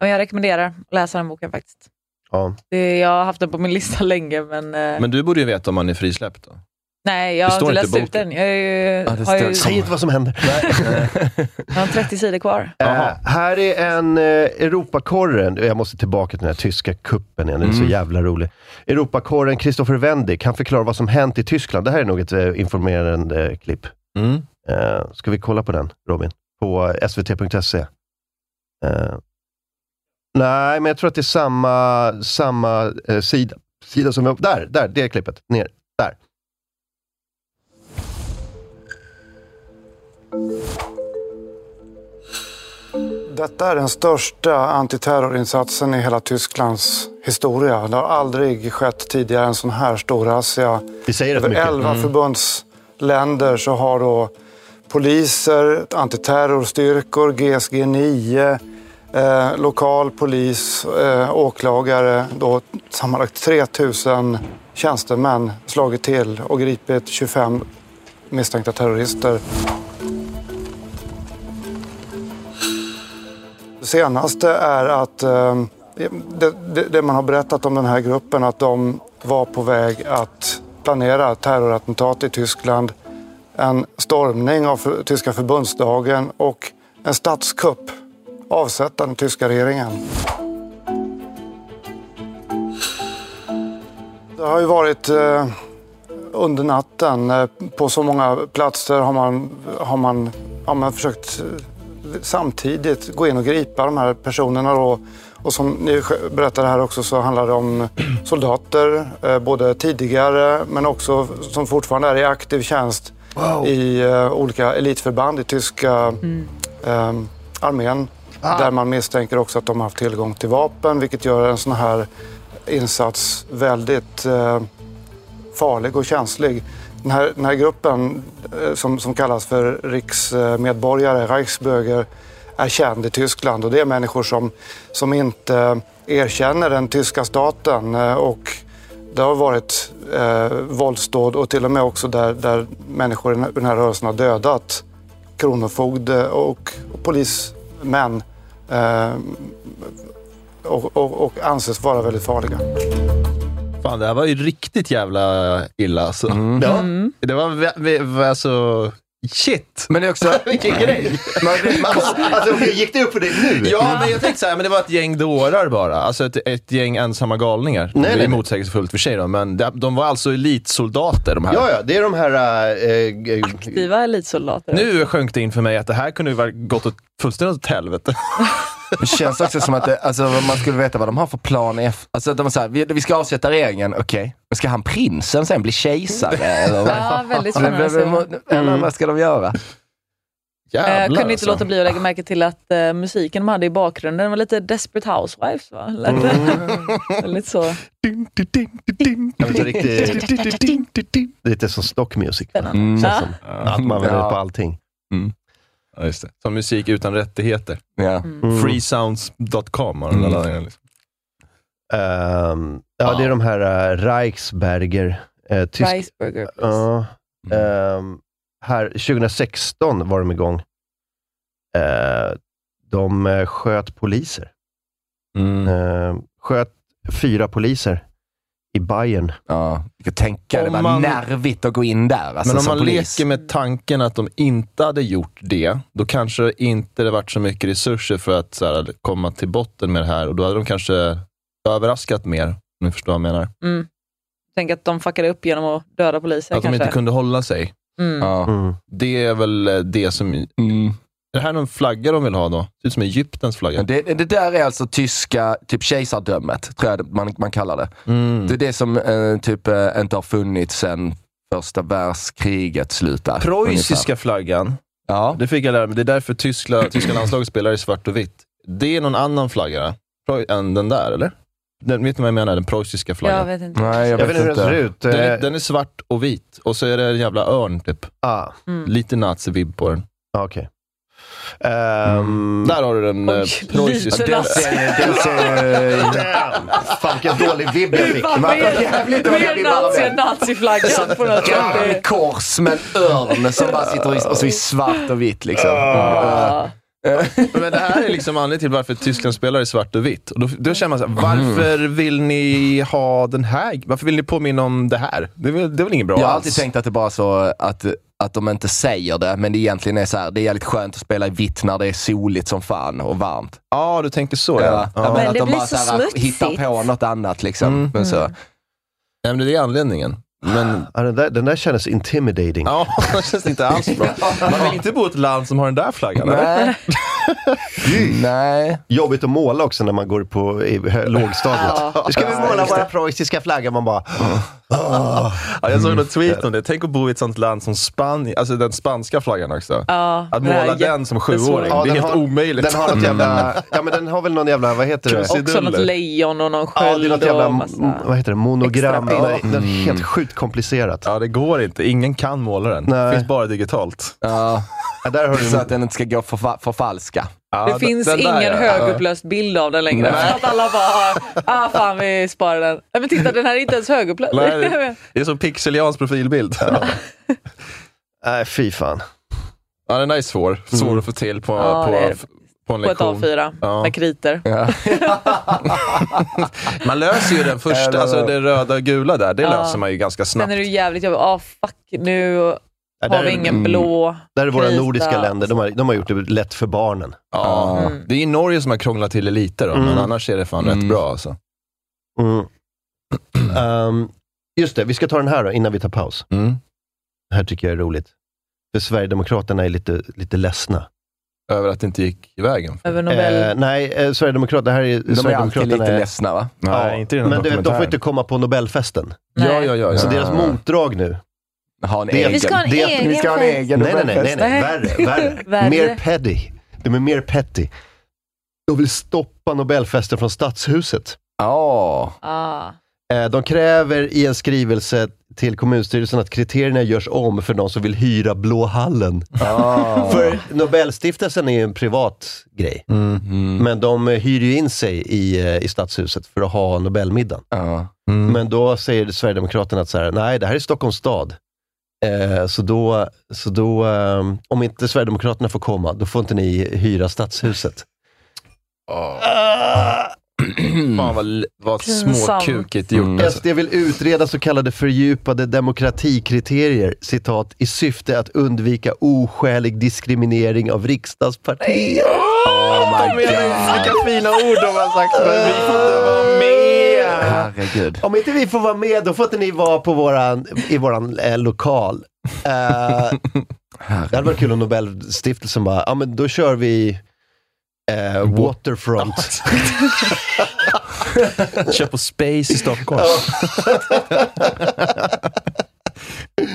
[SPEAKER 2] Men jag rekommenderar att läsa den boken faktiskt.
[SPEAKER 1] ja.
[SPEAKER 2] Det, jag har haft den på min lista länge, men, eh,
[SPEAKER 3] Men du borde ju veta om han är frisläppt. Då.
[SPEAKER 2] nej, jag
[SPEAKER 3] det
[SPEAKER 2] har
[SPEAKER 3] står
[SPEAKER 2] inte
[SPEAKER 3] inte i
[SPEAKER 2] läst ut
[SPEAKER 3] boken.
[SPEAKER 2] den. Jag, är ju,
[SPEAKER 3] det
[SPEAKER 2] har ju,
[SPEAKER 1] Säg inte vad som händer.
[SPEAKER 2] jag har 30 sidor kvar.
[SPEAKER 1] Eh, här är en eh, Europakorren. Jag måste tillbaka till den här tyska kuppen igen. Den är så
[SPEAKER 3] Mm.
[SPEAKER 1] jävla rolig. Europakorren Christopher Wendig. Han förklarar vad som hänt i Tyskland. Det här är nog ett eh, informerande eh, klipp.
[SPEAKER 3] Mm.
[SPEAKER 1] Eh, ska vi kolla på den, Robin? På eh, svt.se. Eh, nej, men jag tror att det är samma, samma eh, sida, sida som... vi- Där, där, det klippet. Ner. Där.
[SPEAKER 12] Detta är den största antiterrorinsatsen i hela Tysklands historia. Det har aldrig skett tidigare en sån här stor razzia.
[SPEAKER 1] Vi säger rätt
[SPEAKER 12] Över
[SPEAKER 1] mycket.
[SPEAKER 12] 11
[SPEAKER 1] Mm.
[SPEAKER 12] förbundsländer så har då poliser, antiterrorstyrkor, GSG 9, eh, lokal polis, eh, åklagare, då sammanlagt 3000 tjänstemän slagit till och gripit 25 misstänkta terrorister. Det senaste är att eh, det, det, det man har berättat om den här gruppen att de var på väg att planera terrorattentat i Tyskland, en stormning av för, tyska förbundsdagen och en statskupp, avsätta den tyska regeringen. Det har ju varit eh, under natten. eh, På så många platser har man, har man, har man försökt eh, samtidigt gå in och gripa de här personerna. Då. Och som ni sj- berättade här också så handlar det om soldater, eh, både tidigare men också som fortfarande är i aktiv tjänst i eh, olika elitförband i tyska eh, armén. Där man misstänker också att de har haft tillgång till vapen vilket gör en sån här insats väldigt eh, farlig och känslig. Den här, den här gruppen eh, som, som kallas för riksmedborgare, Reichsbürger, är känd i Tyskland och det är människor som, som inte erkänner den tyska staten eh, och det har varit eh, våldsdåd och till och med också där, där människor i den här- den här rörelsen har dödat kronofogde och polismän eh, och, och, och anses vara väldigt farliga.
[SPEAKER 3] Fan, det här var ju riktigt jävla illa alltså.
[SPEAKER 1] Mm.
[SPEAKER 3] Ja. Det var vä- vä- vä- alltså... Shit!
[SPEAKER 4] Men det är också...
[SPEAKER 3] Vilken grej!
[SPEAKER 4] Man blir-
[SPEAKER 1] Alltså, okej, gick det upp för dig nu?
[SPEAKER 3] Ja, men jag tänkte så här, men det var ett gäng dårar bara. Alltså ett, ett gäng ensamma galningar.
[SPEAKER 1] Nej,
[SPEAKER 3] det är
[SPEAKER 1] nej, nej.
[SPEAKER 3] motsägelsefullt för sig då, men de, de var alltså elitsoldater de här.
[SPEAKER 1] Ja, ja, det är de här... Äh, äh,
[SPEAKER 2] Aktiva elitsoldater.
[SPEAKER 3] Nu sjönk det in för mig att det här kunde ju vara gått åt fullständigt åt helvete.
[SPEAKER 4] Det känns också som att det, alltså, man skulle veta vad de har för plan F. Alltså att de är så här, vi, vi ska avsätta regeringen, okej. Men ska han prinsen sen bli kejsare? Eller, vad?
[SPEAKER 2] Ja, väldigt
[SPEAKER 4] Eller-
[SPEAKER 2] spännande
[SPEAKER 4] eller, eller vad ska de göra?
[SPEAKER 2] Eh, kunde
[SPEAKER 4] alltså.
[SPEAKER 3] alltså.
[SPEAKER 2] inte låta bli att lägga märke till att eh, musiken de hade i bakgrunden var lite Desperate Housewives va? Lät det? Lite så.
[SPEAKER 1] Jag vet inte riktigt. Det är lite som stock music. va?
[SPEAKER 2] Mm.
[SPEAKER 1] Känns som
[SPEAKER 3] Ja.
[SPEAKER 1] Att man vänder
[SPEAKER 3] Ja.
[SPEAKER 1] på allting.
[SPEAKER 3] Ja, just det. Som musik utan rättigheter.
[SPEAKER 1] Mm.
[SPEAKER 3] Freesounds.com har
[SPEAKER 4] Mm.
[SPEAKER 3] de laddat ner, liksom.
[SPEAKER 1] Ehm, ja, det är de här äh, Reichsberger. Äh, tysk...
[SPEAKER 2] Riceburger.
[SPEAKER 1] Ja. Ehm, här, 2016 var de igång. Eh, de eh, sköt poliser.
[SPEAKER 3] Mm.
[SPEAKER 1] Eh, sköt fyra poliser i Bayern.
[SPEAKER 4] Ja, jag kan tänka det
[SPEAKER 3] Om
[SPEAKER 4] var
[SPEAKER 3] man-
[SPEAKER 4] nervigt att gå in där alltså,
[SPEAKER 3] Men om
[SPEAKER 4] som
[SPEAKER 3] man
[SPEAKER 4] polis.
[SPEAKER 3] leker med tanken att de inte hade gjort det, då kanske inte det varit så mycket resurser för att så här, komma till botten med det här och då hade de kanske överraskat mer, om ni förstår vad jag menar.
[SPEAKER 2] Mm. Tänk att de fuckade upp genom att döda poliser
[SPEAKER 3] Att de
[SPEAKER 2] kanske.
[SPEAKER 3] inte kunde hålla sig.
[SPEAKER 2] Mm.
[SPEAKER 4] Ja.
[SPEAKER 3] Det är väl eh, det som... Är det här någon flagga de vill ha då? Det ser ut som Egyptens flagga.
[SPEAKER 4] Men Det, det där är alltså tyska typ kejsardömet, tror jag det- man, man kallar det.
[SPEAKER 3] Mm.
[SPEAKER 4] Det är det som eh, typ eh, inte har funnits sedan första världskriget slutar.
[SPEAKER 3] Preussiska flaggan.
[SPEAKER 4] Ja.
[SPEAKER 3] Det fick jag lära mig. Det är därför tyska, tyska landslaget spelar i svart och vitt. Det är någon annan flagga Preu- än den där, eller? Den, vet ni vad jag menar? Den preussiska flaggan.
[SPEAKER 2] Jag vet inte.
[SPEAKER 4] Nej,
[SPEAKER 1] Jag, vet inte hur den ser ut.
[SPEAKER 3] Den är,
[SPEAKER 1] Eh,
[SPEAKER 3] den är svart och vit och så är det en jävla örn typ.
[SPEAKER 1] Ah,
[SPEAKER 2] Mm.
[SPEAKER 3] Lite nazivibb på den.
[SPEAKER 1] ah, okej. Ehm,
[SPEAKER 4] Mm.
[SPEAKER 3] Där har du den eh,
[SPEAKER 2] Oj,
[SPEAKER 3] preussiska.
[SPEAKER 2] lite nazi-
[SPEAKER 4] Den ser, eh,
[SPEAKER 1] Fan vilken dålig vibb jag fick.
[SPEAKER 2] Fan, vad är
[SPEAKER 4] Jävligt
[SPEAKER 2] det? Vad är
[SPEAKER 4] dålig
[SPEAKER 2] nazi-
[SPEAKER 4] bild.
[SPEAKER 2] naziflaggan på något sätt? Det-
[SPEAKER 4] Kors med en örn som bara sitter i, och så i svart och vitt liksom.
[SPEAKER 2] Ja.
[SPEAKER 3] Men det här är liksom anledningen till varför Tyskland spelar i svart och vitt. Och då, då känner man så här, varför vill ni ha den här? Varför vill ni påminna om det här? Det är väl, det är väl inget bra
[SPEAKER 4] Jag har
[SPEAKER 3] alls?
[SPEAKER 4] alltid tänkt att det bara så att, att de inte säger det, men det egentligen är så här, det är jävligt skönt att spela i vitt när det är soligt som fan och varmt.
[SPEAKER 3] Ja, du tänker så ja. ja.
[SPEAKER 4] men
[SPEAKER 10] Men
[SPEAKER 4] att
[SPEAKER 10] det
[SPEAKER 4] de
[SPEAKER 10] blir
[SPEAKER 4] bara
[SPEAKER 10] så
[SPEAKER 4] här,
[SPEAKER 10] smutsigt.
[SPEAKER 4] hittar på något annat liksom.
[SPEAKER 3] Mm.
[SPEAKER 4] Men så.
[SPEAKER 3] Nej, men det är anledningen. Men
[SPEAKER 1] Ja, den, där, den där kändes intimidating.
[SPEAKER 3] ja, det känns inte alls bra. Man vill inte bo i ett land som har den där flaggan. eller?
[SPEAKER 4] Nej. Nej.
[SPEAKER 1] Jobbigt att måla också när man går på i, hö- lågstadiet. Nu ska vi måla våra preussiska flaggor. Man bara...
[SPEAKER 3] Ja, jag
[SPEAKER 4] Mm.
[SPEAKER 3] såg något tweet om det. Tänk att bo i ett sånt land som Spanien, alltså den spanska flaggan också.
[SPEAKER 2] Ja,
[SPEAKER 3] Att
[SPEAKER 2] det här är
[SPEAKER 3] måla den som
[SPEAKER 2] jättesvårt.
[SPEAKER 3] sjuåring, det är
[SPEAKER 1] den
[SPEAKER 3] helt
[SPEAKER 1] har-
[SPEAKER 3] omöjligt. Mm.
[SPEAKER 1] Den har, något jävla, ja, men den har väl någon jävla, vad heter det?
[SPEAKER 2] Också något
[SPEAKER 3] Krusiduller.
[SPEAKER 2] lejon och någon
[SPEAKER 1] Ja, det är
[SPEAKER 2] sköld
[SPEAKER 1] något jävla,
[SPEAKER 2] och
[SPEAKER 1] m-
[SPEAKER 2] massa...
[SPEAKER 1] vad heter det, monogram.
[SPEAKER 2] extra
[SPEAKER 1] Nej, den är helt sjukt komplicerat.
[SPEAKER 3] Mm. Ja, det går inte. Ingen kan måla den.
[SPEAKER 1] Nej.
[SPEAKER 3] Det finns bara digitalt.
[SPEAKER 4] Ja.
[SPEAKER 1] Ja, där har
[SPEAKER 4] Så
[SPEAKER 1] du,
[SPEAKER 4] att den inte ska gå för, fa- för falska.
[SPEAKER 3] Ja,
[SPEAKER 2] Det
[SPEAKER 3] d-
[SPEAKER 2] finns
[SPEAKER 3] den där,
[SPEAKER 2] ingen
[SPEAKER 3] ja.
[SPEAKER 2] högupplöst bild av den längre.
[SPEAKER 3] Nej.
[SPEAKER 2] Att alla bara, ah fan vi sparar den. Nej, Men titta den här är inte ens högupplöst.
[SPEAKER 3] Nej, det- Det är som Pixelians profilbild. Ja.
[SPEAKER 1] nej, fy fan.
[SPEAKER 3] den där är
[SPEAKER 4] Mm.
[SPEAKER 3] svår. Svår att få till på,
[SPEAKER 2] Ja, det är det.
[SPEAKER 3] på, på en
[SPEAKER 2] På ett
[SPEAKER 3] lektion.
[SPEAKER 2] A4
[SPEAKER 3] Ja.
[SPEAKER 2] med kriter.
[SPEAKER 3] Man löser ju den första, alltså det röda och gula där, det
[SPEAKER 2] Ja.
[SPEAKER 3] löser man ju ganska snabbt.
[SPEAKER 2] Sen är det ju jävligt jobbigt. Ah fuck nu
[SPEAKER 1] Ja,
[SPEAKER 2] har
[SPEAKER 1] där,
[SPEAKER 2] vi
[SPEAKER 1] är-
[SPEAKER 2] ingen blå.
[SPEAKER 1] där är våra
[SPEAKER 2] krita.
[SPEAKER 1] nordiska länder, de har, de har gjort det lätt för barnen.
[SPEAKER 3] Ja. Det är ju Norge som har krånglat till det lite då, men
[SPEAKER 1] Mm.
[SPEAKER 3] annars är det fan rätt
[SPEAKER 4] Mm.
[SPEAKER 3] bra alltså.
[SPEAKER 1] Mm. Ehm, just det, vi ska ta den här då, innan vi tar paus.
[SPEAKER 3] Mm.
[SPEAKER 1] Det här tycker jag är roligt. För Sverigedemokraterna är lite, lite ledsna.
[SPEAKER 3] Över att det inte gick i vägen.
[SPEAKER 2] Över Nobel.
[SPEAKER 1] Eh, nej, eh, Sverigedemokraterna, det här är,
[SPEAKER 4] De är alltid
[SPEAKER 1] Sverigedemokraterna
[SPEAKER 4] lite
[SPEAKER 1] är-
[SPEAKER 4] ledsna va?
[SPEAKER 1] Ja, men du vet, de får inte komma på Nobelfesten.
[SPEAKER 2] Nej.
[SPEAKER 3] Ja, ja, ja. ja.
[SPEAKER 1] Så deras
[SPEAKER 4] Ja.
[SPEAKER 1] motdrag nu,
[SPEAKER 4] Ha en
[SPEAKER 1] Det är-
[SPEAKER 4] egen.
[SPEAKER 1] Vi ska ha
[SPEAKER 10] en
[SPEAKER 4] Det är-
[SPEAKER 10] egen
[SPEAKER 4] Vi ska ha en
[SPEAKER 10] fest.
[SPEAKER 4] egen
[SPEAKER 1] Nej, nej, nej, nej,
[SPEAKER 4] Nobelfest.
[SPEAKER 1] nej.
[SPEAKER 2] Nej.
[SPEAKER 1] Värre, värre.
[SPEAKER 2] Värre.
[SPEAKER 1] Mer petty. De är mer petty. De vill stoppa Nobelfesten från Stadshuset.
[SPEAKER 4] Ja.
[SPEAKER 2] Ah.
[SPEAKER 1] Eh, De kräver i en skrivelse till kommunstyrelsen att kriterierna görs om för de som vill hyra Blå hallen. för Nobelstiftelsen är ju en privat grej. Men de eh, hyr ju in sig i, eh, i stadshuset för att ha Nobelmiddagen. Men då säger Sverigedemokraterna att så här, nej, det här är Stockholms stad. Eh, så då, så då eh, om inte Sverigedemokraterna får komma, då får inte ni hyra stadshuset.
[SPEAKER 3] Ah. Fan vad, vad småkukigt gjort. alltså.
[SPEAKER 1] Mm. SD vill utreda så kallade fördjupade demokratikriterier, citat, i syfte att undvika oskälig diskriminering av riksdagspartier.
[SPEAKER 3] Oh my god. Vilka fina ord de har sagt, men vi får inte vara med.
[SPEAKER 4] Herregud.
[SPEAKER 1] Om inte vi får vara med, då får inte ni vara på våran, i våran eh, lokal. Eh, det hade varit kul om Nobelstiftelsen bara, ja men då kör vi eh, Waterfront.
[SPEAKER 3] Kör på Space i Stockholm.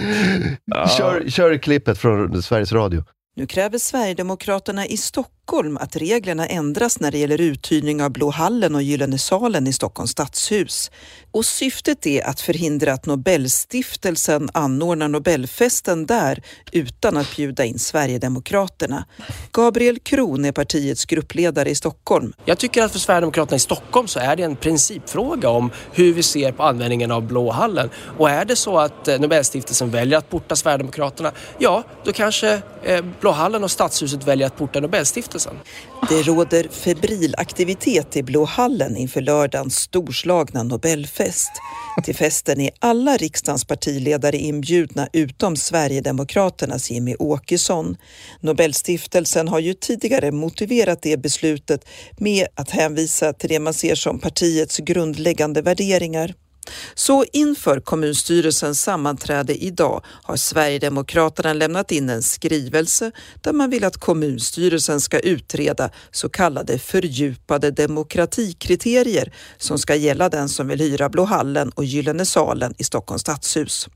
[SPEAKER 1] kör, kör klippet från Sveriges Radio.
[SPEAKER 10] Nu kräver Sverigedemokraterna i Stockholm att reglerna ändras när det gäller uthyrning av Blå hallen och Gyllene salen i Stockholms stadshus. Och syftet är att förhindra att Nobelstiftelsen anordnar Nobelfesten där utan att bjuda in Sverigedemokraterna. Gabriel Kron är partiets gruppledare i Stockholm.
[SPEAKER 11] Jag tycker att för Sverigedemokraterna i Stockholm så är det en principfråga om hur vi ser på användningen av Blåhallen. Och är det så att eh, Nobelstiftelsen väljer att porta Sverigedemokraterna, ja då kanske eh, Blåhallen och Stadshuset väljer att porta Nobelstiftelsen.
[SPEAKER 10] Det råder febril aktivitet i Blå hallen inför lördagens storslagna Nobelfest. Till festen är alla riksdagens partiledare inbjudna utom Sverigedemokraternas Jimmy Åkesson. Nobelstiftelsen har ju tidigare motiverat det beslutet med att hänvisa till det man ser som partiets grundläggande värderingar. Så inför kommunstyrelsens sammanträde idag har Sverigedemokraterna lämnat in en skrivelse där man vill att kommunstyrelsen ska utreda så kallade fördjupade demokratikriterier som ska gälla den som vill hyra Blå hallen och Gyllene salen i Stockholms stadshus.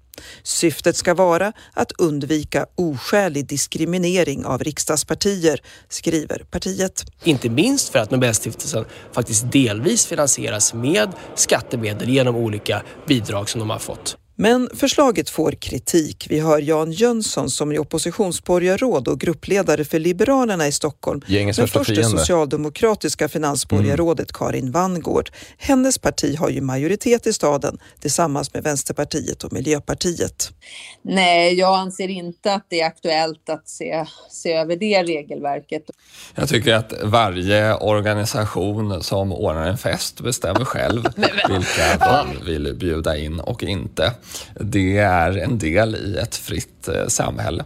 [SPEAKER 10] Syftet ska vara att undvika oskälig diskriminering av riksdagspartier, skriver partiet.
[SPEAKER 11] Inte minst för att Nobelstiftelsen faktiskt delvis finansieras med skattemedel genom olika bidrag som de har fått.
[SPEAKER 10] Men förslaget får kritik. Vi hör Jan Jönsson som är oppositionsborgarråd och gruppledare för Liberalerna i Stockholm.
[SPEAKER 3] Gängets
[SPEAKER 10] men
[SPEAKER 3] värsta
[SPEAKER 10] först det
[SPEAKER 3] fiende.
[SPEAKER 10] socialdemokratiska finansborgarrådet Karin Vangård. Hennes parti har ju majoritet i staden tillsammans med Vänsterpartiet och Miljöpartiet.
[SPEAKER 13] Nej, jag anser inte att det är aktuellt att se, se över det regelverket.
[SPEAKER 14] Jag tycker att varje organisation som ordnar en fest bestämmer själv vilka de vill bjuda in och inte. Det är en del i ett fritt eh, samhälle.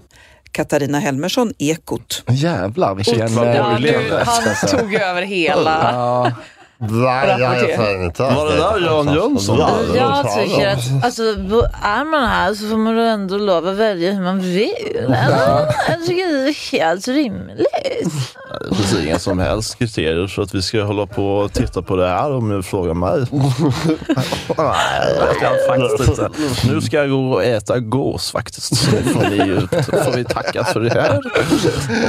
[SPEAKER 10] Katarina Helmersson, Ekot.
[SPEAKER 4] Jävlar vilken...
[SPEAKER 2] Otroligt. Ja, du, han tog ju över hela.
[SPEAKER 10] Nej, jag är fan
[SPEAKER 1] inte
[SPEAKER 3] Var det där Jan Jönsson?
[SPEAKER 15] Jag tycker att alltså, bo- är man här så får man ändå lov att välja hur man vill. Alltså, jag tycker det är helt rimligt.
[SPEAKER 3] Det finns inga som helst kriterier så att vi ska hålla på och titta på det här om du frågar mig. Nej, det ska jag faktiskt inte. Nu ska jag gå och äta gås faktiskt. Så får, ni, får vi tacka för det här.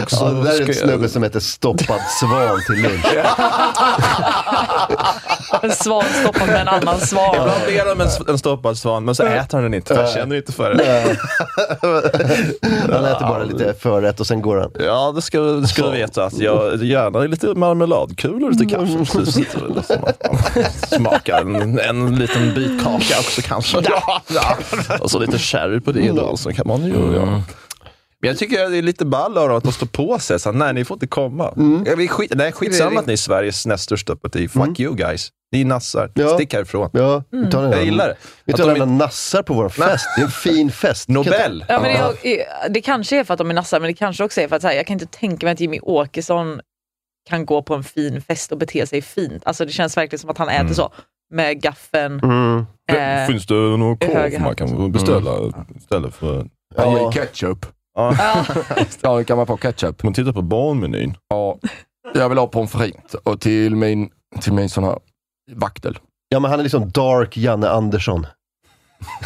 [SPEAKER 3] Och så
[SPEAKER 1] Ja, det där är
[SPEAKER 3] ska
[SPEAKER 1] en
[SPEAKER 3] jag-
[SPEAKER 1] snubbe som heter Stoppad svan till lunch.
[SPEAKER 2] En svan stoppad med en annan svan.
[SPEAKER 3] Ibland ber de en, en stoppad svan, men så äter han den inte. för Han känner inte för det.
[SPEAKER 1] Han äter bara lite förrätt och sen går han.
[SPEAKER 3] Ja, det ska, det ska du veta. Att jag gärna lite marmeladkulor till kaffe. Så sitter det liksom att man Smakar en, en liten bit kaka också kanske. Och så lite sherry på det då, så kan man ju göra. Men jag tycker det är lite ball av dem att de står på sig. Så här, nej, ni får inte komma. Ja, vi skit, nej, skitsamma att ni är Sveriges näst största parti. Fuck you guys. Ni är nassar. Stick härifrån. Mm.
[SPEAKER 1] Ja, vi tar den här-
[SPEAKER 3] Jag gillar det.
[SPEAKER 1] Vi
[SPEAKER 3] Att
[SPEAKER 1] tar
[SPEAKER 3] de
[SPEAKER 1] alla nassar på vår fest. Det är en fin fest.
[SPEAKER 3] Nobel.
[SPEAKER 2] Ja, men det, det kanske är för att de är nassar, men det kanske också är för att så här, jag kan inte tänka mig att Jimmy Åkesson kan gå på en fin fest och bete sig fint. Alltså Det känns verkligen som att han äter
[SPEAKER 3] Mm.
[SPEAKER 2] så med gaffeln. Eh,
[SPEAKER 3] Finns det någon korv
[SPEAKER 2] höger
[SPEAKER 3] man kan beställa istället för...
[SPEAKER 4] Mm. Ja. Ketchup. Ja, kan man få ketchup?
[SPEAKER 3] Man tittar på barnmenyn.
[SPEAKER 4] Ja. Jag vill ha pommes frites och till min, till min sån här vaktel.
[SPEAKER 1] Ja, men han är liksom dark Janne Andersson.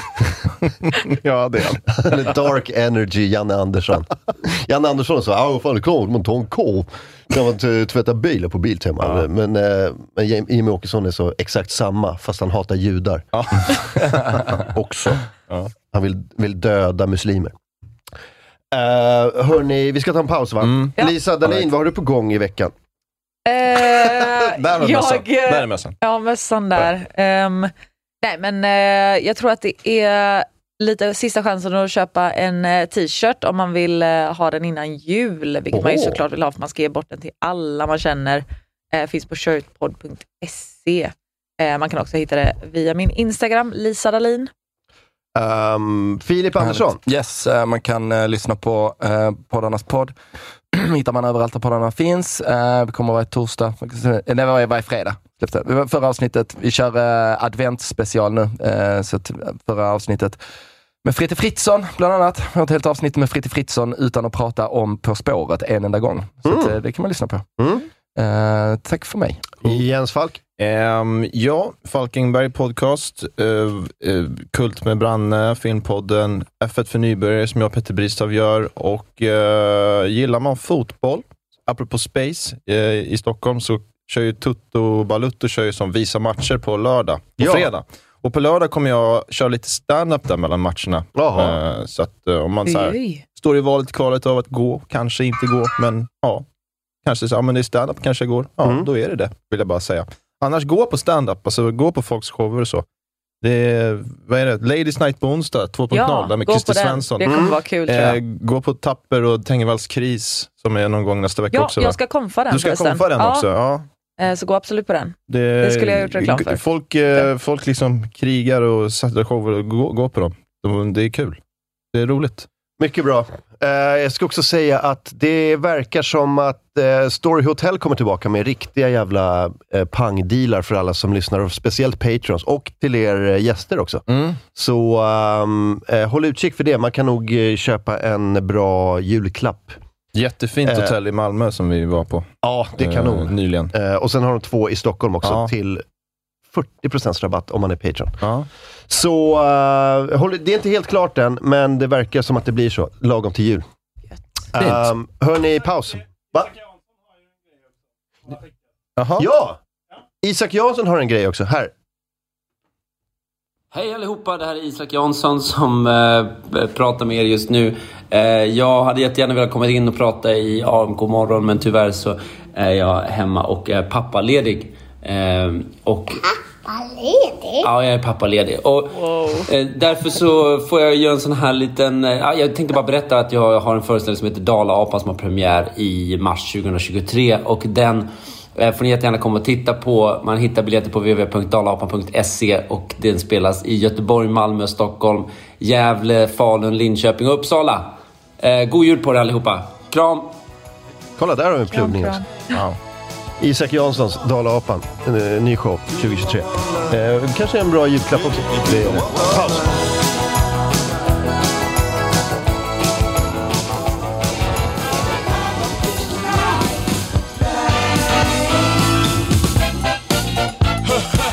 [SPEAKER 1] ja, det är Eller Dark Energy, Janne Andersson. Janne Andersson sa, ja fan det kommer man ta en korv. Kan man t- tvätta bilar på Biltema? Men, eh, men Jim- Jimmy Åkesson är så exakt samma, fast han hatar judar. Också. Han vill, vill döda muslimer. Uh, hörni, vi ska ta en paus va?
[SPEAKER 3] Mm.
[SPEAKER 1] Lisa Dahlin, vad har du på gång i veckan?
[SPEAKER 2] där
[SPEAKER 1] var mössan.
[SPEAKER 4] eh,
[SPEAKER 1] Där är mössan.
[SPEAKER 2] Ja, mössan där. Ehm, nej, men eh, jag tror att det är lite sista chansen att köpa en eh, t-shirt om man vill eh, ha den innan jul, vilket man ju
[SPEAKER 15] Åh.
[SPEAKER 2] såklart vill ha för man ska ge bort den till alla man känner. Eh, finns på shirtpod.se. Eh, man kan också hitta det via min Instagram, Lisa Dahlin.
[SPEAKER 1] Um, Filip
[SPEAKER 4] Andersson. Yes, eh, man kan eh, lyssna på eh, poddarnas podd. hittar man överallt där poddarna finns. Eh, det kommer varje torsdag, Eh, nej varje, varje fredag. släpps det. Det var Förra avsnittet, vi kör eh, adventsspecial nu. Eh, så att förra avsnittet med Fritte Fritzson bland annat. Jag har ett helt avsnitt med Fritte Fritzson utan att prata om På spåret en enda gång. Så att, eh, det kan man lyssna på. Eh, tack för mig.
[SPEAKER 1] Mm. Jens Falk?
[SPEAKER 3] Ehm, ja, Falkenberg podcast, eh, eh, Kult med Branne, Filmpodden, F1 för nybörjare som jag och Petter Bristav gör och eh, gillar man fotboll, apropå space eh, i Stockholm, så kör ju Tutto Balutto kör ju som visar matcher på lördag, på
[SPEAKER 1] Ja.
[SPEAKER 3] fredag. Och på lördag kommer jag köra lite stand-up där mellan matcherna. Eh, så att eh, om man så här,
[SPEAKER 2] Oj.
[SPEAKER 3] står i valet kvalet av att gå, kanske inte gå, men ja. Kanske så, ja, men det är stand-up kanske jag går. Ja, då är det det, vill jag bara säga. Annars, gå på stand-up, alltså gå på folks shower och så. Det är, vad är det? Ladies Night på onsdag 2.0,
[SPEAKER 2] Ja,
[SPEAKER 3] där med
[SPEAKER 2] gå
[SPEAKER 3] Christer
[SPEAKER 2] på den.
[SPEAKER 3] Svensson. Mm.
[SPEAKER 2] Det
[SPEAKER 3] Eh,
[SPEAKER 2] kommer vara kul, tror jag.
[SPEAKER 3] gå på Tapper och Tengvalls kris, som är någon gång nästa vecka
[SPEAKER 2] Ja,
[SPEAKER 3] också.
[SPEAKER 2] jag
[SPEAKER 3] va?
[SPEAKER 2] ska konfa den
[SPEAKER 3] Du ska
[SPEAKER 2] förresten.
[SPEAKER 3] konfa den
[SPEAKER 2] Ja.
[SPEAKER 3] också, ja.
[SPEAKER 2] Eh, så gå absolut på den. Det skulle jag ha gjort reklam för.
[SPEAKER 3] Folk, eh, folk liksom krigar och sätter shower och går gå på dem. De, det är kul. Det är roligt.
[SPEAKER 1] Mycket bra. Eh, jag ska också säga att det verkar som att eh, Story Hotel kommer tillbaka med riktiga jävla eh, pangdealar för alla som lyssnar, och speciellt patrons och till er eh, gäster också. Så ehm, eh, håll utkik för det. Man kan nog eh, köpa en bra julklapp.
[SPEAKER 3] Jättefint
[SPEAKER 1] Eh,
[SPEAKER 3] hotell i Malmö som vi var på.
[SPEAKER 1] Ja, det är
[SPEAKER 3] Eh,
[SPEAKER 1] kanon.
[SPEAKER 3] nyligen.
[SPEAKER 1] Eh, och sen har de två i Stockholm också
[SPEAKER 3] Ja.
[SPEAKER 1] till 40% rabatt om man är Patreon. Så eh, håll, det är inte helt klart än, men det verkar som att det blir så, lagom till jul. Um, hörni, paus. Va? Ja! Isak Jansson har en grej också. Här.
[SPEAKER 16] Hej allihopa, det här är Isak Jansson som eh, pratar med er just nu. Eh, jag hade jättegärna velat komma in och prata i AMK morgon men tyvärr så är jag hemma och är pappaledig. Eh, och
[SPEAKER 7] Ledig?
[SPEAKER 16] Ja, jag är pappaledig. Och, eh, därför så får jag göra en sån här liten... Eh, ja, jag tänkte bara berätta att jag har en föreställning som heter Dala-apan som har premiär i mars 2023. Och den eh, får ni jättegärna komma och titta på. Man hittar biljetter på www.dalaapan.se och den spelas i Göteborg, Malmö, Stockholm, Gävle, Falun, Linköping och Uppsala. Eh, god jul på er allihopa. Kram!
[SPEAKER 1] Kolla, där har vi en pluggning
[SPEAKER 16] kram.
[SPEAKER 1] också. Isak Janssons Dala-apan, en, eh, ny show 2023. Eh, kanske en bra julklapp också. Det är det. Paus.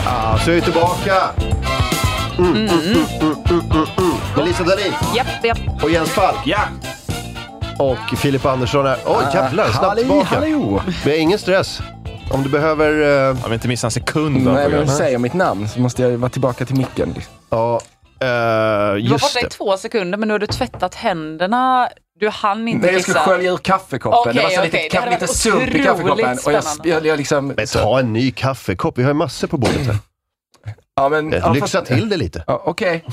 [SPEAKER 1] Ah, så är vi tillbaka. Mm, mm, mm, mm, mm, mm. Med Lisa Dahlin
[SPEAKER 2] Japp, japp.
[SPEAKER 1] och Jens Falk. Ja. Och Filip Andersson är... Oj,
[SPEAKER 3] Ah,
[SPEAKER 1] jävlar. Snabbt
[SPEAKER 3] Halli,
[SPEAKER 1] tillbaka.
[SPEAKER 3] hallå.
[SPEAKER 1] Det är ingen stress. Om du behöver... Uh...
[SPEAKER 3] Jag vill inte missa en sekund.
[SPEAKER 4] Nej, men du säger mitt namn så måste jag ju vara tillbaka till micken.
[SPEAKER 1] Ja, eh,
[SPEAKER 2] Du var borta i två sekunder men nu har du tvättat händerna. Du hann inte
[SPEAKER 4] Nej, jag skulle
[SPEAKER 2] kissa.
[SPEAKER 4] skölja ur kaffekoppen. det var så
[SPEAKER 2] Okej, okej.
[SPEAKER 4] lite,
[SPEAKER 2] Det
[SPEAKER 4] ka-
[SPEAKER 2] hade
[SPEAKER 4] lite
[SPEAKER 2] varit
[SPEAKER 4] sump i
[SPEAKER 2] otroligt
[SPEAKER 4] kaffekoppen. Och jag,
[SPEAKER 2] spännande.
[SPEAKER 4] jag, jag liksom,
[SPEAKER 1] Men ta en ny kaffekopp. Vi har ju massor på bordet här.
[SPEAKER 4] ja, men,
[SPEAKER 1] Eh,
[SPEAKER 4] ja,
[SPEAKER 1] Lyxa
[SPEAKER 4] fast-
[SPEAKER 1] till det lite.
[SPEAKER 4] Ja, Okej.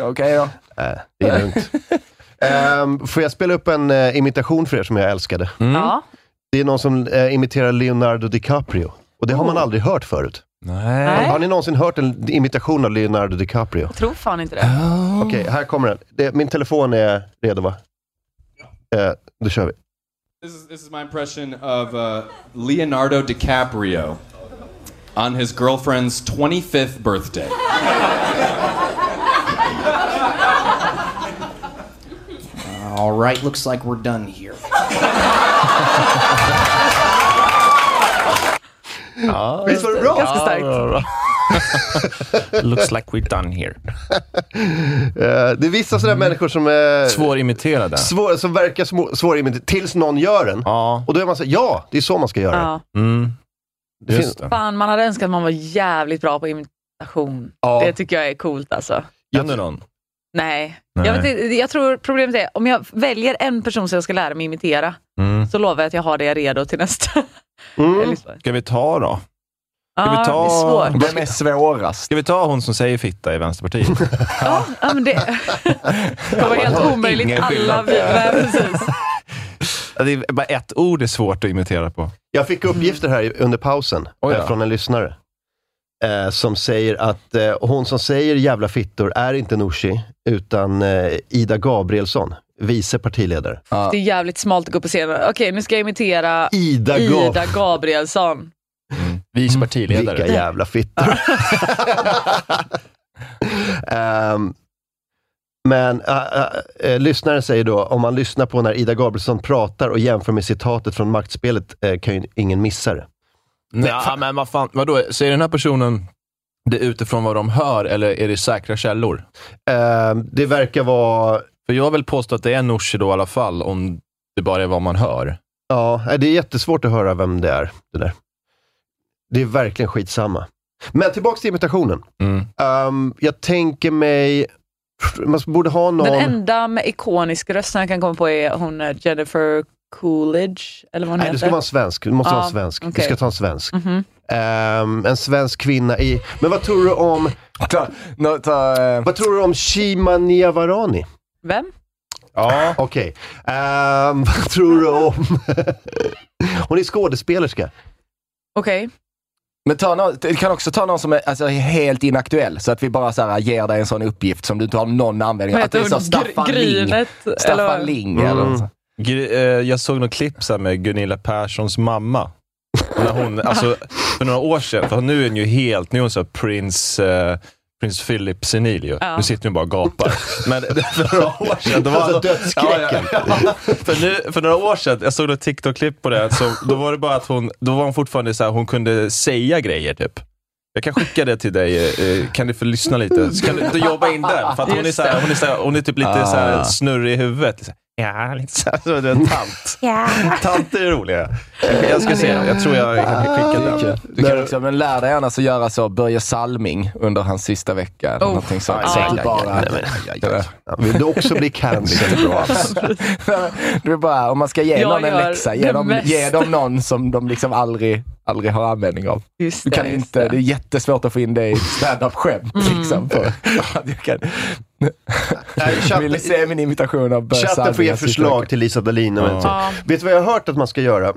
[SPEAKER 4] Okej då.
[SPEAKER 1] Nej, det är lugnt. Ehm, får jag spela upp en eh, imitation för er som jag älskade?
[SPEAKER 3] Mm.
[SPEAKER 2] Ja.
[SPEAKER 1] Det är någon som eh, imiterar Leonardo DiCaprio. Och det har man aldrig hört förut.
[SPEAKER 2] Nej.
[SPEAKER 1] Har ni någonsin hört en imitation av Leonardo DiCaprio?
[SPEAKER 2] Jag tror fan inte det.
[SPEAKER 1] Okej, här kommer den. Det, min telefon är redo va? Eh, då kör vi.
[SPEAKER 17] This is, this is my impression of uh, Leonardo DiCaprio on his girlfriend's 25th birthday.
[SPEAKER 18] All right, looks like we're done here.
[SPEAKER 1] Visst var det bra?
[SPEAKER 2] Ganska starkt.
[SPEAKER 1] Ja, det var bra.
[SPEAKER 3] Looks like we're done here.
[SPEAKER 1] Eh, det är vissa sådana människor som är...
[SPEAKER 3] Svårimiterade.
[SPEAKER 1] Svår, som verkar små- svårimiterade, tills någon gör den. Och då är man så här, ja, det är så man ska göra.
[SPEAKER 2] Ja.
[SPEAKER 3] mm.
[SPEAKER 1] Det finns-
[SPEAKER 2] Fan, man hade önskat att man var jävligt bra på imitation.
[SPEAKER 1] Ja.
[SPEAKER 2] Det tycker jag är coolt alltså.
[SPEAKER 3] Kan du någon?
[SPEAKER 2] Nej.
[SPEAKER 3] Nej.
[SPEAKER 2] Jag, vet, inte- jag tror problemet är, om jag väljer en person som jag ska lära mig imitera,
[SPEAKER 3] Mm.
[SPEAKER 2] så lovar jag att jag har det redo till nästa. Mm.
[SPEAKER 3] Ska vi ta då? Ska
[SPEAKER 2] Ja,
[SPEAKER 3] vi ta...
[SPEAKER 2] det är svårt.
[SPEAKER 3] är svårast? Ska vi ta hon som säger fitta i Vänsterpartiet?
[SPEAKER 2] Ja, men det det var helt omöjligt.
[SPEAKER 3] Ingen
[SPEAKER 2] Alla
[SPEAKER 3] skillnad.
[SPEAKER 2] vi, nej, precis.
[SPEAKER 3] Ja, Det är bara ett ord är svårt att imitera på.
[SPEAKER 1] Jag fick uppgifter här i- under pausen
[SPEAKER 3] Oj då.
[SPEAKER 1] eh, från en lyssnare. Eh, som säger att eh, hon som säger jävla fittor är inte Nooshi, utan eh, Ida Gabrielsson, vice partiledare.
[SPEAKER 2] Det är jävligt smalt att gå på scenen. Okej, nu ska jag imitera
[SPEAKER 1] Ida Gab-
[SPEAKER 2] Ida Gabrielsson.
[SPEAKER 1] Vice partiledare. Mm. Vilka jävla fittor. Ehm, men äh, äh, äh, lyssnaren säger då, om man lyssnar på när Ida Gabrielsson pratar och jämför med citatet från maktspelet eh, kan ju ingen missa det.
[SPEAKER 3] Nej, ah, men vad fan, vadå? Säger den här personen det utifrån vad de hör eller är det säkra källor?
[SPEAKER 1] Ehm, det verkar vara...
[SPEAKER 3] För jag vill påstå att det är Nooshi då i alla fall, om det bara är vad man hör.
[SPEAKER 1] Ja, nej, det är jättesvårt att höra vem det är. Det, där. det är verkligen skitsamma. Men tillbaks till imitationen.
[SPEAKER 3] Mm.
[SPEAKER 1] Ehm, jag tänker mig... Man borde ha någon...
[SPEAKER 2] Den enda med ikonisk röst som jag kan komma på är hon eh, Jennifer Coolidge, eller vad hon
[SPEAKER 1] Nej,
[SPEAKER 2] heter.
[SPEAKER 1] det ska vara en svensk. Du måste
[SPEAKER 2] Ja,
[SPEAKER 1] ha en svensk. Du
[SPEAKER 2] okej.
[SPEAKER 1] ska ta en svensk.
[SPEAKER 2] Mhm.
[SPEAKER 1] Ehm, en svensk kvinna i... Men vad tror du om... Vad tror du om Shima Niavarani?
[SPEAKER 2] Vem?
[SPEAKER 1] Ja. Okej. Ehm, vad tror du om... Hon är skådespelerska.
[SPEAKER 2] Okej.
[SPEAKER 4] Men ta någon, du kan också ta någon som är alltså, helt inaktuell, så att vi bara så här, ger dig en sån uppgift som du inte har någon användning
[SPEAKER 2] Vad
[SPEAKER 4] av. Att det är
[SPEAKER 2] heter
[SPEAKER 4] så
[SPEAKER 2] hon?
[SPEAKER 4] Staffan
[SPEAKER 2] Gr-
[SPEAKER 4] Ling.
[SPEAKER 2] Grynet,
[SPEAKER 4] Staffan
[SPEAKER 2] eller-
[SPEAKER 4] Ling.
[SPEAKER 3] Mm.
[SPEAKER 4] Eller något sånt.
[SPEAKER 3] Gr- eh, jag såg något klipp så här med Gunilla Perssons mamma. När hon, alltså, för några år sedan, för nu är hon ju helt, nu är hon så här prins, eh, prins Philip senil ju.
[SPEAKER 1] Ja.
[SPEAKER 3] Nu sitter hon bara och gapar. Men för några år sedan. då var
[SPEAKER 1] Alltså,
[SPEAKER 3] hon-
[SPEAKER 1] dödsskräcken.
[SPEAKER 3] Ja, ja, ja. För, nu, för några år sedan, jag såg ett TikTok-klipp på det, så då var det bara att hon, då var hon fortfarande så här, hon kunde säga grejer typ. Jag kan skicka det till dig, eh, kan du få lyssna lite? Så kan du inte jobba in den? För att hon, är
[SPEAKER 19] Just
[SPEAKER 3] så här,
[SPEAKER 19] det.
[SPEAKER 3] hon, är så här, hon är typ lite så
[SPEAKER 19] Ah.
[SPEAKER 3] här snurrig i huvudet. Liksom. Alltså, Ja, lite så här, så du är en tant.
[SPEAKER 19] Ja.
[SPEAKER 3] Tanter är roliga. Jag, jag ska se, jag tror jag
[SPEAKER 1] Ah,
[SPEAKER 3] skickar den.
[SPEAKER 4] Du kan också, men lär dig annars att göra så Börje Salming under hans sista vecka. eller
[SPEAKER 3] Oh.
[SPEAKER 4] Någonting sånt.
[SPEAKER 3] Aj,
[SPEAKER 4] så
[SPEAKER 3] aj,
[SPEAKER 4] att du
[SPEAKER 3] aj,
[SPEAKER 4] bara...
[SPEAKER 3] aj,
[SPEAKER 1] Vill du också bli cancelled?
[SPEAKER 4] Det är bra alls. Det är bara, om man ska ge
[SPEAKER 1] Jag
[SPEAKER 4] någon en
[SPEAKER 1] gör
[SPEAKER 4] läxa,
[SPEAKER 1] det
[SPEAKER 4] ge dem,
[SPEAKER 1] mest.
[SPEAKER 4] ge dem någon som de liksom aldrig, aldrig har användning av.
[SPEAKER 2] Just
[SPEAKER 4] du
[SPEAKER 2] det,
[SPEAKER 4] kan
[SPEAKER 2] just
[SPEAKER 4] inte,
[SPEAKER 2] det.
[SPEAKER 4] det. Mm. är jättesvårt att få in det i standup-skämt. Liksom, för att jag kan...
[SPEAKER 1] chatten-
[SPEAKER 4] Vill ni se min imitation av Börje
[SPEAKER 1] Chatten får
[SPEAKER 4] Salming?
[SPEAKER 1] ge förslag till Lisa Dahlin. och
[SPEAKER 4] Ja.
[SPEAKER 1] så.
[SPEAKER 4] Ja.
[SPEAKER 1] Vet du vad jag har hört att man ska göra?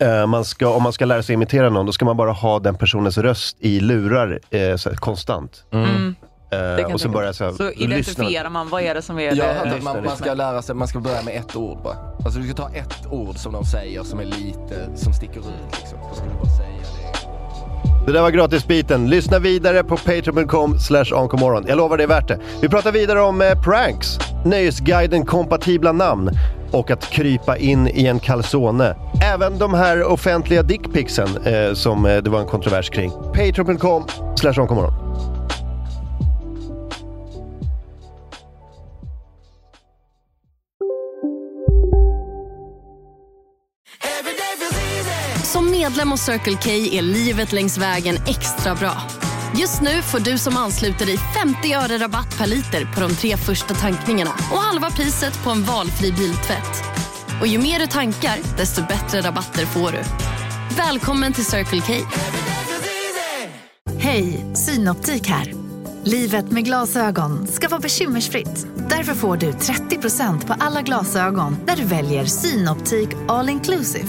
[SPEAKER 1] Eh, man ska, om man ska lära sig imitera någon, då ska man bara ha den personens röst i lurar eh, så här, konstant.
[SPEAKER 2] Mm.
[SPEAKER 1] Eh,
[SPEAKER 2] Det kan
[SPEAKER 1] och så
[SPEAKER 2] jag
[SPEAKER 1] börja
[SPEAKER 2] tänka
[SPEAKER 1] så,
[SPEAKER 2] mig.
[SPEAKER 1] här,
[SPEAKER 2] så identifierar man vad är det som är
[SPEAKER 4] Jag har
[SPEAKER 2] det.
[SPEAKER 4] hört att man, man ska lära sig, man ska börja med ett ord bara. Alltså du ska ta ett ord som de säger som är lite, som sticker ut liksom. Då ska du bara säga det.
[SPEAKER 1] Det där var gratisbiten. Lyssna vidare på patreon.com slash onkomorron. Jag lovar det är värt det. Vi pratar vidare om eh, pranks, Nöjesguiden kompatibla namn och att krypa in i en calzone. Även de här offentliga dickpicsen eh, som eh, det var en kontrovers kring. Patreon.com slash onkomorron.
[SPEAKER 20] Som medlem hos Circle K är livet längs vägen extra bra. Just nu får du som ansluter dig 50 öre rabatt per liter på de tre första tankningarna och halva priset på en valfri biltvätt. Och ju mer du tankar, desto bättre rabatter får du. Välkommen till Circle K.
[SPEAKER 6] Hej, Synoptik här. Livet med glasögon ska vara bekymmersfritt. Därför får du 30% på alla glasögon när du väljer Synoptik All Inclusive.